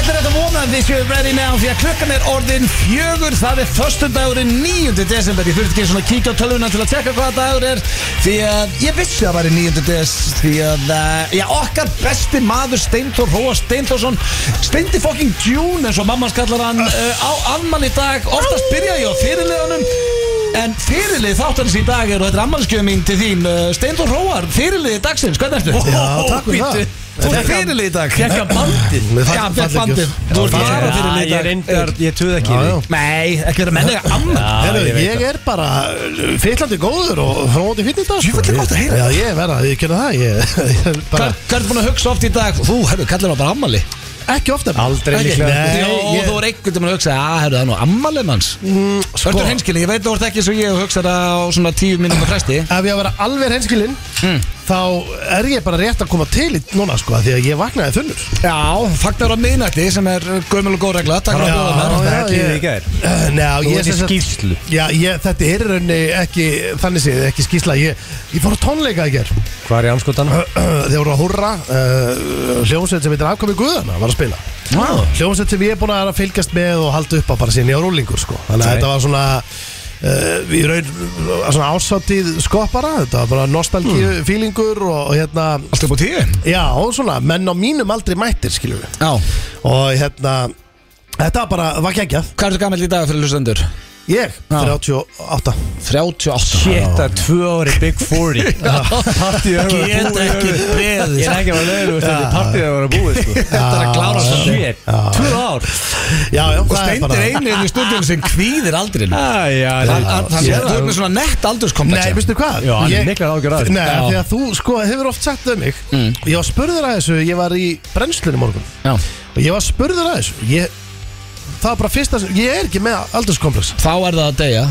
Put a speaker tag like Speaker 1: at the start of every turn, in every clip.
Speaker 1: að þið séu ready now því að klukkan er orðin fjögur það er förstundagurinn 9. desember ég þurfti ekki svona að kíkja á tölvuna til að tekka hvaða dagur er því að ég vissi að það væri 9. des því að eh, já, okkar besti maður Steintor Róa Steintorsson Steindi fucking Dune eins og mamma skallar hann uh, á afmæli í dag oftast byrja ég á fyrirleganum En fyrirlið þáttanins í dag er og þetta er ammalskjöðu mín til þín uh, Steindur Róar, fyrirlið dagsins, hvernig ertu?
Speaker 2: Já, takk fyrir það.
Speaker 1: Þú er fyrirlið í dag Kekka bandið
Speaker 2: Mér fall-
Speaker 1: Já, fekk
Speaker 2: fallið
Speaker 1: bandið
Speaker 2: gjöf.
Speaker 1: Þú
Speaker 2: Já,
Speaker 1: ert
Speaker 2: fallið
Speaker 1: bara
Speaker 2: gjöf.
Speaker 1: fyrirlið í
Speaker 3: ég
Speaker 1: dag
Speaker 3: reyndar, ég tuð
Speaker 2: Já,
Speaker 3: ekki í
Speaker 2: já.
Speaker 3: því
Speaker 1: Nei, ekki verið að menna Ah, ég ammal
Speaker 2: Herru,
Speaker 3: ég veit
Speaker 2: ég er bara uh, fyllandi góður og þróandi fyrir þetta
Speaker 1: Jú, þetta er gott að heyra.
Speaker 2: Já, ég verða, ég gerði það Ég, ég er bara,
Speaker 1: Hvað hvað ertu búin að hugsa oft í dag? Þú, herru, kallar það bara ammali
Speaker 2: ekki ofta
Speaker 3: Aldrei líklega.
Speaker 2: Nei,
Speaker 1: Jó,
Speaker 2: ég,
Speaker 1: þú er einhvern veginn að hugsa Já, herru, það er nú ammali manns
Speaker 2: sko,
Speaker 1: Örtur henskili, ég veit þú ert ekki svo ég og hugsa það á svona tíu minnum og fresti
Speaker 2: ef ég að vera alveg hreinskilinn Þá er ég bara rétt að koma til í núna, sko Því að ég vaknaði þunnur
Speaker 1: Já, fagnar á miðnætti sem er gömul og góð regla Takk fyrir að bjóða mér
Speaker 3: já. það ekki
Speaker 2: ég-
Speaker 3: í gær.
Speaker 2: Njá,
Speaker 3: Þú
Speaker 2: ég
Speaker 3: ert í
Speaker 2: sem sagt-
Speaker 3: skýrslu.
Speaker 2: Já, ég, þetta er í rauninni ekki, þannig séð, ekki skýrsla Ég, ég fór á tónleika í ger
Speaker 3: Hvað er í anskotan?
Speaker 2: Þeir voru að hurra uh, Hljómsveit sem heitir afkomi guðana var að spila
Speaker 1: Vá.
Speaker 2: Hljómsveit sem ég er búin að vera að fylgjast með og halda upp á bara síðan ég á rúlingur sko. Þannig að
Speaker 3: Nei.
Speaker 2: þetta var svona uh, í raun svona ásáttíð skoppara Þetta var bara nostalgíu
Speaker 3: Hmm.
Speaker 2: fílingur og, og hérna
Speaker 1: Allt upp á tíu
Speaker 2: Já, og svona, menn á mínum aldrei mættir skiljum við
Speaker 1: Já,
Speaker 2: Og hérna, þetta var bara, var geggjað
Speaker 1: hvað ertu gamall í dag fyrir hlustendur?
Speaker 2: Ég,
Speaker 1: Já.
Speaker 2: 38
Speaker 1: 38
Speaker 3: Shit, það er tvö ári Big 40 Partíð er að
Speaker 1: Get
Speaker 3: vera
Speaker 1: ekki
Speaker 3: búið
Speaker 1: beðið
Speaker 3: Ég er ekki að vera leiður Partíð er að vera búið sko.
Speaker 1: Þetta er að klára svo
Speaker 3: Shit, tvö ár
Speaker 2: Já, já,
Speaker 1: Og
Speaker 2: það er
Speaker 1: steindir
Speaker 2: bara
Speaker 1: einir í stúdíun sem kvíðir aldrin Þannig að þú
Speaker 3: Þannig
Speaker 1: ert með svona nett
Speaker 2: Nei,
Speaker 1: aldurskomplexi
Speaker 2: veistu hvað?
Speaker 3: Já, hann er
Speaker 2: Ég-
Speaker 3: miklar áhyggjur af þessu. Hmm.
Speaker 2: Nei,
Speaker 1: Já.
Speaker 2: því að þú, sko, hefur oft sagt um mig Ég var spurður að þessu, ég var í brennslunni morgun
Speaker 1: Já.
Speaker 2: Og ég var spurður að þessu ég, Það var bara fyrsta, sem- ég er ekki með aldurskompleks
Speaker 1: Þá er það að deyja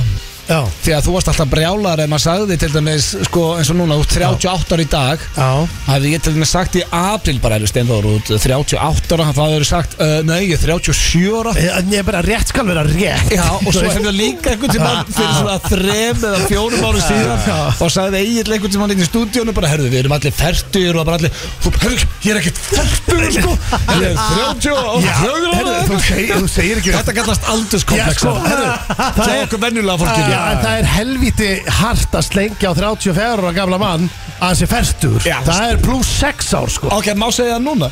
Speaker 2: Já,
Speaker 1: Því að þú varst alltaf brjálar ef maður sagði til dæmis sko, eins og núna, þú ert 38 ára í dag
Speaker 2: já,
Speaker 1: hafði ég til dæmis sagt í april bara er steindur út 38 ára þá hefur sagt, uh, nei ég er 37 ára
Speaker 2: Eh, ég ég er bara rétt skal vera rétt
Speaker 1: Já, og
Speaker 2: Þú
Speaker 1: svo
Speaker 2: veist,
Speaker 1: hefði líka einhvern tímann fyrir svona þrem eða fjórum árum síðan og sagði eiginlega einhvern tímann inn í stúdíónu bara, herðu, við erum allir færtur og bara allir, þú, herðu, ég er ekkert færtur, sko, ég er 30 og
Speaker 2: Já,
Speaker 1: 30
Speaker 2: heyrðu, þú,
Speaker 1: ára
Speaker 2: seg, þú segir ekki
Speaker 1: Þetta kallast
Speaker 2: Já,
Speaker 1: aldurskomplex
Speaker 2: sko, heyrðu,
Speaker 1: Það er okkur vennulega fólkið
Speaker 2: Já, en það er helviti hart að slengja á 34 ára gamla mann að hans er fertur
Speaker 1: Já.
Speaker 2: Það er pluss 6 ár sko
Speaker 1: Ok, má segja það núna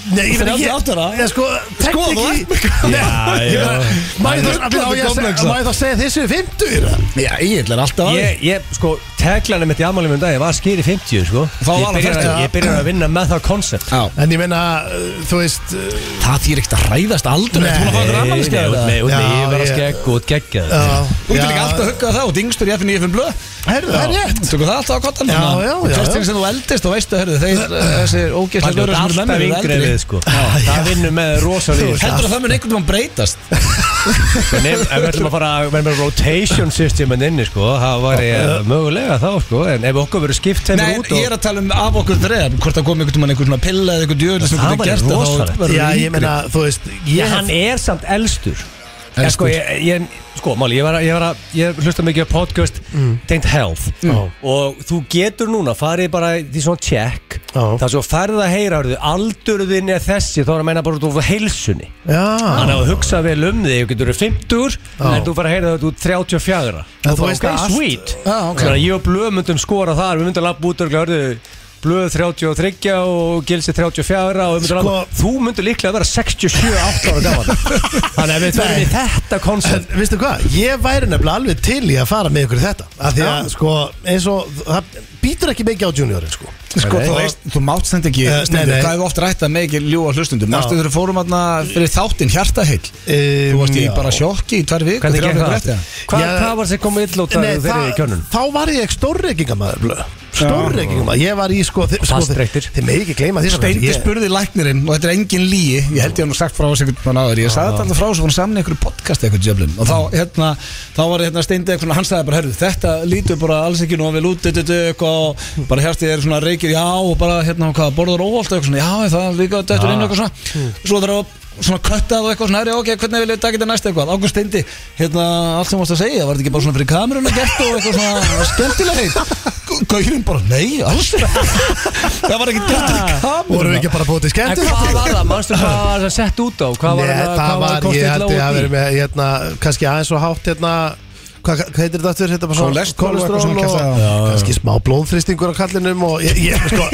Speaker 2: Nei, ég meina, ég-
Speaker 1: 38 ára?
Speaker 2: Ég sko,
Speaker 1: Sko, þú
Speaker 2: tekniki
Speaker 1: ert með
Speaker 3: Já, já.
Speaker 2: Mæði
Speaker 1: Það er ruglandi sko. komplexa.
Speaker 2: þá segja þessi er 50 eða?
Speaker 1: Já, eiginlega er alltaf aðeins
Speaker 3: Ég, ég, sko, teglanum mitt í afmælum um dag Ég var skýri 50, sko
Speaker 1: Þá var
Speaker 3: Ég
Speaker 1: hann
Speaker 3: byrjaði
Speaker 1: 50.
Speaker 3: að- ég byrjaði að vinna með það koncept
Speaker 1: Já,
Speaker 2: En ég meina, uh, þú veist uh,
Speaker 1: það þýr ekkert að ræðast aldur Þú er að fá okkur annan skæða
Speaker 3: út með, út með,
Speaker 2: Já,
Speaker 3: ég var að
Speaker 2: ég-
Speaker 3: skegg og geggja
Speaker 2: já,
Speaker 1: Þú getur líka
Speaker 2: já,
Speaker 1: alltaf að hugga það út, yngstur í FN í FN blöð
Speaker 2: Herðu, það er rétt
Speaker 1: Tökum það alltaf á kottan
Speaker 2: Já, já, já,
Speaker 1: Fyrst
Speaker 2: já.
Speaker 1: til sem þú eldist og veistu herri, Þeir, eh, þessi ógeðslega
Speaker 3: Það er
Speaker 1: gaur sem eru með mér
Speaker 3: alltaf
Speaker 1: eru
Speaker 3: yngri en
Speaker 1: eldri.
Speaker 3: við, sko Það vinnur með rosalíð
Speaker 1: Heldur að það mun einhvern veginn breytast
Speaker 3: En ef ef við ætlum að fara að vera með rotation systemin inni sko, það var ég mögulega þá sko, en ef okkur verður skipt þeim
Speaker 1: Nei,
Speaker 3: út
Speaker 1: ég er
Speaker 3: og...
Speaker 1: að tala um af okkur þreðar Hvort það kom einhvern veginn einhvern svona pilla eða einhvern djöður sem
Speaker 3: Það
Speaker 1: einhvern
Speaker 3: væri
Speaker 1: gert það, þá
Speaker 3: rosalegt.
Speaker 1: verður þú
Speaker 2: Já,
Speaker 1: yngri.
Speaker 2: ég meina, þú veist
Speaker 3: Ég,
Speaker 2: Ég
Speaker 3: hann
Speaker 2: hef
Speaker 3: er samt elstur. En
Speaker 1: Elstur.
Speaker 3: sko, ég, ég, sko, máli, ég var að, ég var að, ég hlusta mikið á podcast tengt health
Speaker 2: Mm.
Speaker 3: og þú getur núna farið bara í svona check
Speaker 2: Já.
Speaker 3: þar svo færð að heyra, hörðu, aldurðin er þessi, þá er að meina bara út á heilsunni.
Speaker 2: Já,
Speaker 3: Þannig að hugsa vel um þig, þú getur 50
Speaker 2: Já.
Speaker 3: en þú fara að heyra þetta út 34
Speaker 2: En
Speaker 3: og
Speaker 2: þú
Speaker 3: bara
Speaker 2: veist
Speaker 3: ok,
Speaker 2: að allt-
Speaker 3: sweet
Speaker 1: Já, ok.
Speaker 3: þannig að ég og Blöð myndum skora þar við myndum lappa út og hörðu Blöð 33 og Gilsi 34 og við
Speaker 2: Sko-
Speaker 3: myndum labba- þú myndur líklega að vera 67, 8 ára gaman þannig að við förum í þetta
Speaker 2: En,
Speaker 3: koncept
Speaker 2: veistu hvað, ég væri nefnilega alveg til í að fara með ykkur í þetta af því að, sko, eins og það býtur ekki mikið á juniorin, sko
Speaker 1: Sko,
Speaker 2: Nei.
Speaker 1: þú veist, þú mátt stend ekki
Speaker 2: Eh, nei,
Speaker 1: stendur,
Speaker 2: nei.
Speaker 1: Hvað hefur oft rætt að mikið ljúa hlustundum
Speaker 2: Já.
Speaker 1: Mástu þegar við fórum aðna fyrir þáttinn hjartaheill
Speaker 2: Um,
Speaker 1: Þú varst í
Speaker 2: já.
Speaker 1: bara sjokki í tvær viku
Speaker 3: hvernig
Speaker 1: þrjár
Speaker 3: gekk
Speaker 1: vikur
Speaker 3: það?
Speaker 1: eftir
Speaker 3: Hvað,
Speaker 2: Ég-
Speaker 3: hvað var sem kom illa út af
Speaker 2: Nei,
Speaker 3: þeirri í
Speaker 2: það,
Speaker 3: kjörnun?
Speaker 2: þá var ég stórreikingamæður Stórreikingamæður, ég var í sko þi- sko,
Speaker 3: Fastreiktir.
Speaker 2: þi- Þið með ekki gleyma því strákar,
Speaker 1: Steindi
Speaker 2: ég-
Speaker 1: spurði læknirinn og þetta er engin líi ég held ég hann sagt frá þessu einhvern veginn áður ég sagði þetta alltaf frá þessu hún samni einhverju podcast eitthvað djöflum og þá,
Speaker 2: Mm.
Speaker 1: hérna, þá var hérna Steindi eitthvað hann sagði bara, herru, þetta lítur bara alls ekki nú vel út, þetta er eitthvað og
Speaker 2: Mm.
Speaker 1: bara hérstið er
Speaker 2: Mm.
Speaker 1: svona reykir, já og bara hérna hvað, borður óholt eitthvað svona, já, það er líka dættur inn eitthvað svona svo þegar svona köttað og eitthvað svona herri, ok, hvernig vil ég taka þetta næst eitthvað Ágúst Steindi, hérna, allt sem varst að segja var þetta ekki bara svona fyrir kamerun að gert og eitthvað svona skemmtilega Gaurinn bara, nei, alls ekki." það var ekki gert fyrir
Speaker 2: Ah. Vorum
Speaker 1: kamerun
Speaker 2: við ekki bara búið til
Speaker 3: En
Speaker 2: skemmtir
Speaker 3: hvað var það, mannstu hvað var það sett út á Hvað var
Speaker 2: Nei,
Speaker 3: það,
Speaker 2: það
Speaker 3: hvað var
Speaker 2: var, ég held ég
Speaker 3: það
Speaker 2: að verið með hérna, kannski aðeins og hátt hérna Hvað hva heitir þetta aftur? Hérna bara svona-
Speaker 1: Kolesterol og eitthvað
Speaker 2: kolesterol
Speaker 1: svona kjaftaði á.
Speaker 2: og, kannski smá blóðþrýstingur á kallinum og ég, ég sko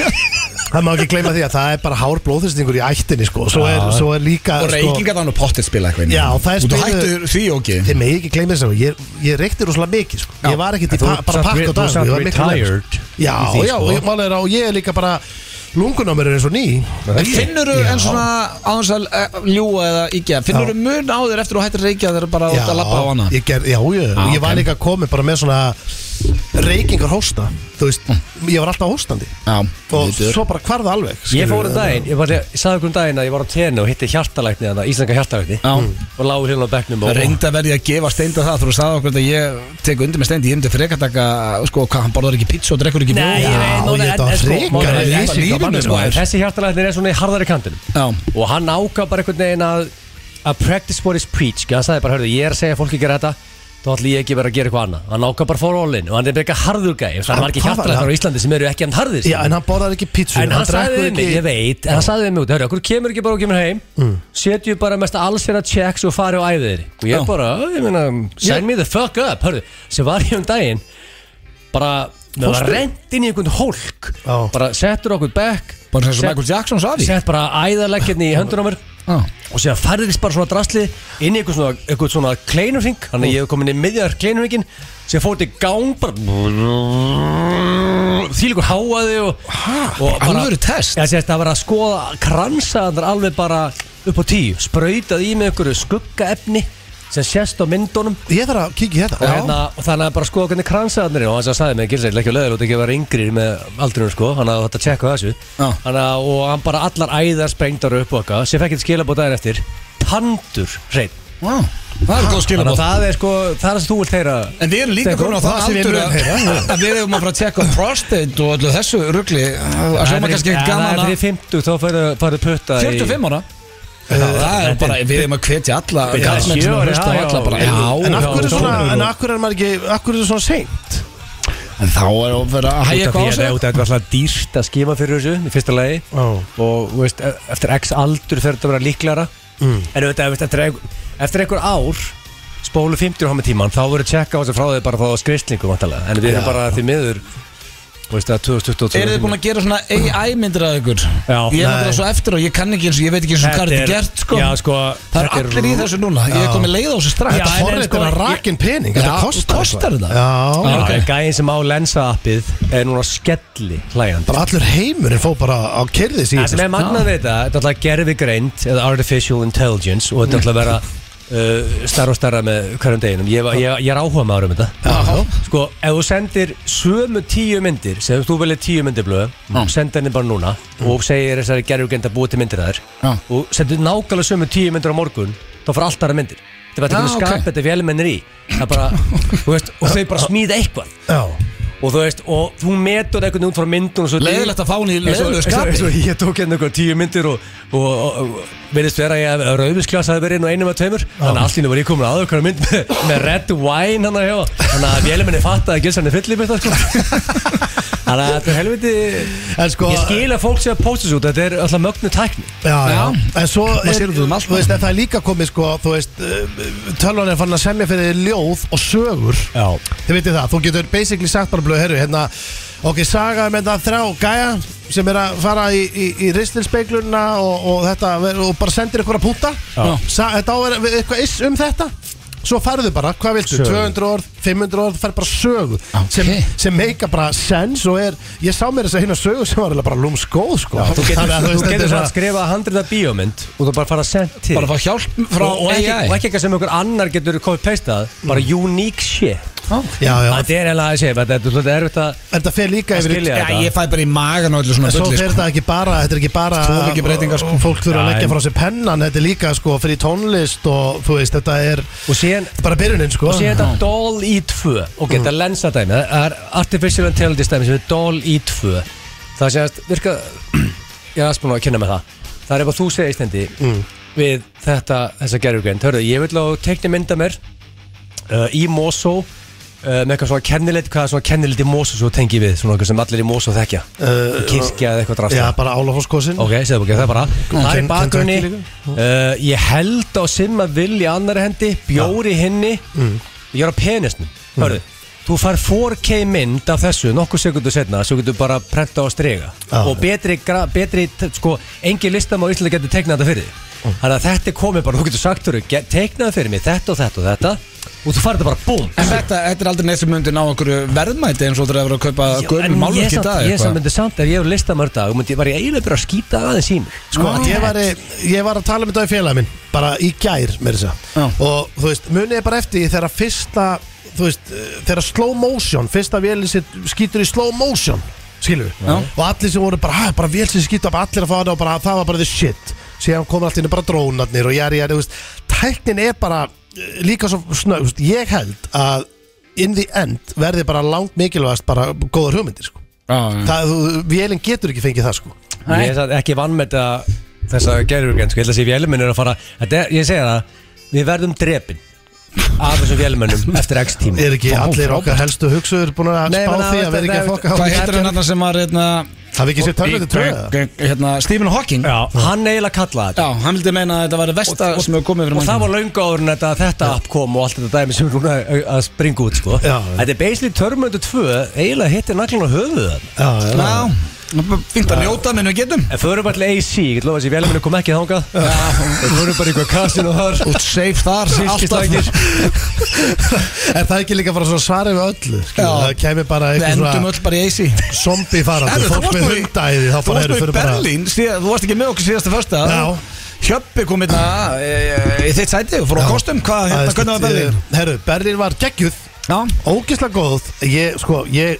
Speaker 2: það má ekki gleyma því að það er bara hár blóðþrýstingur í ættinni sko svo er, svo er líka
Speaker 1: og
Speaker 2: sko,
Speaker 1: reykingar þannig að pottið spila eitthvað inn í.
Speaker 2: Já, það er
Speaker 1: og þú
Speaker 2: spiluð-
Speaker 1: hættu því ok
Speaker 2: þeim megi ekki gleyma þess að ég, ég reykti rosalega mikið sko.
Speaker 1: Já.
Speaker 2: ég var ekki í
Speaker 3: Þú
Speaker 2: pa, bara
Speaker 3: samt-
Speaker 2: pakk
Speaker 3: þú
Speaker 2: og dag
Speaker 3: samt
Speaker 2: ég var miklu verr.
Speaker 3: retired
Speaker 2: Já,
Speaker 3: í því,
Speaker 2: já,
Speaker 3: sko.
Speaker 2: og ég, málið er að- og ég er líka bara lungun á mér er eins og ný
Speaker 1: En finnur þú
Speaker 2: Já.
Speaker 1: en svona áðans að eh, ljúga eða ígja Finnur þú mun á þér eftir að hættir reykja þegar bara út að lappa á hana
Speaker 2: ég ger, já, já,
Speaker 1: Ah,
Speaker 2: ég var
Speaker 1: ok.
Speaker 2: líka komið bara með svona reykingar hósta þú veist, ég var alltaf hóstandi
Speaker 1: Já,
Speaker 2: og
Speaker 1: vitur.
Speaker 2: svo bara hvarða alveg
Speaker 3: Hm. Ég
Speaker 2: skilurðu.
Speaker 3: fór um daginn, ég, var, ég sagði okkur um daginn að ég var á tenni og hitti hjartalækni þannig, íslenska hjartalækni
Speaker 1: Já.
Speaker 3: og lág hérna á bekknum
Speaker 1: Það
Speaker 3: og
Speaker 1: reyndi Mm. að verði að gefa steinda það Þú sagði okkur að ég tek undir með steindi Ég myndi frekar taka, sko, hvað, hann borðar ekki pizza og drekkur ekki bjóð
Speaker 2: Já, ég þetta var hrikaleg
Speaker 1: lýsing á manni,
Speaker 3: sko,
Speaker 1: maður.
Speaker 3: en Þessi hjartalæknir er svona í harðari kantinum
Speaker 1: Já,
Speaker 3: og hann ákvað bara einhvern veginn að að practice what is preach hann sagði bara, hörðu, ég er að segja að fólki gera þetta þá ætlum ég ekki bara að gera eitthvað annað hann ákvað bara fór all in og hann er bara eitthvað harður gæ það
Speaker 2: Hann-
Speaker 3: er margir
Speaker 2: hvað var það?
Speaker 3: hjartalæknar á Íslandi sem eru ekki hann harðir sko.
Speaker 2: já, en hann borðaði ekki pítsu
Speaker 3: En hann sagði við mig, Mm. ég veit, en hann sagði við mig út Hörru, okkur kemur ekki bara og kemur heim Setjum bara mest alls hérna checks og farið og æðið þér Og
Speaker 1: Já.
Speaker 3: ég bara, ég meina, send me the fuck up Hörru, sem var ég um daginn Bara, með var
Speaker 2: Fórstu?
Speaker 3: rent inn í einhvern hólk
Speaker 2: Já.
Speaker 3: Bara settur okkur back
Speaker 1: bara þess að
Speaker 3: Sett-
Speaker 1: Michael Jackson saði
Speaker 3: Sett bara æðaleggjarni í höndunum mér Og séðan færðist bara svona drasli Inn í einhvern svona, einhvern svona kleinurring Þannig að ég hef komin í miðjar kleinurringin Sér fór til gang bara Þýlíkur háaði og, og bara-
Speaker 1: Alvöru test
Speaker 3: Já, sést, það var að skoða kransaðar alveg bara upp á tíu Sprautað í með einhverju skuggaefni sem sést á myndunum
Speaker 2: ég þarf að kíkja í þetta
Speaker 3: og, hérna, og þannig að bara skoða hvernig kransaðarnir eru og hans að sagði mig, Gilsæll, ekki að leður út ekki að vera yngri með aldrinum sko, hann að þetta tjekka á þessu
Speaker 1: Já.
Speaker 3: Þannig að, og hann bara allar æðar sprengdar upp og eitthvað, sem fekk eitthvað skilabóð daginn eftir tandur, hrein
Speaker 1: Já, það er góð
Speaker 3: Þannig að
Speaker 1: skilabótt
Speaker 3: það er sko, það er það sem þú vilt heyra
Speaker 1: En við erum líka
Speaker 3: Steindór,
Speaker 1: komin á það
Speaker 2: það sem ég
Speaker 1: aldur
Speaker 2: mun
Speaker 1: að
Speaker 2: heyra, já.
Speaker 1: að við erum að fara að tjekka um prostate og öllu þessu rugli Það
Speaker 3: Það
Speaker 1: hljóma
Speaker 3: er
Speaker 1: kannski ekkert
Speaker 3: fyrir-
Speaker 1: gaman
Speaker 3: Það er
Speaker 1: að
Speaker 3: fyrir 50, þá farið- farið putta í
Speaker 1: 45 ára Já, það er bara, við erum að hvetja alla
Speaker 3: Já,
Speaker 1: karlmenn sem
Speaker 3: sjö
Speaker 1: eru að
Speaker 3: ára,
Speaker 1: hlusta á
Speaker 3: já,
Speaker 1: alla bara,
Speaker 3: já.
Speaker 1: já,
Speaker 2: en af
Speaker 3: já,
Speaker 2: hverju er
Speaker 3: já,
Speaker 2: svona
Speaker 3: já.
Speaker 2: en af hverju er maður ekki af hverju er þetta svona seint
Speaker 1: En þá er að vera að hægja
Speaker 3: Út
Speaker 1: eitthvað á sig
Speaker 3: af því að út af þetta var alltaf dýrt að skima fyrir þessu í fyrsta lagi
Speaker 2: Já.
Speaker 3: og þú veist, e- eftir x aldur þegar þetta að vera líklara mm. en auðvitað, þú veist, eftir, ein- eftir einhver ár spólu 50 og hama tíman þá voru tjekka á þessu frá því bara þá skristlingu vantalega en við erum bara því miður þú veist, að 2022
Speaker 1: Eru þið búin að gera svona AI myndir að ykkur?
Speaker 3: Já.
Speaker 1: Ég er
Speaker 2: Nei.
Speaker 1: náttúrulega svo eftir og ég kann ekki eins og ég veit ekki eins og hvað er þetta gert sko
Speaker 3: já, sko
Speaker 1: Það er allir í þessu núna, ég er komið leið á þessu strax
Speaker 3: Já,
Speaker 2: þetta
Speaker 3: en- en
Speaker 2: forrið
Speaker 3: sko,
Speaker 2: er að
Speaker 3: ég-
Speaker 2: rakin pening
Speaker 1: Já,
Speaker 2: þetta kostar
Speaker 1: kostar þetta.
Speaker 2: eitthvað. já,
Speaker 3: Já,
Speaker 1: ok.
Speaker 3: okay. gæðin sem á lensa appið er núna skelli hlægand
Speaker 2: bara allur heimurinn fór bara á kerðis í
Speaker 3: Það sem er magnað við þetta, þetta er alltaf gerfi greind eða artificial intelligence og þetta er alltaf að vera uh, starra og starra með hverjum deginum. Ég, var- ég, ég er áhuga maður um þetta.
Speaker 2: Já.
Speaker 3: Sko, ef þú sendir sömu tíu myndir, sem þú velið tíu myndir blöðu,
Speaker 1: Mm.
Speaker 3: senda henni bara núna og segir þessari gerfi greind að búa til myndir þær
Speaker 1: Já.
Speaker 3: og sendir nákvæmlega sömu tíu myndir á morgun, þá fara allt aðra myndir. Þetta er bara
Speaker 1: Já,
Speaker 3: ekki
Speaker 1: ok.
Speaker 3: skap þetta vélmennir í. Það er bara, þú veist, og þau bara smíða eitthvað.
Speaker 2: já
Speaker 3: Og þú veist, og þú metur einhvern veginn út frá myndunum og svo-
Speaker 1: Leiðilegt að fá hún í
Speaker 3: Eins og-
Speaker 1: leiðilegu
Speaker 3: eins og-
Speaker 1: skapi
Speaker 3: eins og ég tók hérna eitthvað tíu myndir og, og, og, og verðist vera að ég að rauðisklás hafi verið inn og einum að tveimur þannig að allt í nú var ég komin að okkar mynd með, með red wine hann að hjá þannig að véluminni fatt að gilsa hann er fyllið mitt sko. þannig að þetta er helviti
Speaker 2: En sko-
Speaker 3: ég skil að fólk sé að posta þessu út þetta er alltaf mögnu tækni
Speaker 2: Já, já, en svo
Speaker 1: Það sér út um allt.
Speaker 2: þú veist, en það er líka komið sko, þú veist tölvan er fann að semja fyrir þig ljóð og sögur
Speaker 3: já
Speaker 2: þið veitir það, þú getur basically sagt bara blöð, herru, hérna, ok, saga með það þrjá gæja sem er að fara í, í, í ristilspeiklunna og, og þetta, og bara sendir ykkur að púta
Speaker 3: Já.
Speaker 2: Sa, þetta áverð eitthvað is um þetta svo færðu bara, hvað viltu,
Speaker 3: Sögu.
Speaker 2: 200 orð 500 orð, færðu bara sögu
Speaker 1: Ok.
Speaker 2: sem, sem meika bara sense og er, ég sá mér þess að hérna sögu sem var eiginlega bara lúmskóð sko.
Speaker 3: þú getur,
Speaker 2: Þannig að,
Speaker 3: þú
Speaker 2: veist, þetta er
Speaker 3: getur svona
Speaker 2: svona-
Speaker 3: að skrifa handrita bíómynd og þú bara fara að senda til
Speaker 1: Bara að fá hjálp frá
Speaker 3: og, og, ekki, og
Speaker 1: AI
Speaker 3: ekki eitthvað sem einhver annar getur komið peistað bara unique shit
Speaker 2: Já, já,
Speaker 3: þetta er eiginlega að segja þetta er svolítið erfitt að
Speaker 2: En það fer líka
Speaker 3: Að
Speaker 2: yfir
Speaker 3: skilja.
Speaker 2: skilja.
Speaker 1: Já, ég fæ bara í magan og öllu svona
Speaker 2: Svo
Speaker 1: bulli
Speaker 2: fer
Speaker 1: sko.
Speaker 2: það ekki bara, þetta er ekki bara
Speaker 1: Svo mikið breytingar, sko.
Speaker 2: Fólk þurfa að
Speaker 3: Já,
Speaker 2: leggja
Speaker 3: en-
Speaker 2: frá sér pennan Þetta er líka sko fyrir tónlist og þú veist, þetta er
Speaker 3: og síðan
Speaker 2: bara byrjunin sko
Speaker 3: og sé þetta Doll í 2 ok, þetta
Speaker 2: Mm.
Speaker 3: er lensa dæmi, það er Artificial Intelligence dæmi sem er Doll í 2
Speaker 2: Mm.
Speaker 3: það sé að virka ég er aðspunna að kynna með það það er ef að þú segir í stendi við þetta, þessa gerðugreind Hörðu, ég vil á teikni mynda mér uh, í Mosó uh, með eitthvað svona kennilit, hvað er svona kennilit í Mosó svo tengi við, svona eitthvað sem allir í Mosó þekkja
Speaker 2: Uh,
Speaker 3: kirkja eða eitthvað drasta
Speaker 2: Já, bara Álafosskosin
Speaker 3: Ok, segðum ekki, það er bara Það er í
Speaker 2: Ken-
Speaker 3: bakgrunni
Speaker 2: Kentucky
Speaker 3: uh, Ég held á Simma Vill í annari hendi Bjóri ja. henni
Speaker 1: Mm.
Speaker 3: Ég er á penisnum Hörðu, þú fær 4K mynd af þessu Nokkuð sekundu setna Svo getur bara prenta og strega
Speaker 2: Já.
Speaker 1: Ah.
Speaker 3: Og betri, gra- betri t- sko, Engin listam á Íslandi getur teiknað þetta fyrir þig
Speaker 1: Mm.
Speaker 3: Þannig að þetta er komið bara Þú getur sagt þurru, teiknaðu fyrir mig Þetta og þetta og þetta Og þú fær þetta bara búm
Speaker 1: En þetta, þetta er aldrei neitt sem myndi ná einhverju verðmæti eins og þetta er að vera að kaupa
Speaker 3: Já,
Speaker 1: gömur
Speaker 3: en ég
Speaker 1: málverk í
Speaker 3: samt-
Speaker 1: dag
Speaker 3: Ég
Speaker 1: eitthvað.
Speaker 3: samt myndi samt ef ég hefur listamörd dag myndi, var ég eiginlega byrja að skýta aðeins í mig
Speaker 2: Sko, ég var, í- ég var að tala um þetta í félagin minn Bara í gær, með þess
Speaker 1: Já.
Speaker 2: að Og þú veist, munið er bara eftir því Þegar fyrsta, þú veist eh, Þegar slow motion, fyrsta vélin sér skýtur í slow motion Skilur við
Speaker 1: Já.
Speaker 2: Og allir sem voru bara, "Ha, bara vél sem skýtur bara Allir að fá það og bara, það var bara the shit Síðan komur allt inni bara drónarnir og jæri, jæri, þú veist Tæknin er bara eh, líka svo snögg þú veist, Ég held að in the end verði bara langt mikilvægast bara góðar hugmyndir sko.
Speaker 1: Já, já.
Speaker 2: það, þú, vélinn getur ekki fengið það sko.
Speaker 1: Nei.
Speaker 3: Ég er satt ekki vann með þetta þessa gerurgrenn, sko, ég held að sé vélmenn er að fara þetta er, ég segja það, við verðum drepin af þessum vélmennum eftir x tíma
Speaker 2: Er ekki
Speaker 1: Vá,
Speaker 2: allir
Speaker 1: frábært.
Speaker 2: okkar helstu hugsuður búin að
Speaker 3: Nei,
Speaker 2: spá
Speaker 3: menn,
Speaker 2: því
Speaker 3: það-
Speaker 2: að vera ekki að
Speaker 3: það-
Speaker 2: fokka á
Speaker 1: Hvað
Speaker 2: því?
Speaker 1: heitir hann hérna sem var hérna,
Speaker 2: Það við ekki sér tölvöldi tröða
Speaker 1: hérna Stephen Hawking?
Speaker 3: Já, hann eiginlega kallaði
Speaker 1: Já, hann vildi meina að þetta var vesta
Speaker 3: þetta
Speaker 1: sem hefur komið fyrir
Speaker 3: og það
Speaker 1: mannkynið.
Speaker 3: var löngu áður en þetta, þetta app kom og allt þetta dæmi sem er núna að- að springa út sko.
Speaker 2: Já.
Speaker 3: þetta er basically Terminator 2 eiginlega hittir naglun á höfuðu þann
Speaker 1: Já, bara fínt að njóta minn við getum
Speaker 3: en förum allir AC, ég get lofa að þessi vélmennu kom ekki þangað við förum bara í eitthvað kassin og þar
Speaker 1: Út safe þar,
Speaker 3: Silkislækir.
Speaker 2: Er það ekki líka bara svona svarið við öllu? skilur?
Speaker 1: Já.
Speaker 2: Það kemur bara
Speaker 1: Við
Speaker 2: eitthvað
Speaker 1: endum
Speaker 2: svona
Speaker 1: öll bara í AC
Speaker 2: zombie farandi
Speaker 1: Herru,
Speaker 2: Fólk
Speaker 1: varst
Speaker 2: með
Speaker 1: nú í-
Speaker 2: hundæði
Speaker 1: Þú
Speaker 2: Þá
Speaker 1: varst
Speaker 2: bara
Speaker 1: nú
Speaker 2: eru
Speaker 1: í
Speaker 2: fyrir bara
Speaker 1: Berlín, síðan- þú varst ekki með okkur síðasta fyrsta
Speaker 2: Já.
Speaker 1: Hjöppi kom hérna e, e, í þitt sæti og fór á
Speaker 2: Já.
Speaker 1: kostum Hvað, hérna,
Speaker 2: Aðeins,
Speaker 1: hvernig var Berlín?
Speaker 2: eh, Herru, Berlín var geggjuð
Speaker 1: Já,
Speaker 2: Ógislega góð Ég, sko, ég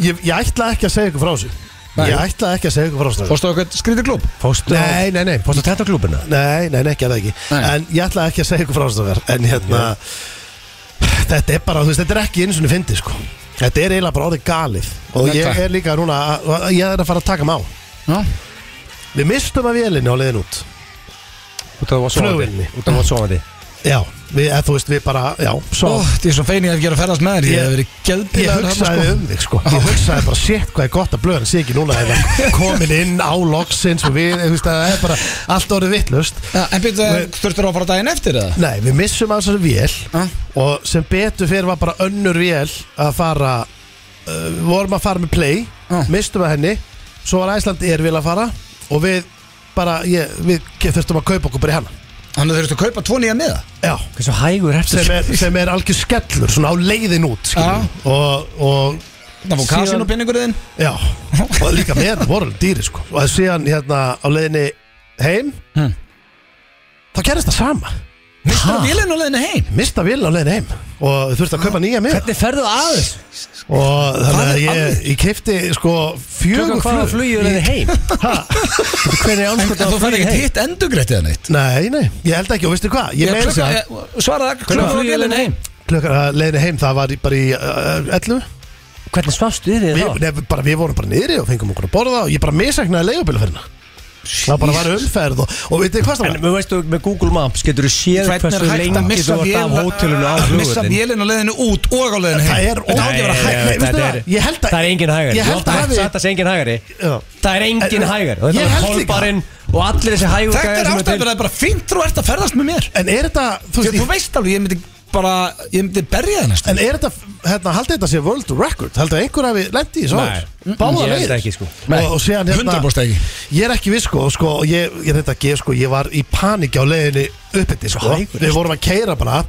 Speaker 2: Ég, ég ætla ekki að segja ykkur frá þessu
Speaker 1: Nei.
Speaker 2: Ég ætla ekki að segja ykkur frá þessu
Speaker 1: fórstu á eitthvað skrítið klub?
Speaker 3: fórstu á,
Speaker 2: Nei, nei, nei
Speaker 3: fórstu á tettoklúbina
Speaker 2: Nei, nei, nei, ekki að það ekki
Speaker 1: Nei.
Speaker 2: En ég ætla ekki að segja ykkur frá þessu þar En hérna Þetta er bara, þú veist, þetta er ekki eins og fyndi sko Þetta er eiginlega bara orðið galið Og
Speaker 1: Nei,
Speaker 2: ég
Speaker 1: hvað?
Speaker 2: er líka núna, að- að- ég er að fara að taka má
Speaker 1: Já,
Speaker 2: Við mistum að vélinni á leiðin út
Speaker 3: út af að
Speaker 2: Flugvélinni.
Speaker 3: var sovandi
Speaker 2: Já, við, eða, þú veist, við bara, já, svo
Speaker 1: Ó, ég er svo fein ég hef ekki verið að ferðast með þér Ég
Speaker 2: Ég-
Speaker 1: hef verið
Speaker 2: Ég
Speaker 1: geðpilaður
Speaker 2: hugsaði um þig sko Ég hugsaði bara sétt hvað er gott að blöðan sé ekki núna eða komin inn á loksins og við, þú veist, það er bara allt orðið vittlust
Speaker 1: Já, En byrjuðu, þurftur á að fara daginn eftir eða?
Speaker 2: Nei, við missum að þessari vél
Speaker 1: Já.
Speaker 2: og sem betur fyrir var bara önnur vél að fara uh, vorum að fara með play
Speaker 1: Já.
Speaker 2: mistum að henni, svo var Æsland er vil að fara og við bara ég, við þurftum að kaupa okkur bara í hana
Speaker 1: Þannig þurftu að kaupa tvo nýja miða
Speaker 2: Já,
Speaker 3: hversu hægur er
Speaker 2: sem er, sem er algjör skellur svona á leiðin út skilur við. og, og
Speaker 1: Það fór
Speaker 2: Síðan-
Speaker 1: kasin og pinningurinn
Speaker 2: Já, og líka með þetta voru alveg dýri sko Og síðan hérna á leiðinni heim
Speaker 1: Hmm.
Speaker 2: Þá gerist það sama
Speaker 1: Mistur á bílinn og leiðinu heim
Speaker 2: Mista vil á leiðinni heim Og þurfti að kaupa nýja með
Speaker 3: Hvernig ferðu aðeins?
Speaker 2: Og þannig
Speaker 1: Það er
Speaker 2: að ég,
Speaker 1: alveg-
Speaker 2: ég kefti sko fjögur
Speaker 3: Klukkan hvaða flugi er þið heim?
Speaker 2: Hvernig
Speaker 1: En
Speaker 2: ánskot
Speaker 1: þú færði ekki hitt endugrætt eða neitt
Speaker 2: Nei, nei, ég held ekki og veistu hvað Ég meira þess að
Speaker 1: Svaraði
Speaker 3: Klukkan flugi er þið heim?
Speaker 2: klukkan að leiðinni heim það var í- bara í uh, 11
Speaker 3: Hvernig svafstu þið
Speaker 2: við,
Speaker 3: þá?
Speaker 2: nei, við bara, við vorum bara niðri og fengum okkur að borða og ég bara misæknaði leigubílaferðina Það bara var umferð og, og veitir hvað
Speaker 3: En
Speaker 2: það var?
Speaker 3: við veistu, með Google Maps getur þú séð
Speaker 1: Hvernig er
Speaker 3: hversu
Speaker 1: hægt að
Speaker 3: lengi
Speaker 1: missa
Speaker 3: þú ert af
Speaker 1: vél-
Speaker 3: hótelinu á
Speaker 1: Missa
Speaker 3: flugvöldin
Speaker 1: vélinn á leiðinu út og á leiðinu heim Þetta á ekki að vera hægt
Speaker 2: Það er Nei, nei, veistu það? Ég held að-
Speaker 3: Það er engin hægari
Speaker 2: Ég held að hafi-
Speaker 3: Það er engin hægari
Speaker 2: Já.
Speaker 3: Það er engin
Speaker 2: En-
Speaker 3: hægari Og
Speaker 2: Ég
Speaker 3: þetta var
Speaker 2: held líka.
Speaker 3: holbarinn Og allir þessi hægur
Speaker 1: Þetta er ástæðan fyrir að það er bara fínt þú ert að ferðast með mér
Speaker 2: En er þetta, þú
Speaker 1: Þegar
Speaker 2: veist,
Speaker 1: þú veist alveg, ég myndi bara Ég myndi berja það næstu
Speaker 2: En er þetta, hérna, haldið þetta sé world record? Haldið að einhver hafi lendið í svo
Speaker 3: Nei.
Speaker 2: aður? Báða
Speaker 3: Ég held
Speaker 2: leiðir?
Speaker 3: ekki, sko.
Speaker 1: Nei.
Speaker 2: Og, og séðan hérna
Speaker 1: 100% ekki.
Speaker 2: Ég er ekki við sko, og sko, og ég, ég reynda að gefa sko Ég var í paníki á leiðinni uppbytti sko
Speaker 3: hægur.
Speaker 2: Við vorum að keira bara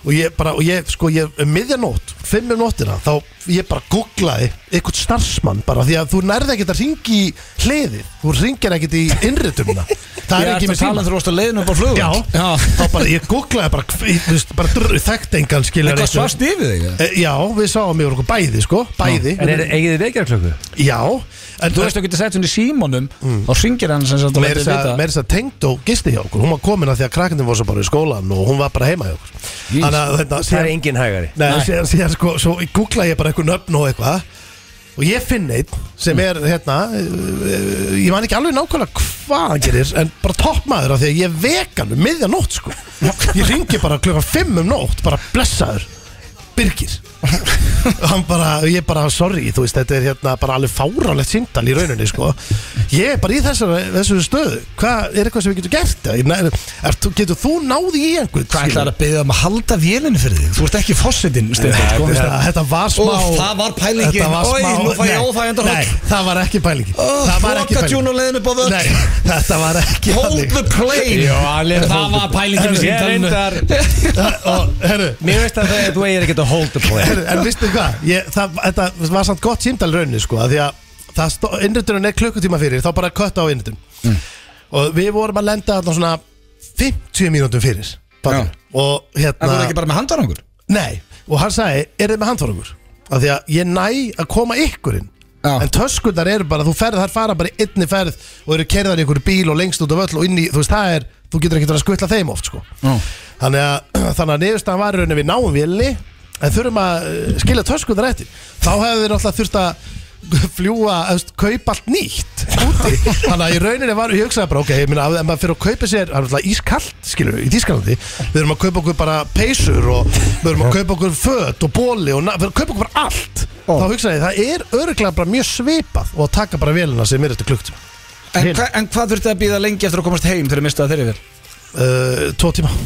Speaker 2: Og ég bara, og ég, sko, ég, um miðjanótt Fimm um nóttina, þá ég bara googlaði Eitthvað starfsmann bara Því að þú nærði ekkert að ringi í hliðið Þú ringir ekkert í innritumna Það er ekki með
Speaker 3: um
Speaker 2: tíma
Speaker 1: Þú varst að leiðinu upp á flugvöld
Speaker 2: Já, þá bara, ég googlaði bara, hv- ég, þú veist, bara drr, þekkt engan skilja
Speaker 1: Eitthvað svast yfir þig eða?
Speaker 2: E, Já, við sáum yfir okkur bæði sko Bæði
Speaker 3: En er eigið þið vekjarklöku?
Speaker 2: Já En
Speaker 1: Þú veist að geta sett hún í símanum Þá syngir hann sem sagt að
Speaker 2: Mér
Speaker 1: leita vita
Speaker 2: er þess að tengd og gisti hjá okkur Hún var komin að því að krakkandinn var svo bara í skólan Og hún var bara heima hjá okkur Þannig að þetta
Speaker 3: Það er
Speaker 2: síðan,
Speaker 3: engin hægari
Speaker 2: nei,
Speaker 1: Nei.
Speaker 2: síðan, síðan sko Svo googla ég bara eitthvað nöfn og eitthvað Og ég finn einn sem er hérna eh, Ég man ekki alveg nákvæmlega hvað hann gerir En bara toppmaður af því að ég er vegan um miðja nótt sko Ég ringi bara klukkan 5 um nótt Bara blessaður Birgir Hann bara, ég bara, sorry, þú veist, þetta er hérna bara alveg fárálegt síndal í rauninni, sko Ég er bara í þessar, þessu stöðu Hvað, er eitthvað sem við getum gert? Ég nær- Er, getur þú náði í einhvern?
Speaker 1: Hvað
Speaker 2: skilur?
Speaker 1: ætlar að byggja um að halda vélinu fyrir þig? Þú ert ekki fósittinn, Steindar, sko.
Speaker 2: Þetta, þetta var smá
Speaker 1: Úff, það var pælingin.
Speaker 2: Þetta var
Speaker 1: Oj,
Speaker 2: smá
Speaker 1: nú fæ ég
Speaker 2: Nei,
Speaker 1: óþægindahroll.
Speaker 2: Nei, það var ekki pælingin
Speaker 1: Oh,
Speaker 2: Það var ekki
Speaker 1: Lokatjún
Speaker 2: pælingin
Speaker 1: og leiðin upp á völl.
Speaker 2: Nei, þetta var ekki
Speaker 1: Hold
Speaker 2: þannig.
Speaker 1: the plane
Speaker 3: Jó, hann er-
Speaker 1: Það var pælingin í
Speaker 3: Ég
Speaker 1: síndalinu
Speaker 3: reyndar
Speaker 2: Og, herru,
Speaker 3: Mér veist að það er þú eigir ekkert að hold the play
Speaker 2: herru, en vistu hvað ég, það, Þetta var samt gott símdal raunni sko af Því að það stó, innrýtturinn er klukkutíma fyrir Þá bara kött á innrýtturinn
Speaker 1: Mm.
Speaker 2: Og við vorum að lenda þarna svona 50 mínútum fyrir fattar.
Speaker 1: En
Speaker 2: Og
Speaker 1: þú
Speaker 2: hérna
Speaker 1: er ekki bara með handarangur
Speaker 2: Nei, og hann sagði, er þið með handfarangur? Af því að ég næ að koma ykkurinn
Speaker 1: Já.
Speaker 2: En töskurnar eru bara, þú ferð, þar fara bara í einni ferð Og eru kerðar í einhverju bíl og lengst út af öll Og inn í, þú veist, það er, þú getur ekkert verið að skutla þeim oft sko.
Speaker 1: Já.
Speaker 2: Þannig að, þannig að niðurstaðan var í rauninni við náum vélni En þurfum að eh, skilja töskurnar eftir Þá hefðu þið náttúrulega þurft að fljúa, eftir, kaupa allt nýtt úti Þannig að í rauninni var, ég hugsaði bara, ok, ég minna, ef maður fyrir að kaupa sér, það er náttúrulega ískalt, skilur við, í Þískalandi Við erum að kaupa okkur bara peysur og við erum að kaupa okkur föt og bóli og na- við erum að kaupa okkur bara allt
Speaker 1: Ó.
Speaker 2: Þá hugsaði ég, það er örglega bara mjög svipað og að taka bara vélina sem er eftir klukkt
Speaker 1: en, hva, en hvað þurfti að býða lengi eftir að komast heim þegar mistaði þeirri vel?
Speaker 2: uh, Tvo tíma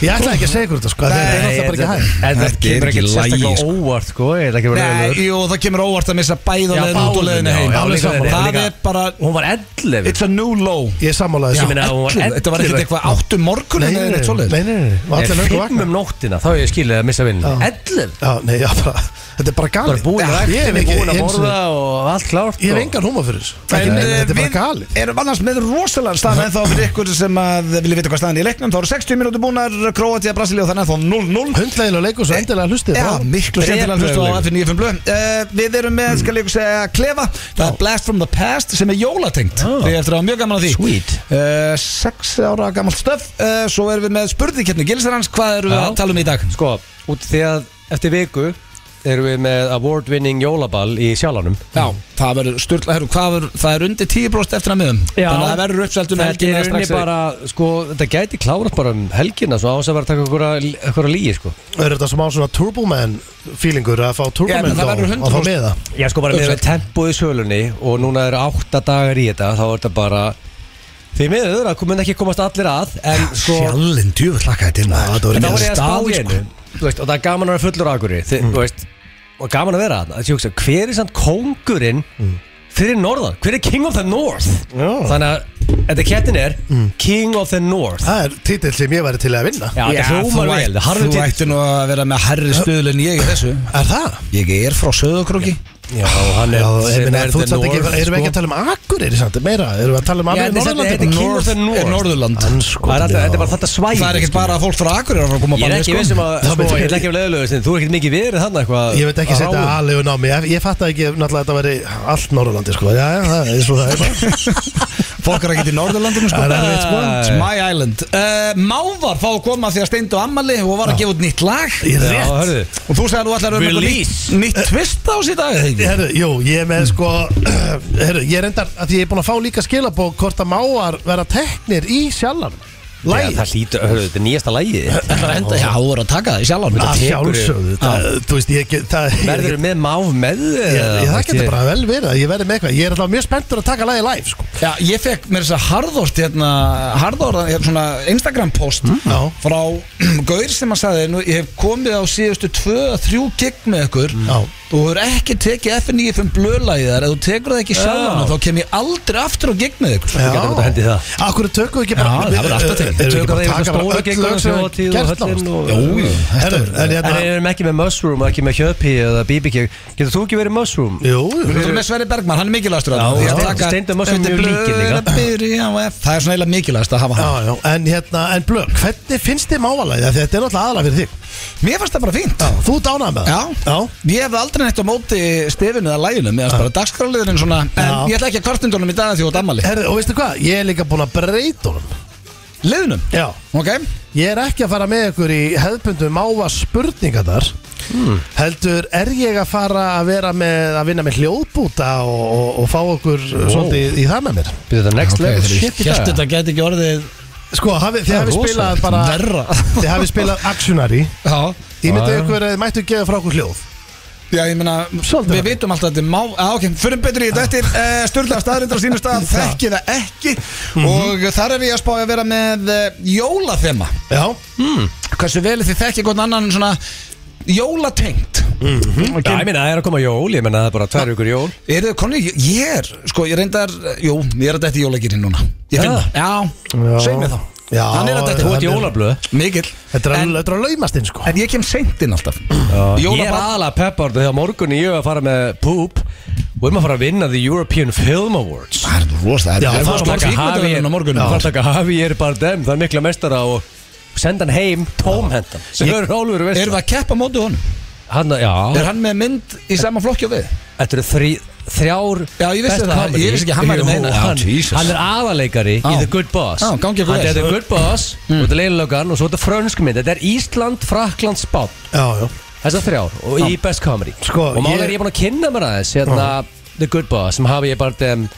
Speaker 2: Ég ætla ekki að segja ykkur þetta, sko, af því að þetta er náttúrulega bara ekki hægt
Speaker 3: En það
Speaker 4: Þetta er
Speaker 3: kemur ekkert
Speaker 4: ekki í lagi,
Speaker 3: sérstaklega
Speaker 4: sko.
Speaker 3: óvart sko Ég er ekki verið
Speaker 1: Nei,
Speaker 3: leiðinlegur.
Speaker 1: jú, það kemur óvart að missa bæða
Speaker 3: Já,
Speaker 1: leiðin út og
Speaker 3: báðum,
Speaker 1: leiðin heim
Speaker 3: já, já, líka
Speaker 1: Það
Speaker 3: þeirri, líka.
Speaker 1: er bara,
Speaker 3: Hún var 11
Speaker 1: it's a new low
Speaker 2: Ég er sammálaði
Speaker 1: Já,
Speaker 2: þessu.
Speaker 3: meina, hún var
Speaker 1: 11. Þetta var ekkert
Speaker 3: 11.
Speaker 1: eitthvað áttum morgunin eða eitthvað svoleiðis
Speaker 2: nei, nei, nei, nei. Og allir
Speaker 3: Ég
Speaker 2: löngu
Speaker 3: fimm
Speaker 2: vakna
Speaker 3: um nóttina Þá hef ég skilið að missa vinnu
Speaker 2: Já.
Speaker 3: 11
Speaker 2: Já, nei, já, bara, þetta er bara
Speaker 3: Bara
Speaker 2: galið
Speaker 3: búin að
Speaker 2: Já, Ég hef
Speaker 3: rækta, við
Speaker 2: ekki
Speaker 3: búin að
Speaker 2: eins og-
Speaker 3: borða eh, og allt klárt
Speaker 2: Ég hef
Speaker 3: og-
Speaker 2: engan húma fyrir þessu
Speaker 1: En eh,
Speaker 2: Þetta er bara
Speaker 1: við
Speaker 2: galið
Speaker 1: erum annars með rosalega staðan en þá fyrir ykkur sem að vilja vita hvað staðan er í leiknum þá eru 60 mínútur búnar Kroatia, Brasilíu og þannig að þá 0-0
Speaker 2: Hundlegilega leikur
Speaker 3: Eh,
Speaker 2: svo endilega hlustið
Speaker 1: Já, miklu skemmtilega að hlusta á
Speaker 3: Dreplegur.
Speaker 1: FM 95 blöð uh, Við erum með, skal ég segja, Klefa Það er Blast from the Past sem er jólatengt
Speaker 3: Já.
Speaker 1: Við eftir að hafa mjög gaman að því
Speaker 3: Sweet.
Speaker 1: Eh, Sex ára gamalt stöf uh, Svo erum við með spurningarni Gilsarans, hvað erum við
Speaker 3: Já.
Speaker 1: að tala um í dag?
Speaker 3: Sko, út því að eftir viku erum við með award-winning jólaball í sjálanum
Speaker 1: Já, það verður sturla, herru, hvað verður, það er undir 10% eftir að miðum
Speaker 3: Já.
Speaker 1: Þannig að það verður uppseltum
Speaker 3: Þetta er unni bara, sko, þetta gæti klárat bara um helgina svo ás að vera að taka einhverja- einhverja líi, sko
Speaker 2: Það er þetta smá svona turboman feelingur að fá
Speaker 1: Já,
Speaker 2: turboman
Speaker 1: menn, það verður
Speaker 2: dóm
Speaker 1: 100%
Speaker 2: og fá með það
Speaker 3: Já, sko, bara með
Speaker 1: Uppselt.
Speaker 3: tempoð í sölunni og núna eru átta dagar í þetta þá er þetta bara Því miður, það mun ekki komast allir að en
Speaker 2: Ah,
Speaker 3: sko,
Speaker 1: Sjallinn, djúvill laka þetta inn maður.
Speaker 2: þetta
Speaker 1: En
Speaker 2: verður
Speaker 3: þá
Speaker 1: það
Speaker 3: var ég að spá í
Speaker 1: staði,
Speaker 3: hennu Þú veist, og það er gaman að vera fullur á akkurri mm. Þú veist, og gaman að vera að hugsa, Hver er samt kóngurinn fyrir norðan? Hver er king of the north?
Speaker 2: Já.
Speaker 3: Þannig að þetta kettin er King of the North
Speaker 2: Það er titill sem ég væri til að vinna
Speaker 3: Já,
Speaker 1: Já,
Speaker 3: þetta hljómar
Speaker 1: þú ætt-
Speaker 3: vel, harfi
Speaker 1: Þú
Speaker 3: títt
Speaker 1: ætti nú að vera með herri stuðl en ég í þessu
Speaker 2: Er það?
Speaker 1: Ég er frá Söðokróki
Speaker 3: Já, hann
Speaker 2: Já,
Speaker 3: er,
Speaker 2: ég
Speaker 3: sem
Speaker 2: meina,
Speaker 3: er
Speaker 2: þú
Speaker 3: the
Speaker 2: veist ekki,
Speaker 3: North
Speaker 2: erum við ekki að
Speaker 3: sko.
Speaker 2: tala um Akureyri samt, meira, erum við að tala um sko.
Speaker 3: Já,
Speaker 2: Akureyri
Speaker 3: þetta
Speaker 2: Norðurlandi
Speaker 3: er- þetta er King of the
Speaker 1: North er
Speaker 3: North
Speaker 1: Norðurland
Speaker 3: Það er alltaf, þetta er bara
Speaker 2: bara
Speaker 3: þetta svæði
Speaker 1: Það er ekkert
Speaker 3: sko.
Speaker 1: bara að fólk frá Akureyri er að koma
Speaker 3: Ég er
Speaker 1: bara
Speaker 3: ekki vissum að,
Speaker 2: Það
Speaker 3: sko,
Speaker 2: veit
Speaker 3: ég
Speaker 2: ég
Speaker 3: er
Speaker 2: ekki.
Speaker 3: ekki af leiðulegu sinni, Þú er ekkert mikið verið þannig eitthvað
Speaker 2: Ég veit ekki
Speaker 3: að
Speaker 2: setja
Speaker 3: ráðum.
Speaker 2: aðlegu námi, ég, ég fatt ekki náttúrulega að þetta veri allt Norrlandi sko, já, já, það er svo það er bara
Speaker 1: Fólk er ekkert í Norðurlandinu sko
Speaker 2: Það er erfitt, sko.
Speaker 1: It's my island uh, Mávar fá að koma því að steindu ammali og var að gefa út nýtt lag
Speaker 2: Ég
Speaker 3: Já,
Speaker 2: rétt,
Speaker 3: hörðu
Speaker 1: Og þú segir að þú ætlar að vera með nýtt,
Speaker 3: Release.
Speaker 1: nýtt twist á sér dag eða ekki?
Speaker 2: herru, jú, ég er með sko, herru, ég er endar, að ég er búin að fá líka skilabók hvort að máar vera teknir í sjallan,
Speaker 3: Já,
Speaker 2: læg
Speaker 3: Það hlýtur, hörðu, þetta er nýjasta lægi
Speaker 1: Ætlar að henda- Já, þú verður að taka það í sjálfan
Speaker 2: að
Speaker 3: tekur-
Speaker 2: sjálfsögðu, það, þú veist, ég, get- það
Speaker 3: Verður með máf með
Speaker 2: Ég, ég, það getur
Speaker 3: Ég-
Speaker 2: bara vel verið að ég verði með eitthvað Ég er alltaf mjög spenntur að taka lagið live sko.
Speaker 1: Já, ég fekk mér þess að harðort hérna, harðorðan, hérna svona Instagram post
Speaker 2: Já.
Speaker 1: frá Gaur sem að sagði, nú, ég hef komið á síðustu 2-3 gig með ykkur
Speaker 2: Já.
Speaker 1: þú hefur ekki tekið FN95 blöðlæðar, ef þú tekur það ekki
Speaker 3: Já.
Speaker 1: sjálf þá kem ég aldrei aftur á gig með ykkur
Speaker 2: Já.
Speaker 3: gætum þetta hendi í það.
Speaker 2: Akkur tökum við ekki bara
Speaker 1: Já, það verður alltaf til.
Speaker 2: Erum við ekki
Speaker 3: Tökum
Speaker 2: bara
Speaker 3: það
Speaker 2: að taka bara
Speaker 3: yfir stóra
Speaker 2: öll
Speaker 3: gegnum
Speaker 2: lög sem við gerst
Speaker 3: þjóðhátíð og höllin
Speaker 2: nánast?
Speaker 3: og-
Speaker 2: Jú, jú, þetta verður-
Speaker 1: Hérna-
Speaker 3: En
Speaker 2: En
Speaker 3: við
Speaker 2: hérna-
Speaker 3: erum ekki með mushroom og ekki með hjöpi eða BBQ Getur þú ekki verið mushroom?
Speaker 2: hérna
Speaker 1: Þú erum með Sverri Bergmann, hann er mikilvægastur
Speaker 3: Já,
Speaker 1: þarna. Ég
Speaker 3: já.
Speaker 1: að taka-
Speaker 3: Steindór Már sem
Speaker 1: Þetta er
Speaker 3: mjög líkir líka.
Speaker 1: blöðabyrja á F. Það er svona eiginlega mikilvægast að hafa hann
Speaker 2: Já, já, en hérna, en blöð, hvernig finnst þið mávalæðið? Þetta er náttúrulega aðalega fyrir þig
Speaker 1: Mér fannst það bara fínt
Speaker 2: Þú dánaði með
Speaker 1: Já.
Speaker 2: það Já
Speaker 1: Ég hefði aldrei neitt á móti stefinu eða læginu meðan bara dagskráliðurinn svona en
Speaker 2: Já.
Speaker 1: ég ætla ekki að kvartundunum í dag því þú ert ammali
Speaker 2: Herðu, og veistu hvað, ég er líka búin að breyta honum
Speaker 1: Liðnum
Speaker 2: Já
Speaker 1: Ok,
Speaker 2: Ég er ekki að fara með ykkur í hefðbundum máva spurningarnar
Speaker 3: Hmm.
Speaker 2: heldur er ég að fara að vera með að vinna með hljóðbúta og, og, og fá okkur svolítið í það með mér
Speaker 3: Býðu þetta next
Speaker 1: Ok,
Speaker 3: level
Speaker 1: þegar ég
Speaker 3: shit í
Speaker 1: Hjælt
Speaker 3: dag
Speaker 1: þetta geti ekki orðið
Speaker 2: sko, hafi, þið
Speaker 3: Það er
Speaker 2: hafið
Speaker 3: rosalegt.
Speaker 2: spilað bara
Speaker 1: verra
Speaker 2: þið hafið spilað Actionary
Speaker 1: Já,
Speaker 2: ég myndi
Speaker 3: Já, já.
Speaker 2: ykkur að þið mættu gefa frá okkur hljóð
Speaker 1: já ég meina
Speaker 2: Svolítið
Speaker 1: Við
Speaker 2: verra.
Speaker 1: vitum alltaf að þetta er má Já, ok, förum betur í þetta eftir uh, Sturla staðrindar á sínum stað Þekki það ekki Og þar er ég að spája að vera með uh, jólathema
Speaker 2: já,
Speaker 1: Hversu vel þið þekki hvort annan svona jólatengt
Speaker 3: Já, ég meina, það er að koma jól, ég meina það er bara tvær ykkur jól
Speaker 1: Er þið konni, ég er, sko, ég reyndar Jú, ég er að dætti jólagirinn núna Ég finn
Speaker 3: Já.
Speaker 1: það, já,
Speaker 3: Hmm.
Speaker 2: Já.
Speaker 1: segð mér þá
Speaker 2: Já,
Speaker 1: Hann er að
Speaker 2: þú
Speaker 1: dætti
Speaker 3: Þú
Speaker 2: ert
Speaker 3: ert jólablöð
Speaker 1: Mikil
Speaker 2: þetta er
Speaker 1: En-
Speaker 2: alveg- þetta er að laumast inn sko
Speaker 1: En ég kem seint inn alltaf
Speaker 3: Ég er
Speaker 1: Jólabarn
Speaker 3: aðalega að peppa orðið þegar á morgun ég er að fara með Poop og erum að fara að vinna The European Film Awards
Speaker 1: Það er rosa Það
Speaker 2: Já,
Speaker 1: er
Speaker 2: það er
Speaker 1: rosa
Speaker 3: taka
Speaker 1: kvíkmyndavelun hérna á morgun
Speaker 3: Já. Það er að taka Havi er bara dem, það er mikla mestara og senda hann heim tómhendan sem
Speaker 1: Ég-
Speaker 3: verður Ólfur veist
Speaker 1: Erum við að keppa á móti honum?
Speaker 3: Hann, já,
Speaker 1: Er hann með mynd í sama flokki og við?
Speaker 3: þetta eru þrí, þrjár
Speaker 1: Já, ég vissi
Speaker 3: best
Speaker 1: það.
Speaker 3: comedy.
Speaker 1: Ég vissi ekki að hann væri
Speaker 3: Jú,
Speaker 1: með eina. Já,
Speaker 3: hann,
Speaker 1: Jesus.
Speaker 3: hann er aðaleikari í
Speaker 1: Já.
Speaker 3: The Good Boss
Speaker 1: Já, gangi ykkur
Speaker 3: Hann
Speaker 1: vel. Mm.
Speaker 3: er The Good Boss, og þetta er leilulogan og svo er þetta frönsk mynd Þetta er Ísland, Frakland, Spán
Speaker 2: já, já
Speaker 3: Þessar þrjár og í Best Comedy
Speaker 2: Sko,
Speaker 3: Og málega
Speaker 2: ég-
Speaker 3: er ég búin að kynna mér aðeins hérna, The Good Boss sem hafi ég bara um,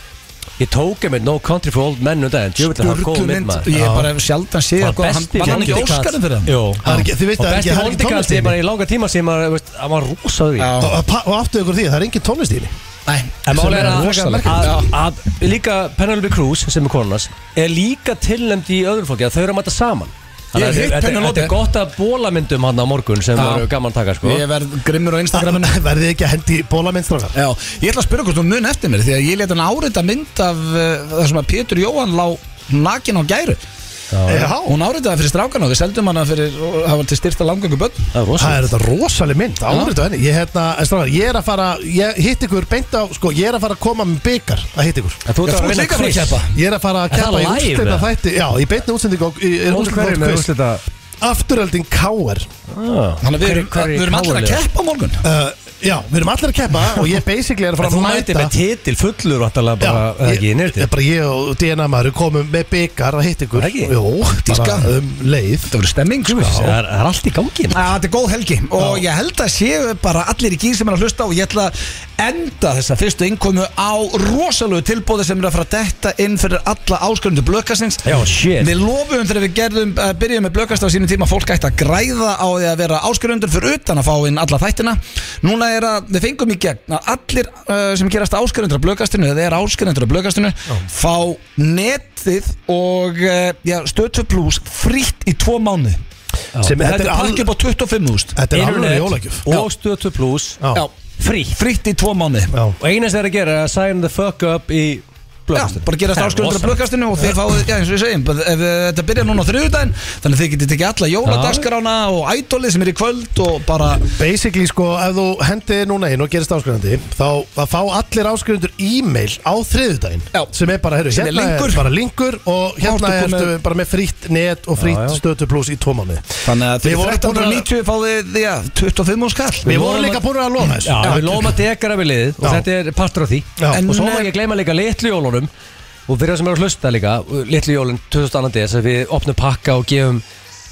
Speaker 3: Ég tók einmitt No Country for Old Men um daginn Djöfull er hann góð
Speaker 1: Sturlu
Speaker 3: mynd
Speaker 1: mynd
Speaker 3: maður
Speaker 1: Ég er bara sjaldan sé
Speaker 3: Bara
Speaker 1: að góða- hann-
Speaker 3: besti
Speaker 1: Var hann ekki
Speaker 3: vondi
Speaker 1: óskarinn fyrir hann?
Speaker 3: Jú
Speaker 2: Það er ekki- þið veistu,
Speaker 3: Og
Speaker 2: það er ekki- það er
Speaker 3: besti
Speaker 2: ekki
Speaker 3: hóndikast
Speaker 2: tónlist í
Speaker 3: er bara í langa tíma sem maður, veist, hann var rosaður í
Speaker 2: og, og, pa- og aftur ykkur því, það er engin tónlist í henni
Speaker 1: Nei,
Speaker 3: En
Speaker 1: sem
Speaker 3: málega er að,
Speaker 1: rosalegt.
Speaker 3: að,
Speaker 1: Já.
Speaker 3: að, líka Penelope Cruz sem er konunas er líka tilnæmd í öðru fólki að þau eru að mæta saman
Speaker 1: Ég
Speaker 3: Þannig að
Speaker 1: hitt
Speaker 3: þetta- þetta
Speaker 1: Penelope.
Speaker 3: þetta er gott að bóla myndum hann á morgun sem
Speaker 1: Já.
Speaker 3: eru gaman að taka sko
Speaker 1: Ég verð grimmur á Instagraminu
Speaker 2: verðið þið ekki að hendi bólamennstrákar
Speaker 1: Já, ég ætla að spyrja hvort þú mun eftir mér Því að ég leta hann árita mynd af uh, Það sem að Pétur Jóhann lá nakin á gæru
Speaker 2: já,
Speaker 1: Hún áritaði fyrir strákan og við seldum hana fyrir Það var til styrta langöngu börn
Speaker 3: Það
Speaker 2: það
Speaker 3: er rosaður
Speaker 2: er þetta rosaleg mynd árið á henni, ég, hérna, en strákar, ég er að fara ég hitt ykkur beint á, sko, ég er að fara að koma með byggar að hitt ykkur
Speaker 3: Þú
Speaker 1: Já,
Speaker 3: ert að
Speaker 1: þú ert
Speaker 3: vinna
Speaker 1: líka að fara að
Speaker 3: quiz.
Speaker 1: keppa.
Speaker 2: Ég er að fara að
Speaker 3: Er það
Speaker 2: keppa í
Speaker 3: live,
Speaker 2: úrslita
Speaker 3: eða?
Speaker 2: þætti Já, í beinni útsendingu og- í- er
Speaker 3: Móti hverjum er
Speaker 2: úrslita
Speaker 3: úrslita
Speaker 2: Afturölding K.R.
Speaker 3: Ah.
Speaker 1: Þannig að við erum, við erum allir að keppa á morgun
Speaker 2: Uh, já, við erum allir að keppa og ég basically er að fara að
Speaker 3: Þú
Speaker 2: mæta
Speaker 3: mætið með titil fullur vantarlega bara,
Speaker 2: Já,
Speaker 3: eða ekki,
Speaker 2: ég,
Speaker 3: ég
Speaker 2: ég,
Speaker 3: nýrti
Speaker 2: bara ég og DNA maður komum með byggar að hitt ykkur
Speaker 3: Það ekki?
Speaker 2: Jó,
Speaker 1: Tíska.
Speaker 2: bara um leið
Speaker 1: Þetta verður stemming sko.
Speaker 3: Það er það er allt í gangi
Speaker 1: Já, Þetta er góð helgi og ég held að séu bara allir í gýr sem er að hlusta og ég ætla að enda þessa fyrstu innkomu á rosalögu tilbóði sem er að fara að detta inn fyrir alla áskrundu blökastins
Speaker 3: Já, shit.
Speaker 1: Við lofum þegar við gerðum, uh, byrjum með blökast á sínum tíma að fólk ætti að græða á því að vera áskrundur fyrir utan að fá inn alla þættina Núna er að við fengum í gegn að allir uh, sem gerast áskrundur af blökastinu eða er áskrundur af blökastinu fá netið og uh, já, stötu plus frítt í tvo mánuði
Speaker 2: Sem-
Speaker 1: Þetta er
Speaker 2: all-
Speaker 1: pakki upp á 25.000
Speaker 2: Þetta er alveg
Speaker 3: Internet
Speaker 2: jólagjöf
Speaker 3: og stötu pluss
Speaker 2: Já.
Speaker 1: Já,
Speaker 3: frí
Speaker 1: frítt í tvo mánu
Speaker 2: Já.
Speaker 3: Og eina sem er að gera er að sign the fuck up í
Speaker 1: Já,
Speaker 3: blöðastunum
Speaker 1: bara gerast áskrundur af blökkastinu og þið fáið, já eins og við segjum bara ef, eh, Þetta byrjar núna á þriðudaginn Þannig að þið getið tekið alla jóladagskrána og ædolið sem er í kvöld og bara
Speaker 2: Basically sko, ef þú hendið núna inn og gerist áskrifandi þá að fá allir áskrifundur e-mail á þriðudaginn
Speaker 1: Já.
Speaker 2: sem er bara, heyrðu,
Speaker 1: Sem er
Speaker 2: hérna er,
Speaker 1: linkur.
Speaker 2: bara linkur og
Speaker 1: Þá
Speaker 2: hérna
Speaker 1: ertu
Speaker 2: ertu
Speaker 1: komið-
Speaker 2: bara með frítt net og frítt
Speaker 3: Já, já.
Speaker 2: stötu pluss í tómanni
Speaker 1: Þannig að
Speaker 2: Við
Speaker 1: fyrir
Speaker 2: vorum búin að-
Speaker 1: 1390 fáið, já, 25 og skall
Speaker 2: Við
Speaker 3: vorum
Speaker 2: vorum líka
Speaker 3: að-
Speaker 2: búin að lofa þessu
Speaker 3: Já, við lofum að dekara við liðið og
Speaker 2: Já.
Speaker 3: þetta er partur á því
Speaker 2: Já.
Speaker 3: Og svo má
Speaker 1: En-
Speaker 3: ekki gleyma líka litlu jólunum Og fyrir það sem eru að hlusta líka Litlu jólun 2002 des að við opnum pakka og gefum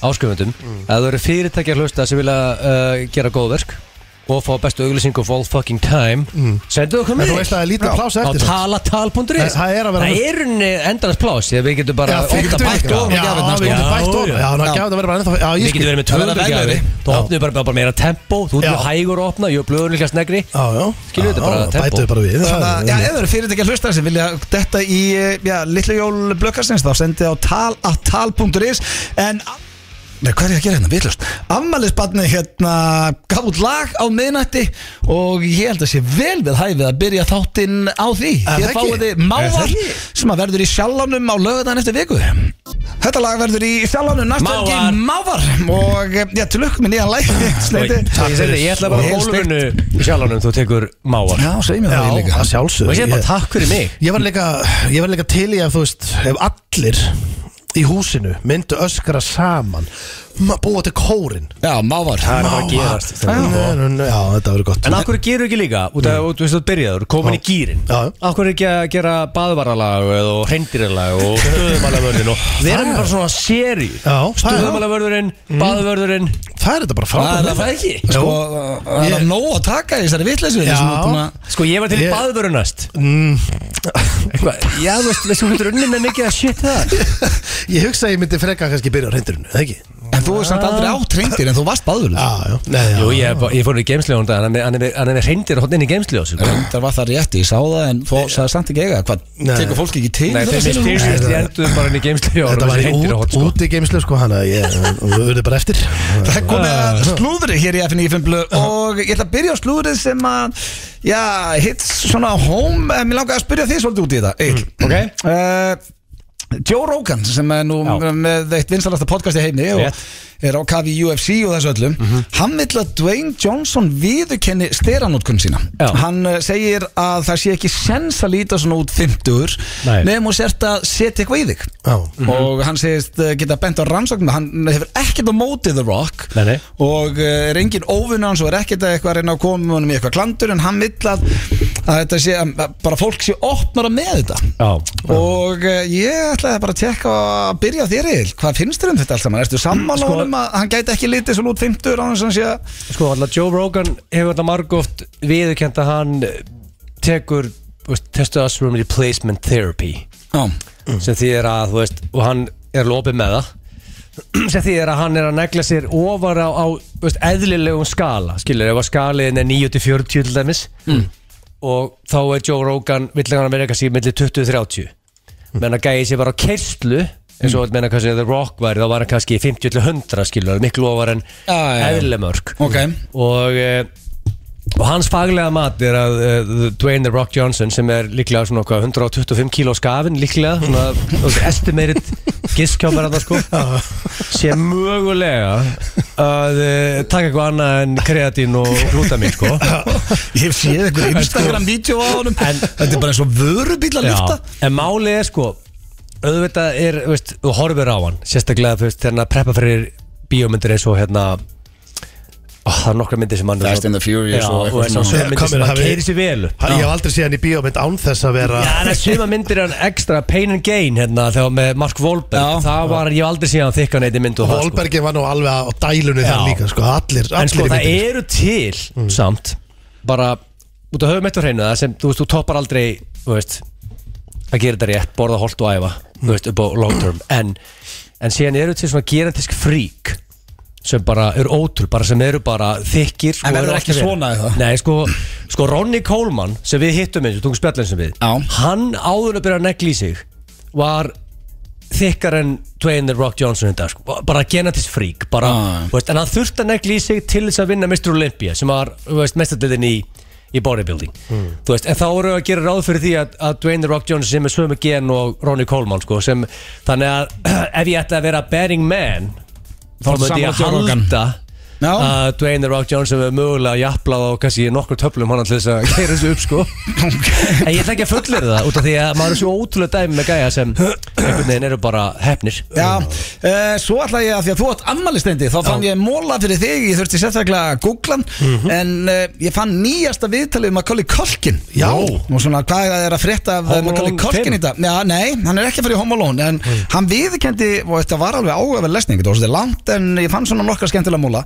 Speaker 3: ásköfundum
Speaker 2: Mm.
Speaker 3: Að það eru fyrirtæki að hlusta sem vilja uh, gera góðverk Og fá bestu auglýsingu of all fucking time Sendu okkur
Speaker 2: Mm. En
Speaker 3: með
Speaker 2: þú veist að það er lítið plása
Speaker 3: á
Speaker 2: eftir samt.
Speaker 3: talatal.is
Speaker 2: Nei, það er að vera-
Speaker 3: Það er unni endalans plás Þegar við getum bara
Speaker 2: Já,
Speaker 1: við
Speaker 2: fólk
Speaker 1: getum
Speaker 2: getur
Speaker 1: bætt
Speaker 2: líka.
Speaker 1: ofan í
Speaker 2: Já,
Speaker 1: gjafirnar,
Speaker 2: við
Speaker 1: sko.
Speaker 2: getum bætt
Speaker 3: Já,
Speaker 2: ofan
Speaker 3: já.
Speaker 2: Já, ná,
Speaker 1: Já.
Speaker 2: gæfum það verður bara ennþá Já,
Speaker 3: Við
Speaker 2: ég
Speaker 3: getum
Speaker 2: skil
Speaker 3: verið með
Speaker 1: Það verða
Speaker 3: 200
Speaker 1: veglegri.
Speaker 3: gæði Þú opnum bara, bara meira tempo Þú
Speaker 2: Já.
Speaker 3: erum hægur að opna Jú, blöðurinn líka snegri
Speaker 2: Já, já
Speaker 3: Skilur þetta
Speaker 2: Já,
Speaker 3: bara
Speaker 2: já,
Speaker 3: tempo.
Speaker 2: Bætum við bara við
Speaker 1: Þannig að, já, ef
Speaker 2: Það er-
Speaker 1: það eru fyrirtækja hlustar sem vilja detta í, eh, já, litlu jól blökkastins þá sendið á talatal.is en Nei, hvað er ég að gera hérna? Vitlust. Afmælisbarni hérna gaf út lag á miðnætti og ég held að sé vel við hæfið að byrja þáttinn á því.
Speaker 2: Er
Speaker 1: Hér
Speaker 2: það ekki?
Speaker 1: fáið þið
Speaker 2: Er það
Speaker 1: mávar
Speaker 2: ekki?
Speaker 1: sem að verður í sjálfanum á lögðan eftir viku. Þetta lag verður í sjálfanum næstu
Speaker 3: Mávar.
Speaker 1: helgi mávar og eh, já, til lukk með nýjan læg. Sneiti.
Speaker 3: Ég segi, ég ætla bara
Speaker 1: Helt
Speaker 3: að gólfinu sjálfanum þú tekur máar
Speaker 1: Já, segjum ég
Speaker 2: Já,
Speaker 1: það ég líka.
Speaker 2: að sjálfsögðu
Speaker 3: Og ég segi bara
Speaker 2: Ég-
Speaker 3: takk fyrir mig
Speaker 2: Ég var líka, ég var líka til í að þú veist, ef allir í húsinu myndu öskra saman ma- búa til kórin
Speaker 1: Já, mávar
Speaker 3: Það er bara að gerast
Speaker 2: Já, já, þetta verður gott
Speaker 3: En akkur gerur ekki líka, út af, út- þú veist að byrjaður, komin í gýrin
Speaker 2: Já.
Speaker 3: Akkur ekki að gera baðvaralag og hreindýralag og stöðumalavörðin og við erum bara svona séri
Speaker 2: Já, það er,
Speaker 3: Stöðumalavörðurinn, baðvörðurinn
Speaker 2: það er þetta bara
Speaker 1: Það
Speaker 2: frábært
Speaker 1: er-
Speaker 3: það ekki?
Speaker 1: Sko,
Speaker 2: Jú.
Speaker 1: það er
Speaker 2: Ég-
Speaker 1: af nóg að taka í þessari vitleysu
Speaker 2: Já.
Speaker 3: Sko ég var til í
Speaker 2: Ég-
Speaker 3: baðvörðu næst
Speaker 2: Mm,
Speaker 3: Eitthvað, Já, þú veist, veist, þú getur unni með mikið að shit það
Speaker 2: Ég hugsa að ég myndi freka að kannski byrja á reyndirinu, eða ekki?
Speaker 1: En þú er samt aldrei átt reyndir en þú varst baður
Speaker 2: Já, já, Nei, já.
Speaker 3: Jú, ég, ég fór í geimsli hún dag, hann er- hann er með- hann er með hreindir hótt inn í geimsli á sig sko.
Speaker 1: Reyndar var það rétt, ég sá það en þú sagði samt ekki eiga Hvað,
Speaker 2: Nei.
Speaker 1: tekur fólk ekki til?
Speaker 3: Nei, þeir
Speaker 1: þessar
Speaker 3: minn
Speaker 1: hugmyndir?
Speaker 3: fyrst endur bara inn í geimsli og
Speaker 2: Þetta var í
Speaker 3: hreindir
Speaker 2: út,
Speaker 3: hótt sko
Speaker 2: út í geimslu sko, hana, ég, við verðum bara eftir
Speaker 1: Það er komið að
Speaker 3: Ah.
Speaker 1: slúðri hér í FNI 5 og ég ætla að byrja á slúðrið sem að já, hitt svona home en mér langar að spyrja þig svolítið út í þetta Egil.
Speaker 3: Mm, Ok.
Speaker 1: Eh, Joe Rogan sem er nú
Speaker 3: Já.
Speaker 1: með eitt vinsalasta podcast í heimni
Speaker 3: Rétt. Mhm.
Speaker 1: og er á kafi í UFC og þessu öllum hann vill að Dwayne Johnson viðurkenni steranótkun sína
Speaker 3: Já.
Speaker 1: hann eh, segir að það sé ekki sens að líta svona út 50
Speaker 3: Nei.
Speaker 1: nefnum og sért að setja eitthvað í þig
Speaker 2: Já,
Speaker 1: og hann segist eh, geta bent á rannsóknum hann hefur ekkert á móti The Rock
Speaker 3: Nei, nei.
Speaker 1: og eh, er engin óvinn hans og er ekkert að eitthvað að reyna að koma með honum í eitthvað klandur en hann vill að, að þetta sé að bara fólk sé opnara með þetta
Speaker 3: Já,
Speaker 1: og eh, ég ætlaði bara að tekka að byrja á þér eil, hvað finnst þér um þetta allt saman ertu sammála
Speaker 3: Sko-
Speaker 1: honum að hann gæti ekki litið svo lút 50 án þess að hann sé að
Speaker 3: Sko, alltaf Joe Rogan hefur alltaf margóft viðurkend að hann tekur þú veist, testosterone replacement therapy
Speaker 1: Já,
Speaker 3: sem því er að, þú veist, og hann er lopið með það sem því er að hann er að negla sér ofar á, á þú veist, eðlilegum skala skilur, ef að skaliðin er 9-40 til dæmis
Speaker 1: Mm.
Speaker 3: og þá er Joe Rogan vill hann vera kannski millir 20-30
Speaker 1: Mm.
Speaker 3: menn að gæði sér bara á kerslu eins og mm. menna kannski að The Rock væri þá var hann kannski 50-100 skilur, miklu ofar en
Speaker 1: Já, já, já.
Speaker 3: eðlimörk
Speaker 1: ok
Speaker 3: og, eh, og hans faglega mat er að uh, Dwayne The Rock Johnson sem er líklega svona okkar 125 kíló skafin líklega svona estimeiritt gistkjámar að það sko sé mögulega að uh, taka eitthvað annað en kreatín og glútamín sko
Speaker 1: Ég hef séð eitthvað Instagram-vídeó á honum Þetta er bara eins og vörubíl að lifta
Speaker 3: en málið er sko auðvitað er, þú veist, þú horfir á hann sérstaklega þú veist, þegar hann er að preppa fyrir bíómyndir eins og hérna ó, það er nokkra myndir sem hann
Speaker 1: Fast and the Furious
Speaker 3: já,
Speaker 1: og
Speaker 3: og
Speaker 1: eitthvað
Speaker 3: eins og
Speaker 1: svona.
Speaker 3: sömu myndir
Speaker 2: Komir,
Speaker 3: sem hann
Speaker 2: hafi-
Speaker 3: keirir sér vel upp.
Speaker 2: Hann- ég hef aldrei séð hann í bíómynd án þess að vera
Speaker 3: Já, en að suma myndir er hann ekstra pain and gain hérna þegar með Mark
Speaker 1: Já.
Speaker 3: Wahlberg það var, ég hef aldrei síðan þykkan eitt í mynd og það sko.
Speaker 2: Holbergin var nú alveg á dælunni þar
Speaker 3: Já.
Speaker 2: líka sko, allir,
Speaker 3: en
Speaker 2: allir
Speaker 3: sko
Speaker 2: í
Speaker 3: það
Speaker 2: myndinni,
Speaker 3: eru til
Speaker 1: Mm.
Speaker 3: samt, bara út af höfum eitt á hreinu það sem, þú veist, þú toppar aldrei þú veist, að gera þetta rétt borða holt og æfa, þú veist, upp á long
Speaker 1: Mm.
Speaker 3: term en, en síðan eru til svona gerandisk frík sem bara eru ótrú, bara sem eru bara þykir sko,
Speaker 1: En verður
Speaker 3: eru
Speaker 1: ekki
Speaker 3: alltaf
Speaker 1: svona
Speaker 3: verið.
Speaker 1: eða?
Speaker 3: Nei, sko, sko Ronny Coleman sem við hittum eins og tungum spjallin sem við
Speaker 1: Já.
Speaker 3: hann áður en að byrja að negli í sig var þykkar en Dwayne The Rock Johnson þetta, sko. bara genetist frík bara,
Speaker 1: Já.
Speaker 3: þú veist, en hann þurfti að negli í sig til þess að vinna Mr. Olympia sem var þú veist, mestardildin í, í bodybuilding Þú veist, en þá voru að gera ráð fyrir því að, að Dwayne The Rock Johnson sem er sömu gen og Ronnie Coleman sko, sem, þannig að ef ég ætla að vera bearing man þá
Speaker 1: Þá ertu
Speaker 3: myndi ég
Speaker 1: sammála Joe Rogan.
Speaker 3: halda
Speaker 1: Já.
Speaker 3: að Dwayne The Rock Johnson er mögulega að jafla á kannski nokkur töflum hann til þess að keira þessu upp sko en ég ætla ekki að fullir það út af því að maður er svo ótrúlega dæmi með gæja sem einhvern veginn eru bara hefnir
Speaker 1: Já, uh, svo ætla ég að því að þú átt ammalistendi þá fann ég móla fyrir þig, ég þurfti sérstaklega að googla hann,
Speaker 3: Mhm.
Speaker 1: en uh, ég fann nýjasta viðtalið um Macaulay Culkin
Speaker 2: Já.
Speaker 1: og svona hvað er að frétta af eh,
Speaker 3: Home
Speaker 1: Macaulay
Speaker 3: Alone
Speaker 1: Culkin
Speaker 3: fimm? Mm.
Speaker 1: í dag Já, nei, hann er ekki að fara í Home Alone en hann viðkendi, og þetta var alveg áhugaverð lesning þetta var svolítið langt en ég fann svona nokkra skemmtilega móla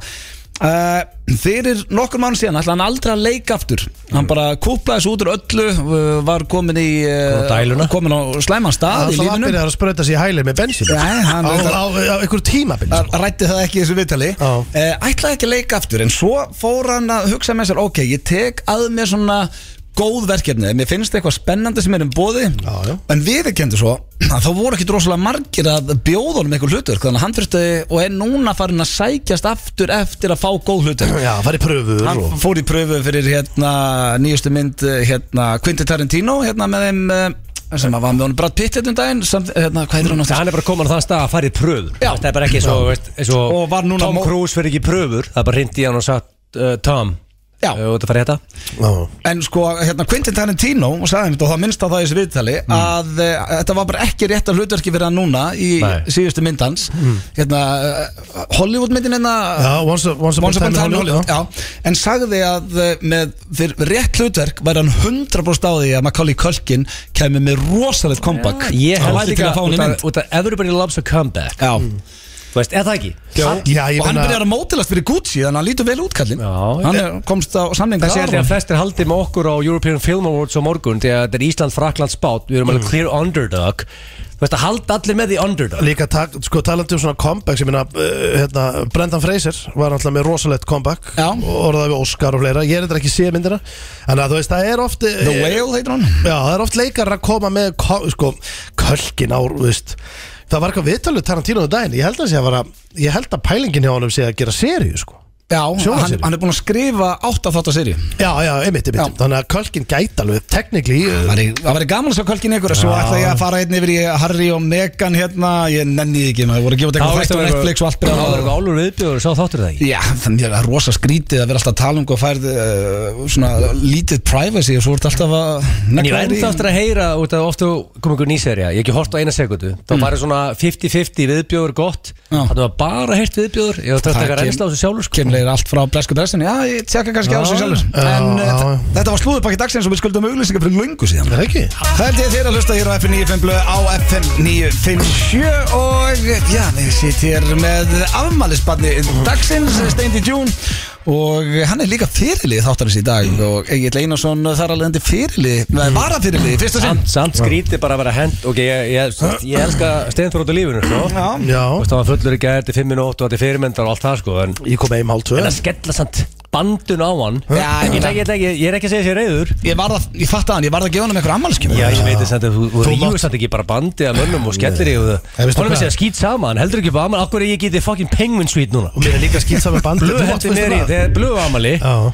Speaker 1: Uh, fyrir nokkur mann síðan ætla hann aldrei að leika aftur
Speaker 3: Mm.
Speaker 1: hann bara kúplaði þessu út úr öllu uh, var komin í
Speaker 3: Komin á dæluna.
Speaker 1: komin á slæman stað í
Speaker 2: alltaf að
Speaker 1: lífinu
Speaker 2: byrja að sprauta sér í hælir með bensin
Speaker 1: Já, hann-
Speaker 2: á, á, á einhverju tímabil
Speaker 1: Hann
Speaker 2: sko.
Speaker 1: rætti það ekki í þessu viðtali
Speaker 2: Já.
Speaker 1: eh, ætlaði ekki að leika aftur en svo fór hann að hugsa með sér ok, ég tek að mér svona góð verkefni, mér finnst eitthvað spennandi sem er um bóði
Speaker 2: Já, já.
Speaker 1: en við kendur svo að þá voru ekki drosalega margir að bjóða honum eitthvað hlutur þannig að hann þurfti og er núna farin að sækjast aftur eftir að fá góð hlutur
Speaker 2: Já, farið pröfur
Speaker 1: hann
Speaker 2: og
Speaker 1: fór í pröfu fyrir hérna nýjustu mynd eh, hérna Quinti Tarantino hérna með þeim eh, sem að var með honum Brad Pitt hérna um daginn samt, hérna, hvað heitir hann aftur?
Speaker 3: hann er bara komin á þann stað að fara í pröfur
Speaker 1: Já.
Speaker 3: það er bara ekki eins og, veist, eins og
Speaker 1: Og var núna
Speaker 3: Tom
Speaker 1: mó-
Speaker 3: Cruise fyrir ekki í pröfur það er bara hindi hann og sagt uh, Tom
Speaker 1: Já.
Speaker 3: Þú ert að fara í þetta
Speaker 2: Já.
Speaker 1: En sko, hérna, Quentin Tarantino og sagði einmitt og það minnst á það í þessu viðtali
Speaker 3: Mm.
Speaker 1: að e, þetta var bara ekki rétt að hlutverki vera núna í
Speaker 3: Nei. Mm.
Speaker 1: síðustu myndans hérna, eh, Hollywood myndin hérna
Speaker 2: Já, once, once,
Speaker 1: Once Upon a Time in Hollywood
Speaker 2: já.
Speaker 1: já. En sagði að eh, með fyrir rétt hlutverk væri hann 100% á því að Macaulay Culkin kemur með rosalegt comeback
Speaker 3: Ég
Speaker 1: Hann
Speaker 3: held
Speaker 1: væri
Speaker 3: líka
Speaker 1: til að fá hann í
Speaker 3: út af- Mm.
Speaker 1: mynd
Speaker 3: út af Everybody loves a comeback
Speaker 1: Já,
Speaker 3: Þú veist, eða það ekki
Speaker 2: Já, ég
Speaker 1: og hann
Speaker 2: meina-
Speaker 1: byrjar að mótilast fyrir Gucci þannig að hann lítur vel útkallin
Speaker 3: Já.
Speaker 1: Hann er, komst á samning
Speaker 3: Það sé
Speaker 1: þar.
Speaker 3: allir að flestir haldið með okkur á European Film Awards á morgun því að þetta er Ísland, Frakland, Spát Við erum
Speaker 1: Mm.
Speaker 3: alveg clear underdog Þú veist að halda allir með því underdog
Speaker 2: Líka tak, sko, talandi um svona comebacks Ég minna, hérna, Brendan Fraser var alltaf með rosalegt comeback
Speaker 1: Já.
Speaker 2: og Orðaði við Oscar og fleira Ég er þetta ekki sé myndina Þannig að þú veist, það er oft eh,
Speaker 1: The Whale heitir hann
Speaker 2: Já, það er oft leikar að koma með ko- sko, kölkin á, þú veist Það var eitthvað viðtalið Tarantino á daginn Ég held að, sé að, vera, ég held að pælingin hjá honum sé að gera seríu sko.
Speaker 1: Já, hann,
Speaker 2: Sjónvarpsseríu.
Speaker 1: hann er búin að skrifa 8 þátt að serju
Speaker 2: Já, já, einmitt, einmitt
Speaker 1: Já.
Speaker 2: Þannig að kölkin gæti alveg, teknikli
Speaker 1: væri- Það væri gaman að sjá kvölkin ykkur og Svo ætla ég að fara einn yfir í Harry og Meghan hérna Ég nenni því ekki, maður voru að gefa út eitthvað þætt á Netflix og allt
Speaker 3: Það var
Speaker 1: byrjað
Speaker 3: eitthvað
Speaker 1: að
Speaker 3: álur viðbjörður, sá þáttur það ekki
Speaker 1: Já, þannig að það er rosa skrítið að vera alltaf að tala um hvað færð uh, svona lítið privacy og svo ertu alltaf að
Speaker 3: En ég
Speaker 1: negla þér
Speaker 3: verði
Speaker 1: í-
Speaker 3: aftur að heyra út af ofta kom einhver nýserja, ég hef ekki hort á eina sekundu þá var svona 50-50 viðbjóður gott
Speaker 1: Mm. Já.
Speaker 3: þannig að bara heyrt viðbjóður ég var að
Speaker 1: Það
Speaker 3: taka
Speaker 1: kem-
Speaker 3: reynsla á þessu sjálfur sko.
Speaker 1: kemleir allt frá blesku pressinu Já, ég tjekka kannski á
Speaker 3: Já,
Speaker 1: sig sjálfur
Speaker 2: já,
Speaker 1: En uh,
Speaker 2: já, já.
Speaker 1: þetta var slúðupakki dagsins og við skuldum auglýsingar fyrir löngu síðan
Speaker 2: Það er ekki
Speaker 1: Það held ég þér að hlusta hér á FM 95 blöð á FM 957 og já, við sitt hér með afmælisbarni dagsins, Steindi Djún og hann er líka fyrirlið þáttarins í dag og Egil Einarsson þar alveg endi fyrirlið, mm. vara fyrirlið, fyrsta sinn
Speaker 3: samt, samt skrítið bara að vera hend og ég, ég, ég, ég elska steinþur út á lífinu sko.
Speaker 1: Já,
Speaker 2: Já,
Speaker 3: Þú veist, það var fullur í gæðir til 5 minúti og til fyrirmyndar og allt það sko en,
Speaker 2: ég kom heim hálf tvö
Speaker 3: en að skella samt bandun á hann
Speaker 1: Já,
Speaker 3: ég, ætla ekki- ég, ætla ekki- ég er ekki að segja sér reyður
Speaker 1: ég varð að, ég fatt að hann, ég varð að gefa hann um einhver afmæliskjöfum
Speaker 3: Já, ég veit þess að þú, þú
Speaker 2: Þú
Speaker 3: ríður
Speaker 2: mátt-
Speaker 3: samt ekki bara bandið að mönnum og skellir í og
Speaker 2: Ég veist
Speaker 3: það Honum
Speaker 2: hvað-
Speaker 3: er sér að skýt saman, heldur ekki bara Akkur er ég getið fucking penguin suite núna
Speaker 2: Og mér er líka skýt saman bandi
Speaker 3: Blöð hendur mér í, þegar blöðu amali
Speaker 2: Já,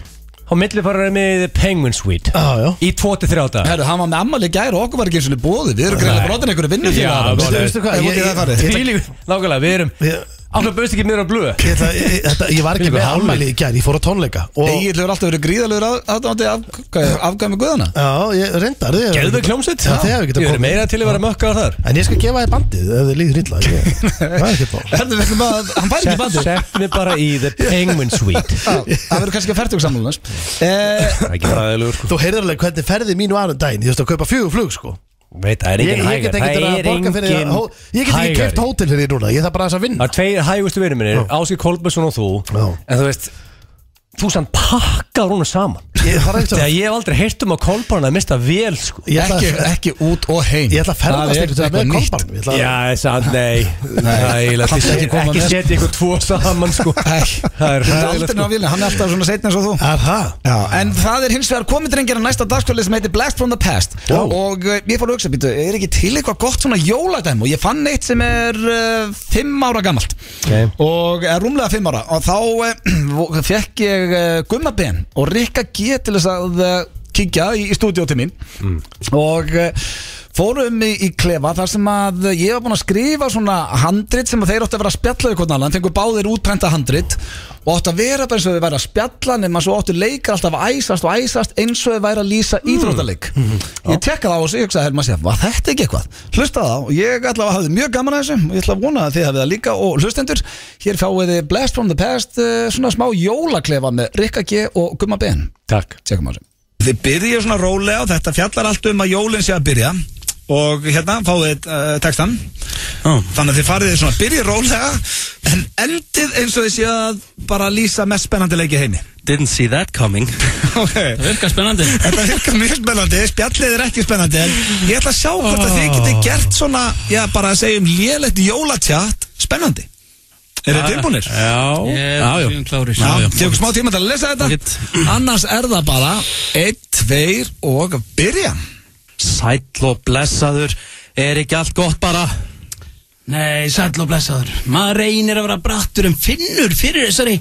Speaker 3: Há milliparar er með Penguin Suite
Speaker 2: já, já
Speaker 3: Í 2-3 daga
Speaker 1: Herru, hann var með afmæli í gær og okkur var ekki eins og niður bóði, við erum
Speaker 3: Nei.
Speaker 1: greinlega brotin einhverju vinnu
Speaker 3: Já,
Speaker 1: fyrir
Speaker 3: bara-
Speaker 2: Veistu hvað, ég- ég-
Speaker 1: það
Speaker 2: ég-
Speaker 1: Ég
Speaker 3: Þvílík- Nákvæmlega, við erum
Speaker 2: Ég-
Speaker 3: Alltaf bauðst ekki mér á blöðu
Speaker 2: Ég, ætla- ég, þetta, ég var ekki
Speaker 3: Þvílíkur
Speaker 2: með
Speaker 3: hálfleik.
Speaker 2: afmæli í gær, ég fór á tónleika og,
Speaker 1: Egil hefur alltaf verið gríðalegur aðdándi afgæmi guðana
Speaker 2: Já, ég reyndar ég-
Speaker 3: Gjöðu kljómsett
Speaker 2: Já, þið hefur
Speaker 3: Ég
Speaker 2: getað
Speaker 3: verið
Speaker 2: komið.
Speaker 3: meira til að vera mökka á þar
Speaker 2: En ég skal gefa þér bandið ef þið líður illa ég- Það er ekkert mál
Speaker 1: Herðu, við ætlum að, hann fær ekki í bandið
Speaker 3: Sett mig bara í The Penguin Suite
Speaker 1: Já, Það verður kannski að færtug samlunars eh,
Speaker 3: Það er ekki fræðilegur sko
Speaker 2: Þú heyrður alveg hvernig ferði mínu aðra um daginn Ég veist að kaupa fjögur flug sko
Speaker 3: Veit, það er
Speaker 2: Ég,
Speaker 3: engin
Speaker 2: ég get
Speaker 3: hægar
Speaker 2: ekki
Speaker 3: Það
Speaker 2: að
Speaker 3: er
Speaker 2: borga fyrir það
Speaker 3: engin
Speaker 2: hó- Ég get ekki keft hótel fyrir því núna Ég þarf bara aðeins að
Speaker 3: Það
Speaker 2: vinna
Speaker 3: er tveir hægustu vinur minni Áskir Kolbjörnsson og þú
Speaker 2: Já.
Speaker 3: En þú veist Þú sann pakkar hún saman
Speaker 2: Ég þarf ekki
Speaker 3: Þegar
Speaker 2: að
Speaker 3: ég hef aldrei heyrt um að Kolbjörn að mista vel sko
Speaker 2: Ég ætla
Speaker 1: Eh, ekki,
Speaker 2: að-
Speaker 1: ekki út og heim
Speaker 2: Ég ætla að
Speaker 1: Það
Speaker 2: ferðast
Speaker 1: er
Speaker 2: einhvern veginn með
Speaker 1: eitthvað
Speaker 2: kolbarn Ég ætla að-
Speaker 3: Já, sann, nei Nei,
Speaker 1: Hann
Speaker 3: ekki,
Speaker 1: skal ekki koma
Speaker 3: ekki
Speaker 1: með.
Speaker 3: setja ykkur tvo saman sko Það er
Speaker 1: Þú ert aldrei ná
Speaker 3: hræðilegt, sko.
Speaker 1: að vilja, hann er alltaf svona setna eins og þú
Speaker 2: Er það?
Speaker 1: Já, en það er hins vegar komið drengir að næsta dagskvöldi sem heitir Blast from the Past
Speaker 2: Já.
Speaker 1: og eh, ég fór að hugsa, býtu, er ekki til eitthvað gott svona jóladæm og ég fann eitt sem er 5 ára gamalt
Speaker 3: Ok.
Speaker 1: og er rúmlega 5 ára og þá uh, fekk ég uh, Gumma Ben og Rikka G til þess að uh, kíkja í, í stúdíó til mín og uh, fórum í, í klefa þar sem að ég var búinn að skrifa svona handrit sem að þeir áttu að vera að spjalla við hvernig annan, fengur báðir útprenta handrit og áttu að vera bara eins og þau væri að spjalla nema svo áttu leikar alltaf að æsast og æsast eins og þau væri að lýsa íþróttaleik ég tekka það á þessu, ég hugsaði hérna að segja, var þetta ekki eitthvað? Hlusta það og ég ætla að hafa mjög gaman að þessu og ég ætla að vona að þið hafið það líka og hlustendur, hér fáið þið Blast from the Past eh, svona smá jólaklefa með Rikka G og Gumma Ben
Speaker 3: Takk
Speaker 1: Tjekum á þessu Þið byrja svona rólega og þetta fjallar allt um að jólinn sé að byrja og hérna fáið uh, textan þannig að þið farið svona byrja rólega en endið eins og þið sé að bara lýsa mest spennandi leiki heimi
Speaker 4: Didn't see that coming
Speaker 1: Ok,
Speaker 4: Virka spennandi
Speaker 1: þetta virkar mjög spennandi spjallið er ekki spennandi en ég ætla að sjá hvort að þið getið gert svona já, bara að segja um lélegt jólatjátt spennandi Er þið tilbúinir?
Speaker 4: Já, já, já klárir
Speaker 1: Já, tekum smá tíma til að lesa
Speaker 4: Fínt.
Speaker 1: þetta Annars er það bara 1, 2 og byrja
Speaker 4: Sæll og blessaður Er ekki allt gott bara Nei, sæll og blessaður Maður reynir að vera brattur en finnur fyrir þessari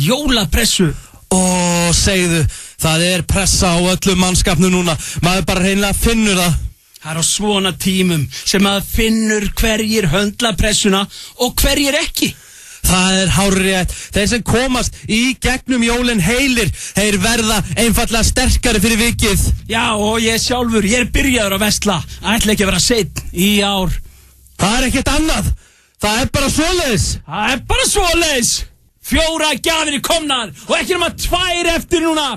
Speaker 4: jólapressu Ó, segðu Það er pressa á öllum mannskapnu núna Maður bara reynlega finnur það Það er á svona tímum sem maður finnur hverjir höndla pressuna og hverjir ekki
Speaker 5: það er hárrétt Þeir sem komast í gegnum jólin heilir Þeir verða einfallega sterkari fyrir vikið
Speaker 4: Já, og ég sjálfur, ég er byrjaður að vestla Ætla ekki að vera seitt í ár
Speaker 5: Það er ekkert annað Það er bara svoleiðis
Speaker 4: Það er bara svoleiðis Fjóra gjafir í komnar Og ekki nema tvær eftir núna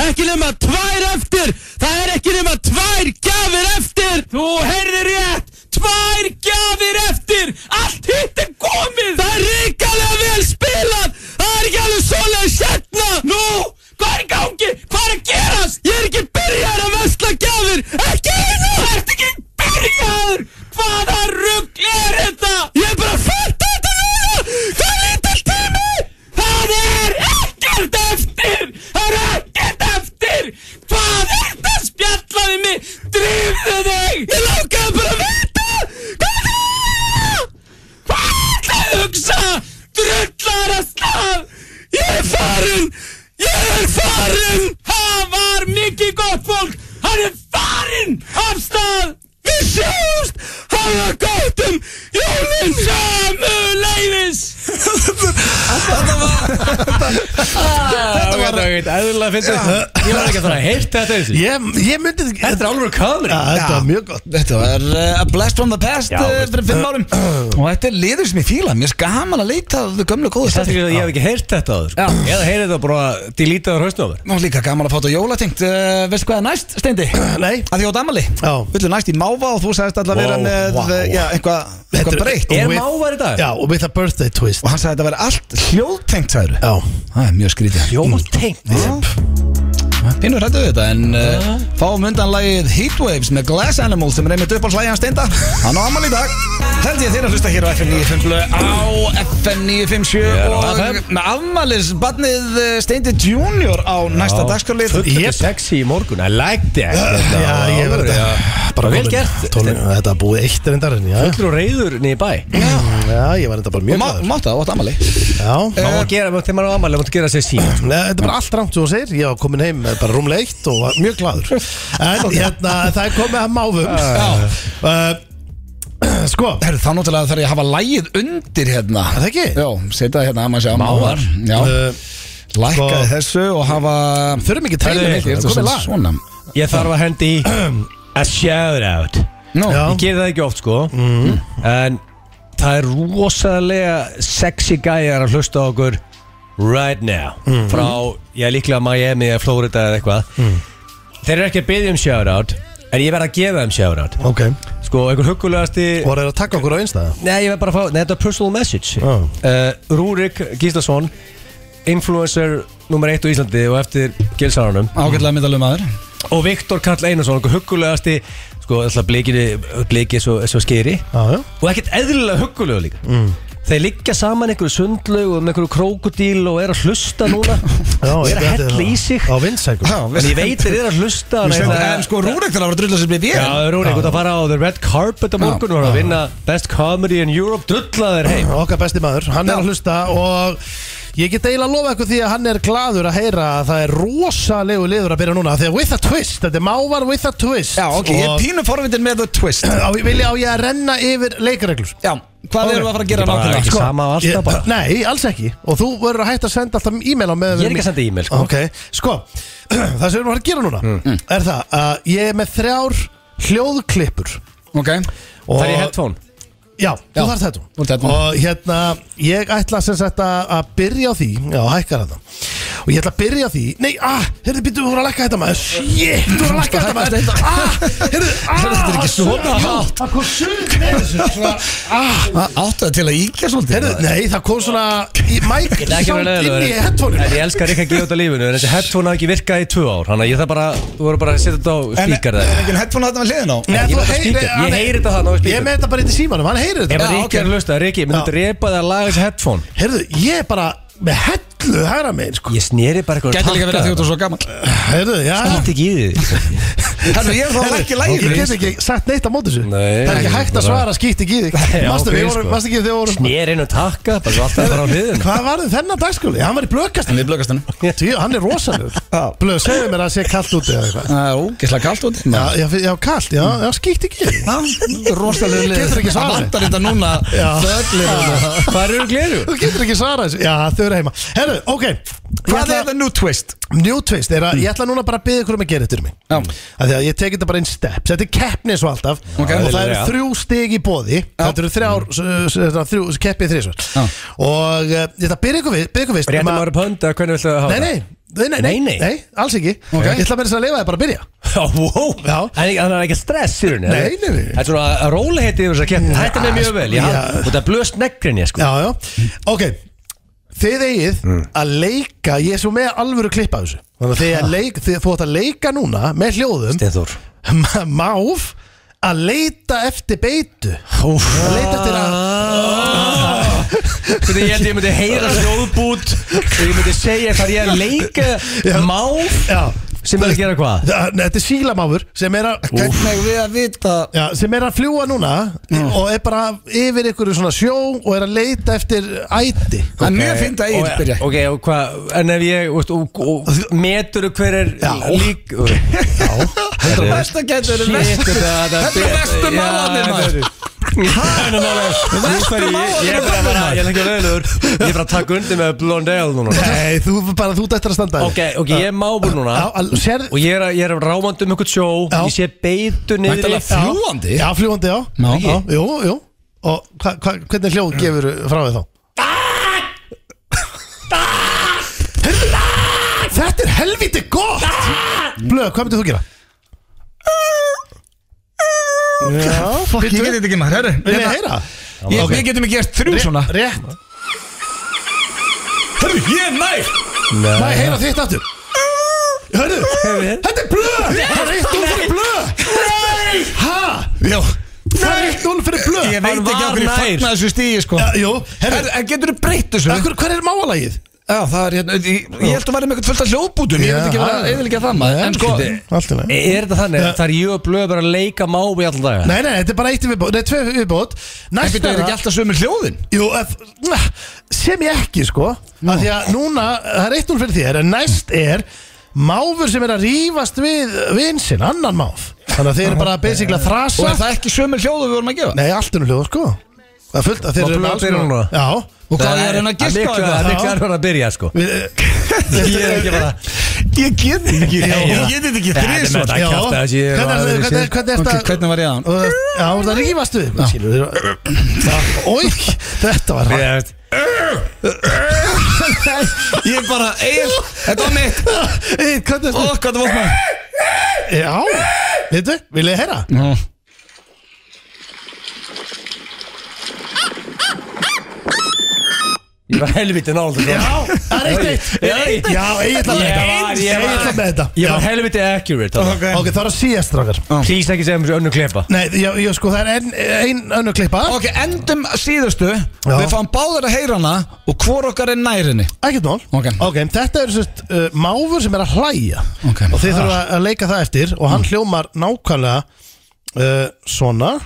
Speaker 5: Ekki nema tvær eftir Það er ekki nema tvær gjafir eftir
Speaker 4: Þú heyrðir rétt Tvær gjafir eftir Allt hitt er komið
Speaker 5: Það er ríkalega vel spilað Það er ekki alveg svoleiðis hérna Nú,
Speaker 4: Hvað er í gangi? Hvað er að gerast?
Speaker 5: ég er ekki byrjar að vesla gjafir Ekki einu
Speaker 4: Þú ert ekki byrjaður Hvaða rugg er þetta?
Speaker 5: Ég er bara að fatta þetta núna Það er lítill tími
Speaker 4: Það er ekkert eftir Það er ekkert eftir Hvað er þetta spjallaði mig? Drifðu þig
Speaker 5: Ég langaði bara að vita Hvað er það?
Speaker 4: Hvað ætlaði að hugsa? Drullar að slaf
Speaker 5: Ég er farin Ég er farin
Speaker 4: Það var mikið gott fólk Hann er farinn af stað
Speaker 5: Við sjáumst Hafa gott um jólin
Speaker 4: Ömuleifis
Speaker 3: Þetta var eitthvað eðlulega finnst þetta sko. Ég var ekki að fara að heyrta þetta þessu
Speaker 2: Ég, ég myndi
Speaker 3: Þetta er alveg kamerí
Speaker 2: Já, Þetta var mjög gott
Speaker 1: Þetta var uh, a blast from the past uh, fyrir fimm árum og þetta er liður sem ég fíla mér er sko gaman að leita að gömlu góðu
Speaker 3: Þetta er
Speaker 1: stættir
Speaker 3: ekki að ég hef ekki heyrt þetta áður sko.
Speaker 1: Já.
Speaker 3: Eða heyrið þetta bara delítaður hausnum á mér
Speaker 1: Nú er líka gaman að fá þetta jólatengt uh, veistu hvað er næst, Steindi?
Speaker 2: Nei.
Speaker 1: að því átt amali
Speaker 2: Já.
Speaker 1: villu næst í máva og þú sagðist alltaf
Speaker 2: Vá,
Speaker 1: vera með
Speaker 2: vá.
Speaker 1: uh, já, eitthvað
Speaker 2: Þetta
Speaker 1: eitthva
Speaker 2: er- e-
Speaker 1: breytt
Speaker 3: Er
Speaker 2: Og við-
Speaker 3: mávar í dag?
Speaker 2: Já, og with a birthday twist
Speaker 1: og hann sagði að þetta veri allt hljóðtengt sagður
Speaker 2: Já,
Speaker 1: það er mjög skrítið
Speaker 3: Jótengt
Speaker 1: Pinnur hættu við þetta en uh, fáum undan lagið Heatwaves með Glass Animals sem er einmitt upp á slæði hans steinda hann á amal í dag held ég þeir að hlusta hér á FM 957 á FM 957
Speaker 3: Ég er á FM.
Speaker 1: og með afmalis badnið Steindi Junior á næsta dagskarlið
Speaker 3: Þetta er sexy í morgun I like that Þetta
Speaker 2: já ég
Speaker 3: var-
Speaker 2: verði þetta
Speaker 3: já.
Speaker 2: bara
Speaker 3: Vel
Speaker 2: komin-
Speaker 3: gert
Speaker 2: tólin- Þetta er búið eitt reyndar en já
Speaker 3: Fullur og reyður niður í bæ
Speaker 2: Já, ég var þetta bara
Speaker 1: og
Speaker 2: mjög
Speaker 1: má-
Speaker 2: glæður
Speaker 1: mátt það, átt amali
Speaker 2: Já,
Speaker 3: Má að gera, þegar maður á ammali, maður gera sér sko. sín
Speaker 2: Nei, þetta er bara allt rámt sem þú segir Ég var komin heim með bara rúmlega eitt og var mjög glæður En hérna, það er komið að máfum Já Sko,
Speaker 1: Herru, þá náttúrulega þarf ég að hafa lægið undir hérna
Speaker 2: það ekki?
Speaker 1: Já, setja hérna að maður sé að
Speaker 3: Mávar.
Speaker 1: Já,
Speaker 2: Uh,
Speaker 1: lækkaði
Speaker 2: sko-
Speaker 1: þessu og hafa
Speaker 2: Þurfum ekki trailer
Speaker 1: Heyrðu,
Speaker 2: neitt,
Speaker 1: heyrðu,
Speaker 2: komið lag.
Speaker 1: Svona
Speaker 3: Ég þarf að hendi í A shout out
Speaker 1: Nú,
Speaker 2: Já. Mhm.
Speaker 3: Ég ger það ekki oft sko En það er rosalega sexy gæjar að hlusta á okkur Right now
Speaker 2: Mhm.
Speaker 3: Frá, ég er líklega Miami eða Florida eða eitthvað Þeir eru ekki að byggja um shout out En ég verð að gefa þeim shout out
Speaker 2: Ok,
Speaker 3: Sko, einhver huggulegasti
Speaker 2: voru þeir að taka okkur á einstæða?
Speaker 3: Nei, ég verð bara að fá, nei, þetta er personal message
Speaker 2: Já.
Speaker 3: uh, Rúrik Gíslason Influencer nummer 1 á Íslandi og eftir gilsarunum
Speaker 1: ágætlega myndalum aður
Speaker 3: og Viktor Karl Einarsson, okkur huggulegasti sko, alltaf blikið, blikið svo, svo skeri
Speaker 2: Já, Mm. já
Speaker 3: og ekkert eðlilega huggulegu líka þeir liggja saman einhverju sundlaug og með einhverju krókudíl og er að hlusta núna
Speaker 2: Já,
Speaker 3: og er að
Speaker 2: ég veit
Speaker 3: hella
Speaker 2: það.
Speaker 3: í sig
Speaker 2: Á vinsækur
Speaker 3: en ég veit þeir eru að hlusta en það-
Speaker 1: En sko, Rúrik þarf að vera að drulla sér blið
Speaker 3: Já,
Speaker 1: ég
Speaker 3: þeir eru einhvern að fara á The Red Carpet á morgun og eru að vinna Best Comedy in Europe drullaðir heim
Speaker 2: Okkar besti maður, hann er að hlusta og ég get eiginlega að lofa eitthvað því að hann er gladur að heyra að það er rosalegu liður að byrja núna því að with a twist, þetta er mávar with a twist
Speaker 1: Já, ok, ég er
Speaker 2: og
Speaker 1: pínu forvindin með The Twist
Speaker 2: á, vilja á ég að renna yfir leikreglur
Speaker 1: Já, hvað
Speaker 2: Ok.
Speaker 1: erum við að fara að gera
Speaker 3: bara
Speaker 1: nákvæmlega?
Speaker 3: ekki
Speaker 1: Sko,
Speaker 3: sama á alltaf bara
Speaker 2: Nei, alls ekki og þú verður að hætta að senda alltaf e-mail á meðan
Speaker 3: Ég er ekki að senda e-mail, sko.
Speaker 2: Ok, sko, það sem við erum að fara að gera núna er það að ég er með þrjár hljóðklippur
Speaker 1: ok
Speaker 3: Það er í headphone
Speaker 2: Já,
Speaker 1: Já.
Speaker 2: þú þarf þetta
Speaker 1: Þú þarft þetta.
Speaker 2: Og hérna, ég ætla sem sagt að að byrja á því Já, hækkar þetta Og ég ætla að byrja á því Nei, ah, heyrðu, býttu, þú voru að lækka þetta maður Shit, þú voru að lækka þetta maður Ah, heyrðu, ah
Speaker 1: Þetta er ekki svona hátt.
Speaker 2: Það kom sund með þessu svona, Ah,
Speaker 1: Áttu það til að íkja svolítið
Speaker 2: heyrðu, nei, það kom svona í Mæk,
Speaker 3: Það er
Speaker 2: samt
Speaker 3: ekki verið
Speaker 2: inn í
Speaker 3: leðilegur
Speaker 2: headphone
Speaker 3: En ég elskar ekki að gefa þetta lífinu En þetta headphone hafði ekki virkað í tvö ár Þannig að ég þarf bara Þú voru bara að setja þetta á
Speaker 1: En
Speaker 3: spíkar
Speaker 1: er
Speaker 3: það
Speaker 1: ekki headphone þarna við hliðin á?
Speaker 2: Nei,
Speaker 3: Ég
Speaker 2: þú
Speaker 3: var bara
Speaker 2: heyrir-
Speaker 3: speaker. Ég
Speaker 2: hann-
Speaker 3: heyri þetta þarna á speaker.
Speaker 2: Ég er með þetta bara í símanum, hann heyrir
Speaker 3: Ef að
Speaker 2: þetta
Speaker 3: Ríkja er að hlusta Ríkja, myndu
Speaker 2: Já.
Speaker 3: drepa það að laga þessi headphone
Speaker 2: Heyrðu, ég er bara með hellu hæra megin, sko
Speaker 3: Ég sneri bara eitthvað
Speaker 1: Gæti líka verið að því að þú ert svo gammal
Speaker 2: Heyrðu, já
Speaker 3: Þetta ekki í því
Speaker 1: Herru, ég er þá ekki lægir
Speaker 2: Ég get ekki sagt neitt á móti þessu
Speaker 3: Nei.
Speaker 2: Það er ekki hægt að svara skýtt ekki í þig
Speaker 3: Já,
Speaker 2: Mastu
Speaker 3: ok,
Speaker 2: við
Speaker 3: sko.
Speaker 2: vorum, mastu ekki þegar við vorum
Speaker 3: Mér inn og takka, bara svo alltaf bara á hliðin
Speaker 2: Hvað var þið þennan dagskóli? Hann var í blökast
Speaker 1: En við blökast hennu
Speaker 2: Tíu, hann er rosalur
Speaker 1: Já.
Speaker 2: Blöð, segðu mér að það sé kallt úti eða eitthvað
Speaker 1: Það er ógeðslega kallt út
Speaker 2: Já, já, já, kallt, já, já, skýtt ekki í þig
Speaker 1: Rosalega lið
Speaker 2: Getur ekki svarað.
Speaker 1: Það vantar þetta núna Þöllir og-
Speaker 3: Hvað eru gleru?
Speaker 2: Þú getur ekki svarað þessu Já, þau eru heima Herru, ok Ég
Speaker 1: Hvað
Speaker 2: ætla-
Speaker 1: er það nú twist?
Speaker 2: New twist er að ég ætla núna bara að byggja ykkur um að gera þetta um mig
Speaker 1: Já.
Speaker 2: Af því að ég teki þetta bara einn steps Þetta er keppni eins og alltaf
Speaker 1: Ok. Mm.
Speaker 2: Og það eru
Speaker 3: Eðlilega.
Speaker 2: þrjú stig í bóði Þetta eru þrjár s- s- þetta eru þrjú keppið þrísvar
Speaker 1: Já.
Speaker 2: Og uh, ég ætla að byrja ykkur við Byrja ykkur við
Speaker 3: Réttum ára pönd, eða hvernig viltu að hafa
Speaker 2: Nei, nei Nei, nei, nei,
Speaker 3: um Nei, nei.
Speaker 2: alls ekki
Speaker 1: Ok.
Speaker 2: Ég ætla að meira þess að leifa þið bara að byrja
Speaker 3: Já, wow
Speaker 2: Já.
Speaker 3: En þannig að það er ekki stress í rauninni
Speaker 2: Nei, nei, nei.
Speaker 3: Það er svona að róla heiti yfir þess að keppni Þetta er mér mjög
Speaker 2: sko,
Speaker 3: vel, já
Speaker 2: já.
Speaker 3: Og það blöst neggrinni, sko
Speaker 2: Já, já, ok Þið eigið að leika Ég er svo með alvöru klipp af þessu Þannig að þið að leik, þið, þú átt að leika núna Með hljóðum
Speaker 3: Steinþór
Speaker 2: Ma- Máf að leita eftir beitu að leita eftir að
Speaker 3: Hvernig ég held ég myndi heyra hljóðbút Og ég myndi segja hvað ég er að leika Máf
Speaker 2: Já,
Speaker 3: Sem er að gera hvað?
Speaker 2: Það- nei, Þetta er sílamáfur sem er að
Speaker 1: Hvernig eigum við að vita
Speaker 2: Já, sem er að fljúa núna og er bara yfir ykkur svona sjó og er að leita eftir æti
Speaker 1: Það er mjög fint að eigin byrja
Speaker 3: Ok, og hvað, en ef ég, veist, og, og, og metur hver er
Speaker 2: Já.
Speaker 3: lík Já, þetta er
Speaker 1: Besta getur verið
Speaker 3: Shit,
Speaker 1: verst.
Speaker 3: þetta
Speaker 1: Þetta er verstu málarnir, maður. Verstu málarnir
Speaker 3: Ég er bara, bara,
Speaker 1: maður.
Speaker 3: ég er ekki leilur Ég er bara að taka undir með Blondale núna
Speaker 2: Nei, þú bara þú dættir að standa
Speaker 3: Ok, ok, ég er mábur núna
Speaker 2: Já, al- sér,
Speaker 3: Og ég er, að- ég er rámandi um einhvern sjó
Speaker 2: Já.
Speaker 3: Ég sé beitu niður
Speaker 1: Væntanlega fljúgandi?
Speaker 2: Já, fljúandi, já,
Speaker 1: Já.
Speaker 2: já Jú, jú Og hva, hva, hvernig hljóð gefur frá þið þá? Heyrðu, Þetta er helviti gott Blöð, hvað myndir þú gera? Já,
Speaker 1: Fuck, ég
Speaker 2: bíddu.
Speaker 1: get þetta ekki maður, herru
Speaker 2: Vil ég
Speaker 1: hérna,
Speaker 2: heyra?
Speaker 1: ég-
Speaker 2: Ok.
Speaker 1: Við getum ekki gert þrjú svona
Speaker 2: Rétt
Speaker 1: Herru, ég er nær
Speaker 2: Má ég heyra þitt aftur? Hörru, þetta er blöð Það er 1-0 fyrir blöð Hæ?
Speaker 1: Já,
Speaker 2: Það er 1-0 fyrir blöð
Speaker 1: ég veit
Speaker 3: Hann
Speaker 1: ekki
Speaker 3: var
Speaker 1: af hverju ég
Speaker 3: nær.
Speaker 1: fagna þessu stíi, sko
Speaker 2: Já, Jú, herru
Speaker 1: Herru, en getur þú breytt þessu?
Speaker 2: Akkur, hver er máalagið?
Speaker 1: Já, það er hérna, ég, ég held að vera með eitthvað fullt af hljóðbútum, ég
Speaker 2: Já,
Speaker 1: veit ekki vera
Speaker 2: já.
Speaker 1: eðilega það maður, en sko,
Speaker 2: Allt í lagi.
Speaker 3: Er þetta þannig? Það er ég og blöð bara að leika mábi allan daga
Speaker 2: Nei, nei, þetta er bara eitt viðbót, nei, tvö viðbót
Speaker 1: en
Speaker 2: Næst
Speaker 1: betur
Speaker 2: er
Speaker 1: ekki
Speaker 2: það
Speaker 1: alltaf sömu hljóðin?
Speaker 2: Jú, að, sem ég ekki, sko af Því að núna, það er eitt núl fyrir þér En næst er máfur sem er að rífast við vinsinn, annan máf Þannig að þeir eru bara basically
Speaker 1: Og
Speaker 2: að þrasa
Speaker 1: er það ekki sömu hljóðu við vorum að gefa?
Speaker 2: Nei, allt er nú hljóð, sko Það er fullt að þeir
Speaker 3: Má
Speaker 2: eru
Speaker 3: blöð
Speaker 2: með alls
Speaker 3: byrja
Speaker 2: konar-
Speaker 3: núna?
Speaker 2: Já
Speaker 1: Og hvað er hérna að giska á
Speaker 3: Það
Speaker 1: þetta?
Speaker 3: er miklar að byrja, sko
Speaker 2: Við, eh,
Speaker 3: Ég er ekki bara
Speaker 1: Ég get þetta ekki, ég get þetta ekki
Speaker 3: Nei, þetta er
Speaker 1: þrísvart
Speaker 3: með
Speaker 2: Já,
Speaker 3: kjafta þessi, ég er
Speaker 2: hvernig er
Speaker 3: aðeins í-
Speaker 2: þetta Hvernig er
Speaker 1: Ok,
Speaker 2: þetta
Speaker 1: hvernig var ég aðan?
Speaker 2: Já, voru það rífast við Skilur þér Ói, þetta var
Speaker 3: Ég veist,
Speaker 1: Ég bara, Egil, þetta var mitt
Speaker 2: Ei, Hvernig er
Speaker 1: Ó, hvað það var maður
Speaker 2: Já, veitu, vil ég heyra?
Speaker 3: ég var helviti nála
Speaker 2: það er eitt eitt
Speaker 3: Já, eitt, eitt.
Speaker 2: Já, ég ætla með
Speaker 3: Ég
Speaker 2: þetta
Speaker 3: var- ég
Speaker 2: Ég
Speaker 3: var-
Speaker 2: ætla með þetta
Speaker 3: Ég
Speaker 2: Já.
Speaker 3: var helviti accurate þarna.
Speaker 2: Ok, það er að síðast strákar
Speaker 3: Please ekki segja mér svo önnu klepa
Speaker 2: Nei, já, já, sko, það er ein, ein önnu klippa
Speaker 1: Ok, endum síðustu Við fáum báðar að heyra hana Og hvor okkar er nær henni
Speaker 2: Ekkert mál
Speaker 1: Ok.
Speaker 2: þetta er sérst uh, máfur sem er að hlæja
Speaker 1: Ok.
Speaker 2: Og þið þurfa að leika það eftir Og hann hljómar nákvæmlega uh, svona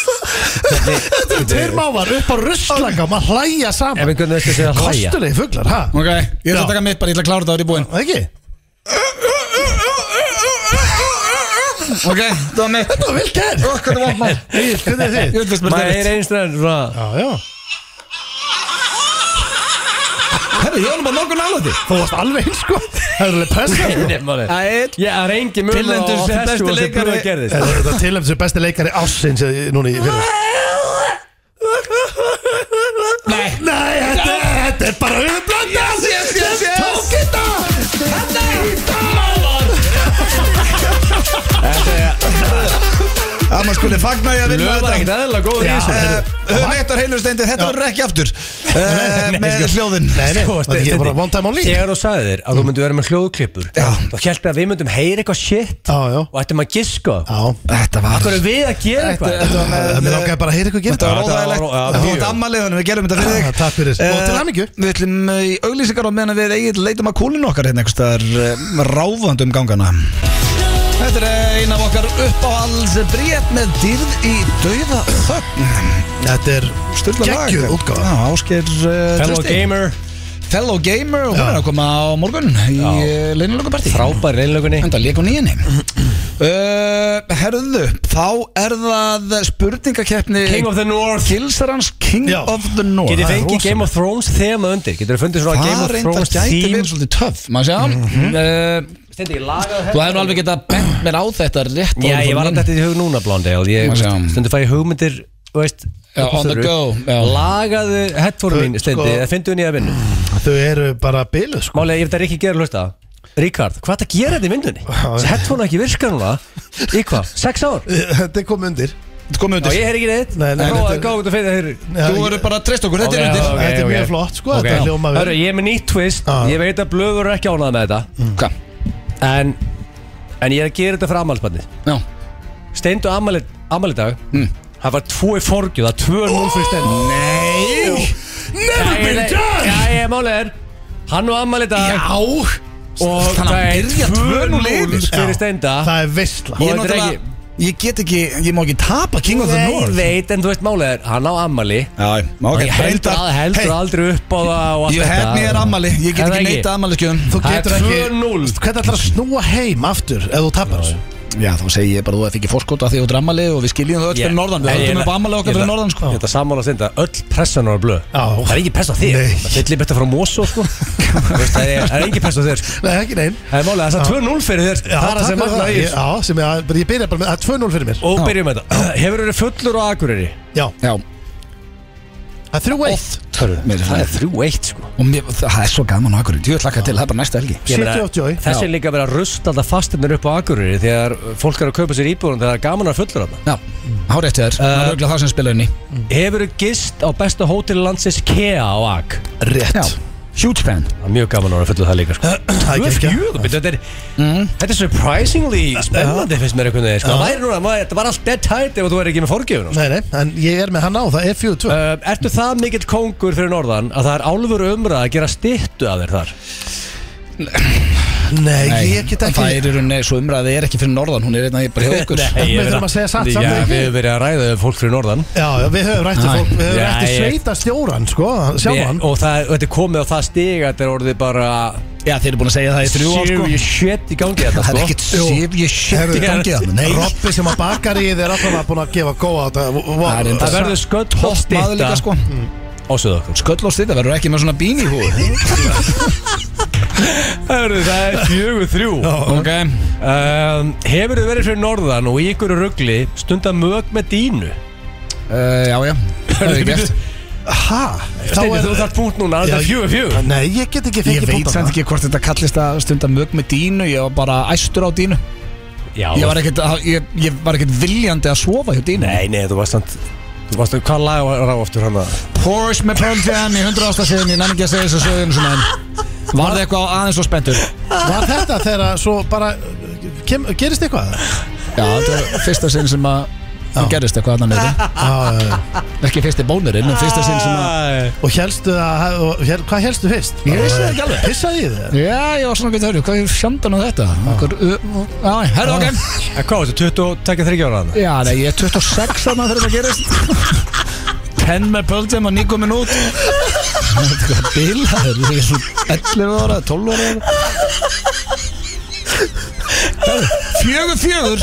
Speaker 2: Þetta eru tveir mávar upp á ruslangam að hlæja
Speaker 3: Ef
Speaker 2: saman
Speaker 3: einhvern veist að segja hlæja
Speaker 2: Kostulegi fuglar, ha?
Speaker 1: Ok, ég ætla að taka mitt bara, ég ætla að klára þetta árið búinn
Speaker 2: Það ekki?
Speaker 1: Ok, þetta var mitt
Speaker 2: Þetta var vel gerð
Speaker 1: Ó, hvað það var maður
Speaker 2: Egil, Hvernig er
Speaker 1: Ég
Speaker 2: þið?
Speaker 1: veit þess
Speaker 3: Maður
Speaker 1: maður
Speaker 3: er
Speaker 1: þetta
Speaker 3: einstæðan svona
Speaker 2: Já, já
Speaker 1: Herri, ég var nú bara nokkuð nála því
Speaker 2: Þú varst alveg eins sko Það er alveg pressa sko
Speaker 3: Nei, maður.
Speaker 1: Æt
Speaker 3: Ég er engin mun
Speaker 1: Tilnefndur sem besti leikari.
Speaker 3: Það gerðist
Speaker 2: Það er þetta tilhæmt sem besti leikari ásins eh, núna í fyrir
Speaker 1: Nei
Speaker 2: Nei, þetta, þetta er bara auðblanda
Speaker 1: Yes, yes, yes, yes.
Speaker 2: Tók þetta Þetta er
Speaker 1: Það maður skuli fagna ég að vinna
Speaker 3: Löð var ekkert
Speaker 1: þetta
Speaker 3: eðla góður í
Speaker 1: Eh,
Speaker 3: þessu
Speaker 1: Höfum eitt á heilusteindi, þetta verður ekki aftur eh, með hljóðin
Speaker 2: Nei, nei,
Speaker 3: Sko,
Speaker 2: þetta er ekki bara one time only
Speaker 3: Þegar þú sagði þér að þú myndi vera með hljóðklippur
Speaker 1: Já.
Speaker 3: Þá held að við myndum heyra eitthvað shit
Speaker 2: Já, já.
Speaker 3: Og ættum að giska á.
Speaker 2: Já,
Speaker 1: Þetta var
Speaker 3: Akkur er við að gera
Speaker 1: Þetta-
Speaker 3: eitthvað
Speaker 1: þetta var með-
Speaker 2: Mér ákveði bara að heyra ykkur
Speaker 1: Þetta
Speaker 2: gera
Speaker 1: var
Speaker 3: Já, þetta
Speaker 1: óþægilegt
Speaker 3: var- já,
Speaker 1: Þú átt
Speaker 3: mjög.
Speaker 1: ammaliðunum, við gerum þetta fyrir
Speaker 2: Já,
Speaker 1: þig
Speaker 2: takk fyrir. Og
Speaker 1: Eh,
Speaker 2: til hamingju.
Speaker 1: Við ætlum eh, í auglýsingar og meðan við eigin leitum að kúlinu okkar hérna einhvers staðar ráfand um gangana Þetta er eh, ein af okkar uppáhalds brétt með dýrð í dauða þögn
Speaker 2: Þetta er
Speaker 1: Sturla lag
Speaker 2: geggjöð útgáfa
Speaker 1: Já, Ásker
Speaker 3: Fellow gamer,
Speaker 1: Fellow Gamer og hún er að koma á morgun í leinilökupartí
Speaker 3: frábær reynlögunni
Speaker 1: Enda leik og nýjunni uh, Herðu, þá er það spurningakeppni
Speaker 3: King of the North
Speaker 1: Kilsarans King
Speaker 2: Já.
Speaker 1: of the North
Speaker 3: Getið
Speaker 1: Það er
Speaker 3: fengið
Speaker 1: rosalegt.
Speaker 3: Game of Thrones þema undir Getið þið fundið svona Game
Speaker 1: Það
Speaker 3: of
Speaker 1: reyndar
Speaker 3: Thrones
Speaker 1: gæti
Speaker 3: theme Mhm.
Speaker 1: verið svolítið töff Má sjá uh,
Speaker 3: Stendi, ég lagaði
Speaker 1: Þú hefur nú alveg getað bent mér á þetta rétt
Speaker 3: Já,
Speaker 1: áður
Speaker 3: ég
Speaker 1: fór
Speaker 3: var
Speaker 1: minn.
Speaker 3: að þetta í hug núna blóndi Og ég
Speaker 1: Má sjá.
Speaker 3: stundi fæ ég hugmyndir Þú veist
Speaker 1: Já,
Speaker 3: upp úr
Speaker 1: on the
Speaker 3: þurru.
Speaker 1: go, já.
Speaker 3: Lagaðu headphone mín
Speaker 2: Sko-
Speaker 3: Stendi, það finnum ég að vinnu
Speaker 2: Þau eru bara biluð sko
Speaker 3: Málega, ég veit að Rikki gerur hlusta Ríkard, hvað er það að gera þetta í myndunni? Þessi headphone ekki virka núna Í hvað? Sex ár?
Speaker 2: Þetta er komið undir
Speaker 1: Þetta komið
Speaker 3: Já,
Speaker 1: undir
Speaker 3: ég heyr ekki neitt
Speaker 2: Nei, nei,
Speaker 3: Prófaðu
Speaker 2: þetta-
Speaker 3: að gá út og fyrir það heyr
Speaker 2: Já,
Speaker 1: Þú
Speaker 2: ég-
Speaker 1: verður bara að treysta okkur, þetta
Speaker 3: Ok,
Speaker 1: er undir
Speaker 3: ok.
Speaker 2: Þetta er mjög
Speaker 3: ok.
Speaker 2: flott sko Þetta er hljóma
Speaker 3: Hörru, ég er með nýtt twist
Speaker 2: Já.
Speaker 3: Ég veit að blöður er ekki ánað með þetta
Speaker 1: Hvað?
Speaker 3: En, en ég er að gera þetta fyrir ammálspannið
Speaker 1: Já,
Speaker 3: Steindu ammali, ammali dag Það var tvo í forgju, það er 2-0 fyrir stend Nei Never been done Já, ég er málega er Hann og ammali dag Já Og
Speaker 1: Þannig að
Speaker 3: það er
Speaker 1: byrja 2-0 yfir,
Speaker 3: 2-0
Speaker 1: sko.
Speaker 3: fyrir steinda
Speaker 2: Það er veistla
Speaker 1: ég
Speaker 3: Og
Speaker 1: er
Speaker 3: þetta er
Speaker 1: náttúrulega Ég get ekki, ég má ekki tapa King of the
Speaker 3: Nei,
Speaker 1: North
Speaker 3: veit, en þú veist málega er Hann á ammali
Speaker 1: Já,
Speaker 3: Og
Speaker 1: ok
Speaker 3: ég heldur, að, heldur
Speaker 1: Hey,
Speaker 3: aldrei upp á það og allt
Speaker 1: Ég hef
Speaker 3: þetta.
Speaker 1: mér ammali, ég get
Speaker 3: Er það
Speaker 1: ekki neitt ammali skjöðum
Speaker 2: Þú
Speaker 3: Það er
Speaker 2: getur ekki
Speaker 3: 2-0.
Speaker 2: Hvernig ætlar að snúa heim aftur Ef þú tapar þessu
Speaker 1: Já, þá segi ég bara þú að fikk ég fórskóta því þú ert ammali og við skiljum þau öll
Speaker 3: Ég-
Speaker 1: fyrir norðan
Speaker 3: Nei,
Speaker 1: Við
Speaker 3: ég-
Speaker 1: höldum upp ammali
Speaker 3: ég-
Speaker 1: okkar fyrir norðan sko
Speaker 3: Ég ætla sammála að senda öll pressan á blöð
Speaker 2: Já.
Speaker 3: Það er ekki press á þig
Speaker 2: Nei.
Speaker 3: Það fyllir betur frá Mosó sko Þú veist, Það er, það er ekki press á þig sko.
Speaker 2: Nei, ekki neinn
Speaker 3: Það er málega þess að 2-0 fyrir þér
Speaker 2: Já,
Speaker 3: Það er það
Speaker 2: takk
Speaker 3: sem
Speaker 2: fyrir
Speaker 3: magna í
Speaker 2: það.
Speaker 3: þessu.
Speaker 2: Já, sem ég, bara- ég byrja bara með Það er 2-0 fyrir mér
Speaker 3: Og byrjum með þetta Hefur verið fullur á Akureyri?
Speaker 2: Já,
Speaker 1: Já,
Speaker 2: það er 3-1
Speaker 1: törru mér er
Speaker 3: Það
Speaker 1: það.
Speaker 3: er 3-1 sko
Speaker 1: Og mér, það er svo gaman á akkurinn, ég ætla ekki til, það er bara næsta helgi
Speaker 3: Ég meina,
Speaker 2: 78.
Speaker 3: Þessi er líka verið að rusta alltaf fastinnir upp á Akureyri Þegar fólk er að kaupa sér íbúðan Þegar það er gaman að fullur á það
Speaker 1: Já, hárétt þér, það er auðvitað það sem spila henni
Speaker 3: Hefur gist á besta hótel landsins Kea á Ak
Speaker 1: Já,
Speaker 2: Rétt
Speaker 1: huge fan
Speaker 3: Það er Mjög gaman að vera fullur það líka sko.
Speaker 2: Það er ekki
Speaker 3: Jú, betur, þetta er
Speaker 1: Mm.
Speaker 3: Þetta er surprisingly spennandi finnst mér einhvern veginn sko. Það væri núna, maður- þetta var allt dead tight ef þú er ekki með forgjöfun sko.
Speaker 2: Nei, nei, en ég er með hann á Það er 4-2
Speaker 3: uh, Ertu það mikill kongur fyrir norðan að það er álfur umrað að gera styttu að þér þar
Speaker 2: Nei, ég get ekki
Speaker 1: Það er í rauninni, svo umræði er ekki fyrir norðan, hún er einnig bara hjá okkur
Speaker 2: Nei. Við þurfum að segja satt
Speaker 3: Já,
Speaker 2: samt ekki.
Speaker 3: við höfum verið að ræða við fólk fyrir norðan
Speaker 2: Já, já, við höfum rættið
Speaker 1: Nei.
Speaker 2: fólk Við höfum
Speaker 3: Já,
Speaker 2: rættið
Speaker 3: ég-
Speaker 2: sveita stjóran, sko Sjálfan
Speaker 3: Við- Og það, og þetta er komið á það stig að þetta er orðið bara
Speaker 1: Já, þeir eru búin að segja það í þrjú ár sko
Speaker 3: Serious shit í gangi þetta
Speaker 1: Það er
Speaker 3: sko
Speaker 1: ekkert sif, ég shit í gangi að Nei,
Speaker 2: Robbi sem að bakar í þeir alltaf að búin að gefa góða á þetta
Speaker 1: Það er
Speaker 3: Það
Speaker 1: enda-
Speaker 2: Vá.
Speaker 3: verður sköll og
Speaker 1: topp maður
Speaker 3: stytta
Speaker 1: líka sko
Speaker 3: á söðokkum
Speaker 1: Sköll og stýta, verður ekki með svona bín í húð
Speaker 3: Það verður- það er fjögur þrjú
Speaker 1: Ok
Speaker 3: um, Hefur þið verið fyrir norðan og í ykkur ruggli stunda mög með dínu?
Speaker 1: Eh, Já, já, það er ekki eftir
Speaker 2: Ha? Þá
Speaker 3: Steini,
Speaker 2: er
Speaker 3: þú þarf punkt núna, þetta er
Speaker 2: Já,
Speaker 3: fjögur fjögur
Speaker 2: Nei, ég get ekki
Speaker 1: Ég
Speaker 2: fengið
Speaker 1: veit
Speaker 2: punktana.
Speaker 1: samt ekki hvort þetta kallist að stunda mög með dínu Ég var bara æstur á dínu
Speaker 3: Já,
Speaker 1: Ég var ekkert, ég, ég var ekkert viljandi að sofa hjá dínu
Speaker 3: Nei, nei, þú varst samt Þú varst, hvað lag var á aftur hann að
Speaker 1: Porsche með Pearl Jam í 100 ástasiðin Ég nefn ekki að segja þessu sögðinu sem enn Var það eitthvað aðeins og spenntur?
Speaker 2: Var þetta þegar að svo bara kem, Gerist eitthvað?
Speaker 1: Já, þetta var fyrsta sinn sem að það gerist eitthvað annan neyri
Speaker 2: Já, já, já.
Speaker 1: Ekki fyrsti bónurinn, en fyrsta sinn sem að
Speaker 2: Og helstu að, og, hér, hvað helstu fyrst?
Speaker 1: Ég vissi það ekki alveg.
Speaker 2: Pissaði ég þið?
Speaker 1: Já, ég var svona getur hörðu, hvað er sjandan á þetta? Okkur, já, herðu ok
Speaker 3: En hvað varstu, 23 ára hann?
Speaker 1: Já, nei, ég er 26 þarna þegar þetta gerist 10 með Pearl Jam og nýgum minn út Þetta er eitthvað bilaður ég er svona 11 ára, 12 ára Fjögur, fjögur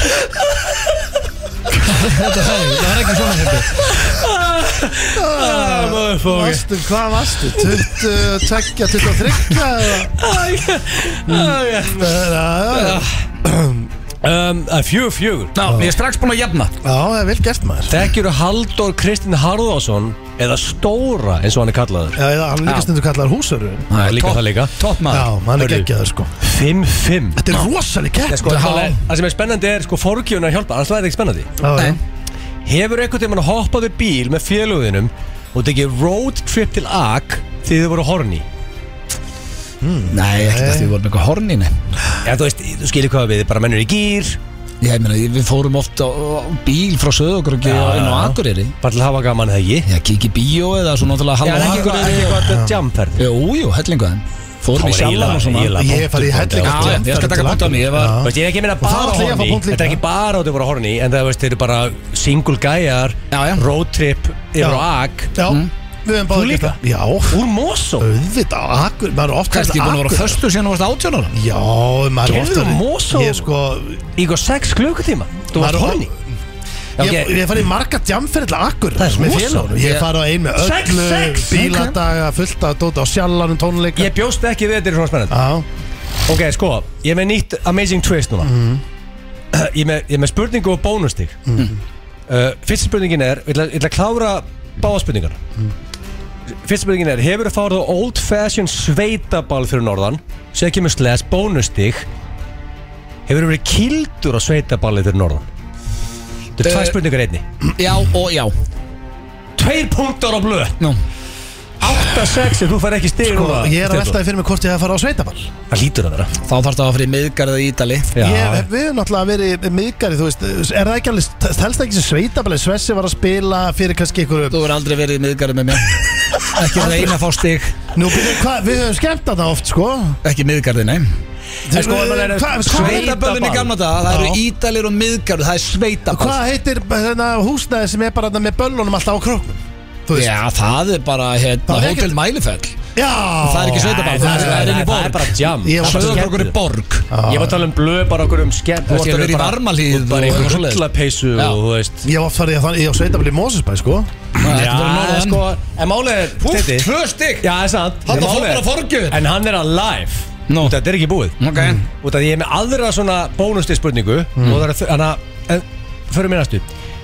Speaker 1: Þetta er það, það er ekki svona hefði
Speaker 3: Motherfucker
Speaker 2: Vastu, hvað vastu? 22, 23 eða? Eða, Já, já.
Speaker 3: Um, Það er fjögur fjögur
Speaker 1: Ná, ég er strax búinn að jafna
Speaker 2: Já, það er vel gert maður
Speaker 3: Þekkjur Halldór Kristinn Harðásson eða Stóra eins og hann er kallaður
Speaker 2: Já, já, hann er líka stundur kallar húsörun
Speaker 3: Það er líka
Speaker 1: topp-
Speaker 3: það líka
Speaker 1: Topp
Speaker 2: Já,
Speaker 1: maður
Speaker 2: hann er
Speaker 3: Hörðu.
Speaker 2: geggjaður sko
Speaker 3: 5-5
Speaker 2: Þetta er rosalega
Speaker 3: Nei,
Speaker 2: kætt
Speaker 3: sko, Það er- það sem er spennandi er sko forgjöfun að hjálpa, annars er þetta ekki spennandi
Speaker 2: Já, já
Speaker 3: Hefur einhvern tímann hoppað við bíl með félögðinum og tekið road trip til AK því þið voru horny
Speaker 1: Nei, ekki þetta við vorum eitthvað hornin
Speaker 3: Já, þú veist, þú skilir hvað við, bara mennur í gýr
Speaker 1: Ég meina, við fórum oft á, á bíl frá Söðugröggi
Speaker 3: Já,
Speaker 1: og inn
Speaker 3: já, já.
Speaker 1: á Akureyri
Speaker 3: bara til að hafa gaman eða ekki
Speaker 1: Já, kikið bíó eða svo náttúrulega
Speaker 3: Já, en
Speaker 1: halva
Speaker 3: ekki eitthvað- ekki
Speaker 1: Akureyri og-
Speaker 3: eitthvað þetta jamferð
Speaker 1: Jú, jú, hellingaðan Fórum í sjallan og svona
Speaker 2: Ég hef farið í hellinga
Speaker 1: Já, já, ég skal taka punkt á mig, ég var-
Speaker 2: Já.
Speaker 3: Veist, ég er ekki að minna
Speaker 2: það
Speaker 3: bara
Speaker 2: ætla ég að fá
Speaker 3: horni
Speaker 2: punkt líka.
Speaker 3: Þetta er ekki bara út að voru horni En það veist, þeir eru bara single gæjar
Speaker 1: Já, já.
Speaker 3: Road trip
Speaker 2: Já.
Speaker 3: yfir á AK
Speaker 2: Já,
Speaker 1: Mm.
Speaker 2: við hefum
Speaker 3: Þú
Speaker 2: báðið
Speaker 3: líka?
Speaker 2: það Já,
Speaker 3: Úr Mosó
Speaker 2: auðvitað, akkur, maður er oft
Speaker 1: Hvað er ekki búin að vera á
Speaker 2: Akureyri.
Speaker 1: föstu síðan þú varst 18 ára?
Speaker 2: Já, maður er
Speaker 3: Gerðu
Speaker 2: oft verið-
Speaker 3: Mosó.
Speaker 2: Ég sko,
Speaker 3: Í hvað 6 klukkutíma Þú
Speaker 2: Maður
Speaker 3: varst
Speaker 2: er
Speaker 3: horni
Speaker 2: ég ég hef farið í marga djamferðla akkur
Speaker 3: Það er
Speaker 2: með
Speaker 3: Mosó.
Speaker 2: félagunum. Ég hef
Speaker 1: Ég-
Speaker 2: farið á ein með
Speaker 3: Sex,
Speaker 2: öllu
Speaker 3: sex,
Speaker 2: Bíladaga, fullt að dóta á sjallanum tónleika
Speaker 3: Ég bjóst ekki við þetta er svona spennandi
Speaker 2: Já,
Speaker 3: Ok, sko, ég er með nýtt amazing twist núna
Speaker 2: Mhm.
Speaker 3: ég, er með, ég er með spurningu og bónustík mm.
Speaker 2: Mhm.
Speaker 3: uh, Fyrsta spurningin er Ég ætla ég ætla að klára báða spurningar
Speaker 2: Mhm.
Speaker 3: Fyrsta spurningin er Hefur þú farið á old fashion sveitaball fyrir norðan Sér kemur slæðs bónustík Hefur þú verið kildur á sveitaballi fyrir norðan Þetta er
Speaker 1: Eh.
Speaker 3: tvær spurningar í einni
Speaker 1: Já og já
Speaker 3: Tveir punktar á blöð
Speaker 1: Nú,
Speaker 3: 8-6 ef þú fær ekki stig
Speaker 2: sko,
Speaker 3: núna,
Speaker 2: ég er að
Speaker 3: Steindór.
Speaker 2: veltaði fyrir mig hvort ég hef farið á sveitaball
Speaker 3: Það lítur að vera
Speaker 1: þá þarf það að fara í miðgarðið í Ídali
Speaker 3: Já.
Speaker 2: Ég hef við höfum náttúrulega verið miðgari, þú veist Er það ekki alveg, telst það ekki sem sveitaball Svessi var að spila fyrir kannski einhverju
Speaker 1: Þú verður aldrei verið í miðgarðið með mér Ekki reyna að fá stig
Speaker 2: Nú, byrju, hvað, við höfum skemmt að það oft, sko
Speaker 1: Ekki miðgarðið, nei
Speaker 3: En sko, ef maður er-
Speaker 2: Hvað- hvað-
Speaker 1: Sveitaböllin í gamla daga, það eru Ídalir og miðgarðið, það er sveitaball
Speaker 2: Hvað heitir hérna, húsnæði sem er bara hérna, með böllunum alltaf á króknum? Þú veist?
Speaker 1: Já, það er bara hérna,
Speaker 2: Það er
Speaker 1: Hotel
Speaker 2: ekkert-
Speaker 1: Mælifell
Speaker 2: Já
Speaker 1: Það er ekki
Speaker 3: Nei,
Speaker 1: sveitaball,
Speaker 3: það
Speaker 1: það er- það er inn
Speaker 3: nei,
Speaker 1: í
Speaker 3: það er
Speaker 1: borg
Speaker 3: bara jam
Speaker 2: Ég var-
Speaker 1: Söðurkrokur er borg
Speaker 3: Ég var að tala um blöð bara okkur um skemmt
Speaker 1: Þú ert að vera í varmahlíð
Speaker 3: og bara
Speaker 1: og eitthvað
Speaker 3: einhver
Speaker 1: svoleiðis.
Speaker 3: hullapeysu
Speaker 1: Já.
Speaker 3: og þú veist
Speaker 2: Ég var farið í þann- ég á sveitabli í Mósusbæ, sko
Speaker 1: Það er bara
Speaker 3: Já,
Speaker 1: norðan
Speaker 3: sko, en málið er
Speaker 1: Úff,
Speaker 3: Steindi-
Speaker 1: tvö stygg
Speaker 3: Já, það er sant
Speaker 1: Þarna
Speaker 3: En
Speaker 1: fór
Speaker 3: málið er-
Speaker 1: bara forgjöfin.
Speaker 3: En hann er alive
Speaker 1: Nú.
Speaker 3: Út af Þetta er ekki búið
Speaker 1: Ok, Mm.
Speaker 3: Út af því ég er með aðra svona bónusti spurningu og það er að þannig að en förum við næstu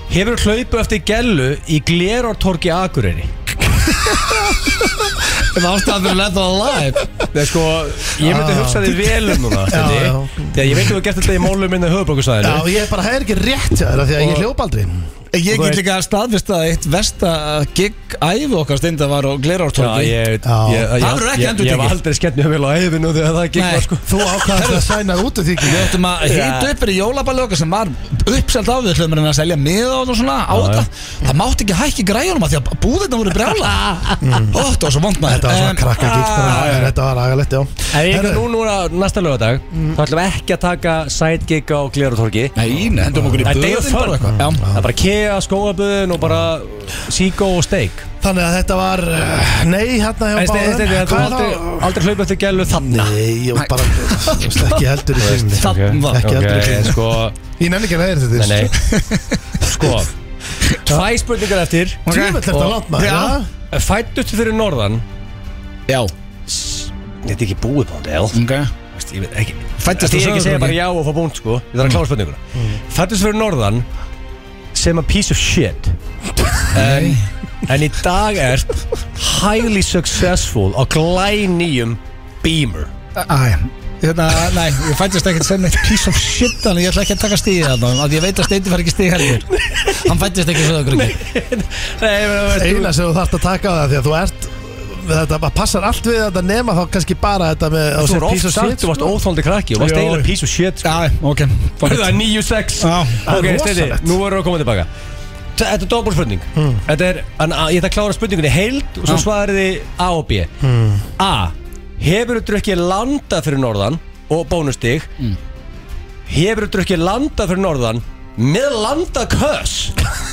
Speaker 3: Hefur hlaupu eftir gellu í Glerortorki Akureyri?
Speaker 1: það Um ástæðan fyrir lett og live
Speaker 3: Það er sko, ég myndi
Speaker 2: Ah.
Speaker 3: hugsa þig vel um núna
Speaker 2: Já,
Speaker 3: Steindi.
Speaker 2: já.
Speaker 3: Þegar ég veit að þú gert þetta í málum minna höfuborgarsæðinu
Speaker 2: Já, ég er bara, það er ekki rétt hjá þér af Því að
Speaker 3: Og-
Speaker 2: ég hljópa aldrei
Speaker 1: Ég
Speaker 3: Þú
Speaker 1: get
Speaker 3: veist-
Speaker 1: líka að staðfesta að eitt versta gig æfi okkar steinda var á
Speaker 3: Já,
Speaker 1: Glerártorgi
Speaker 3: ég, ég,
Speaker 2: Já.
Speaker 3: ég,
Speaker 1: Það verður ekki
Speaker 3: ég, ég,
Speaker 1: endurtekið.
Speaker 3: hef aldrei skemmt mjög vel á æfinu þegar það gekk
Speaker 1: Nei.
Speaker 3: var sko
Speaker 2: Þú ákvæðast að sæna út af því ekki
Speaker 1: Við ættum að hýta upp fyrir jólaballi okkar sem var uppselt á við hlöfum en að selja miða á þetta og svona á þetta Það mátti ekki hækki græjunum að því að búðirna voru brjála
Speaker 3: Mm.
Speaker 1: Ó, það var svo vond maður
Speaker 2: Þetta var
Speaker 1: Em,
Speaker 2: svona krakka gík Þetta var agalegt, Ah, já
Speaker 3: En ég
Speaker 2: Herru,
Speaker 3: nú núna næsta lögadag Þá ætlum við ekki að taka sidegig á Glerutorki
Speaker 1: Nei, nei, hendum okkur í
Speaker 3: Það er day of
Speaker 1: böðin
Speaker 3: fun.
Speaker 1: bara eitthvað Já,
Speaker 3: Það er bara kea, skóaböðun og bara síkó og steik
Speaker 2: Þannig að þetta var uh, Nei, hérna hjá
Speaker 3: En steik, steik,
Speaker 2: báðum
Speaker 3: steik, þú
Speaker 2: Hvað er
Speaker 3: aldrei,
Speaker 2: þá?
Speaker 3: aldrei hlaupa eftir gælu þannig
Speaker 2: Nei, ég var bara þú veist, Ekki heldur í því
Speaker 1: það var
Speaker 2: Ekki aldrei
Speaker 3: Ok,
Speaker 2: klín.
Speaker 3: sko
Speaker 2: Ég nenni ekki að leiðir þetta
Speaker 3: Nei, nei Sko Tvæ spurningar eftir
Speaker 2: Tjúvill er þetta
Speaker 3: Og-
Speaker 2: langt maður
Speaker 1: Já.
Speaker 2: já?
Speaker 3: Fættustu fyrir norðan
Speaker 1: Já,
Speaker 3: Þetta er ekki búið bán, Del
Speaker 1: ok
Speaker 3: Ég veit ekki
Speaker 1: Fæddist
Speaker 3: Þetta
Speaker 1: á
Speaker 3: er ekki að segja
Speaker 1: Sauðárkróki?
Speaker 3: bara já og fá búnt sko Ég þarf að klára spurninguna Fættist fyrir norðan sem a piece of shit en, en í dag ert highly successful á glænýjum Beamer
Speaker 1: Æ, hérna, nei, ég fættist ekkert sem eitt piece of shit Þannig ég ætla ekki að taka stíði þarna af Því ég veit að Steindi fær ekki stíði helgur Hann fættist ekki svo okkur ekki
Speaker 3: Nei, ég meina, veist,
Speaker 2: eina sem þú þarft að taka á það því að þú ert þetta bara passar allt við þetta nema þá kannski bara þetta með að
Speaker 3: Þú
Speaker 2: sé
Speaker 3: var
Speaker 2: piece
Speaker 3: oft
Speaker 2: of
Speaker 3: sagt,
Speaker 2: shit,
Speaker 3: þú varst
Speaker 2: sko.
Speaker 3: óþóldi krakki og varst
Speaker 2: Já.
Speaker 3: eiginlega piece of shit sko.
Speaker 1: Já, ok fuck
Speaker 3: Það
Speaker 1: it.
Speaker 3: er 9-6
Speaker 1: Já.
Speaker 2: Það
Speaker 3: Ok,
Speaker 2: er
Speaker 3: Steindi,
Speaker 2: rosalegt. Hmm.
Speaker 3: nú erum við að koma tilbaka Þa- Þetta er dobbul spurning Þetta er, en, a, Ég ætla að klára spurningunni heild og svo
Speaker 1: Já.
Speaker 3: svarið þið A og B
Speaker 2: Hmm.
Speaker 3: A. Hefur þú drukkið landað fyrir norðan og bónustig Hefur þú drukkið landað fyrir norðan með landað kös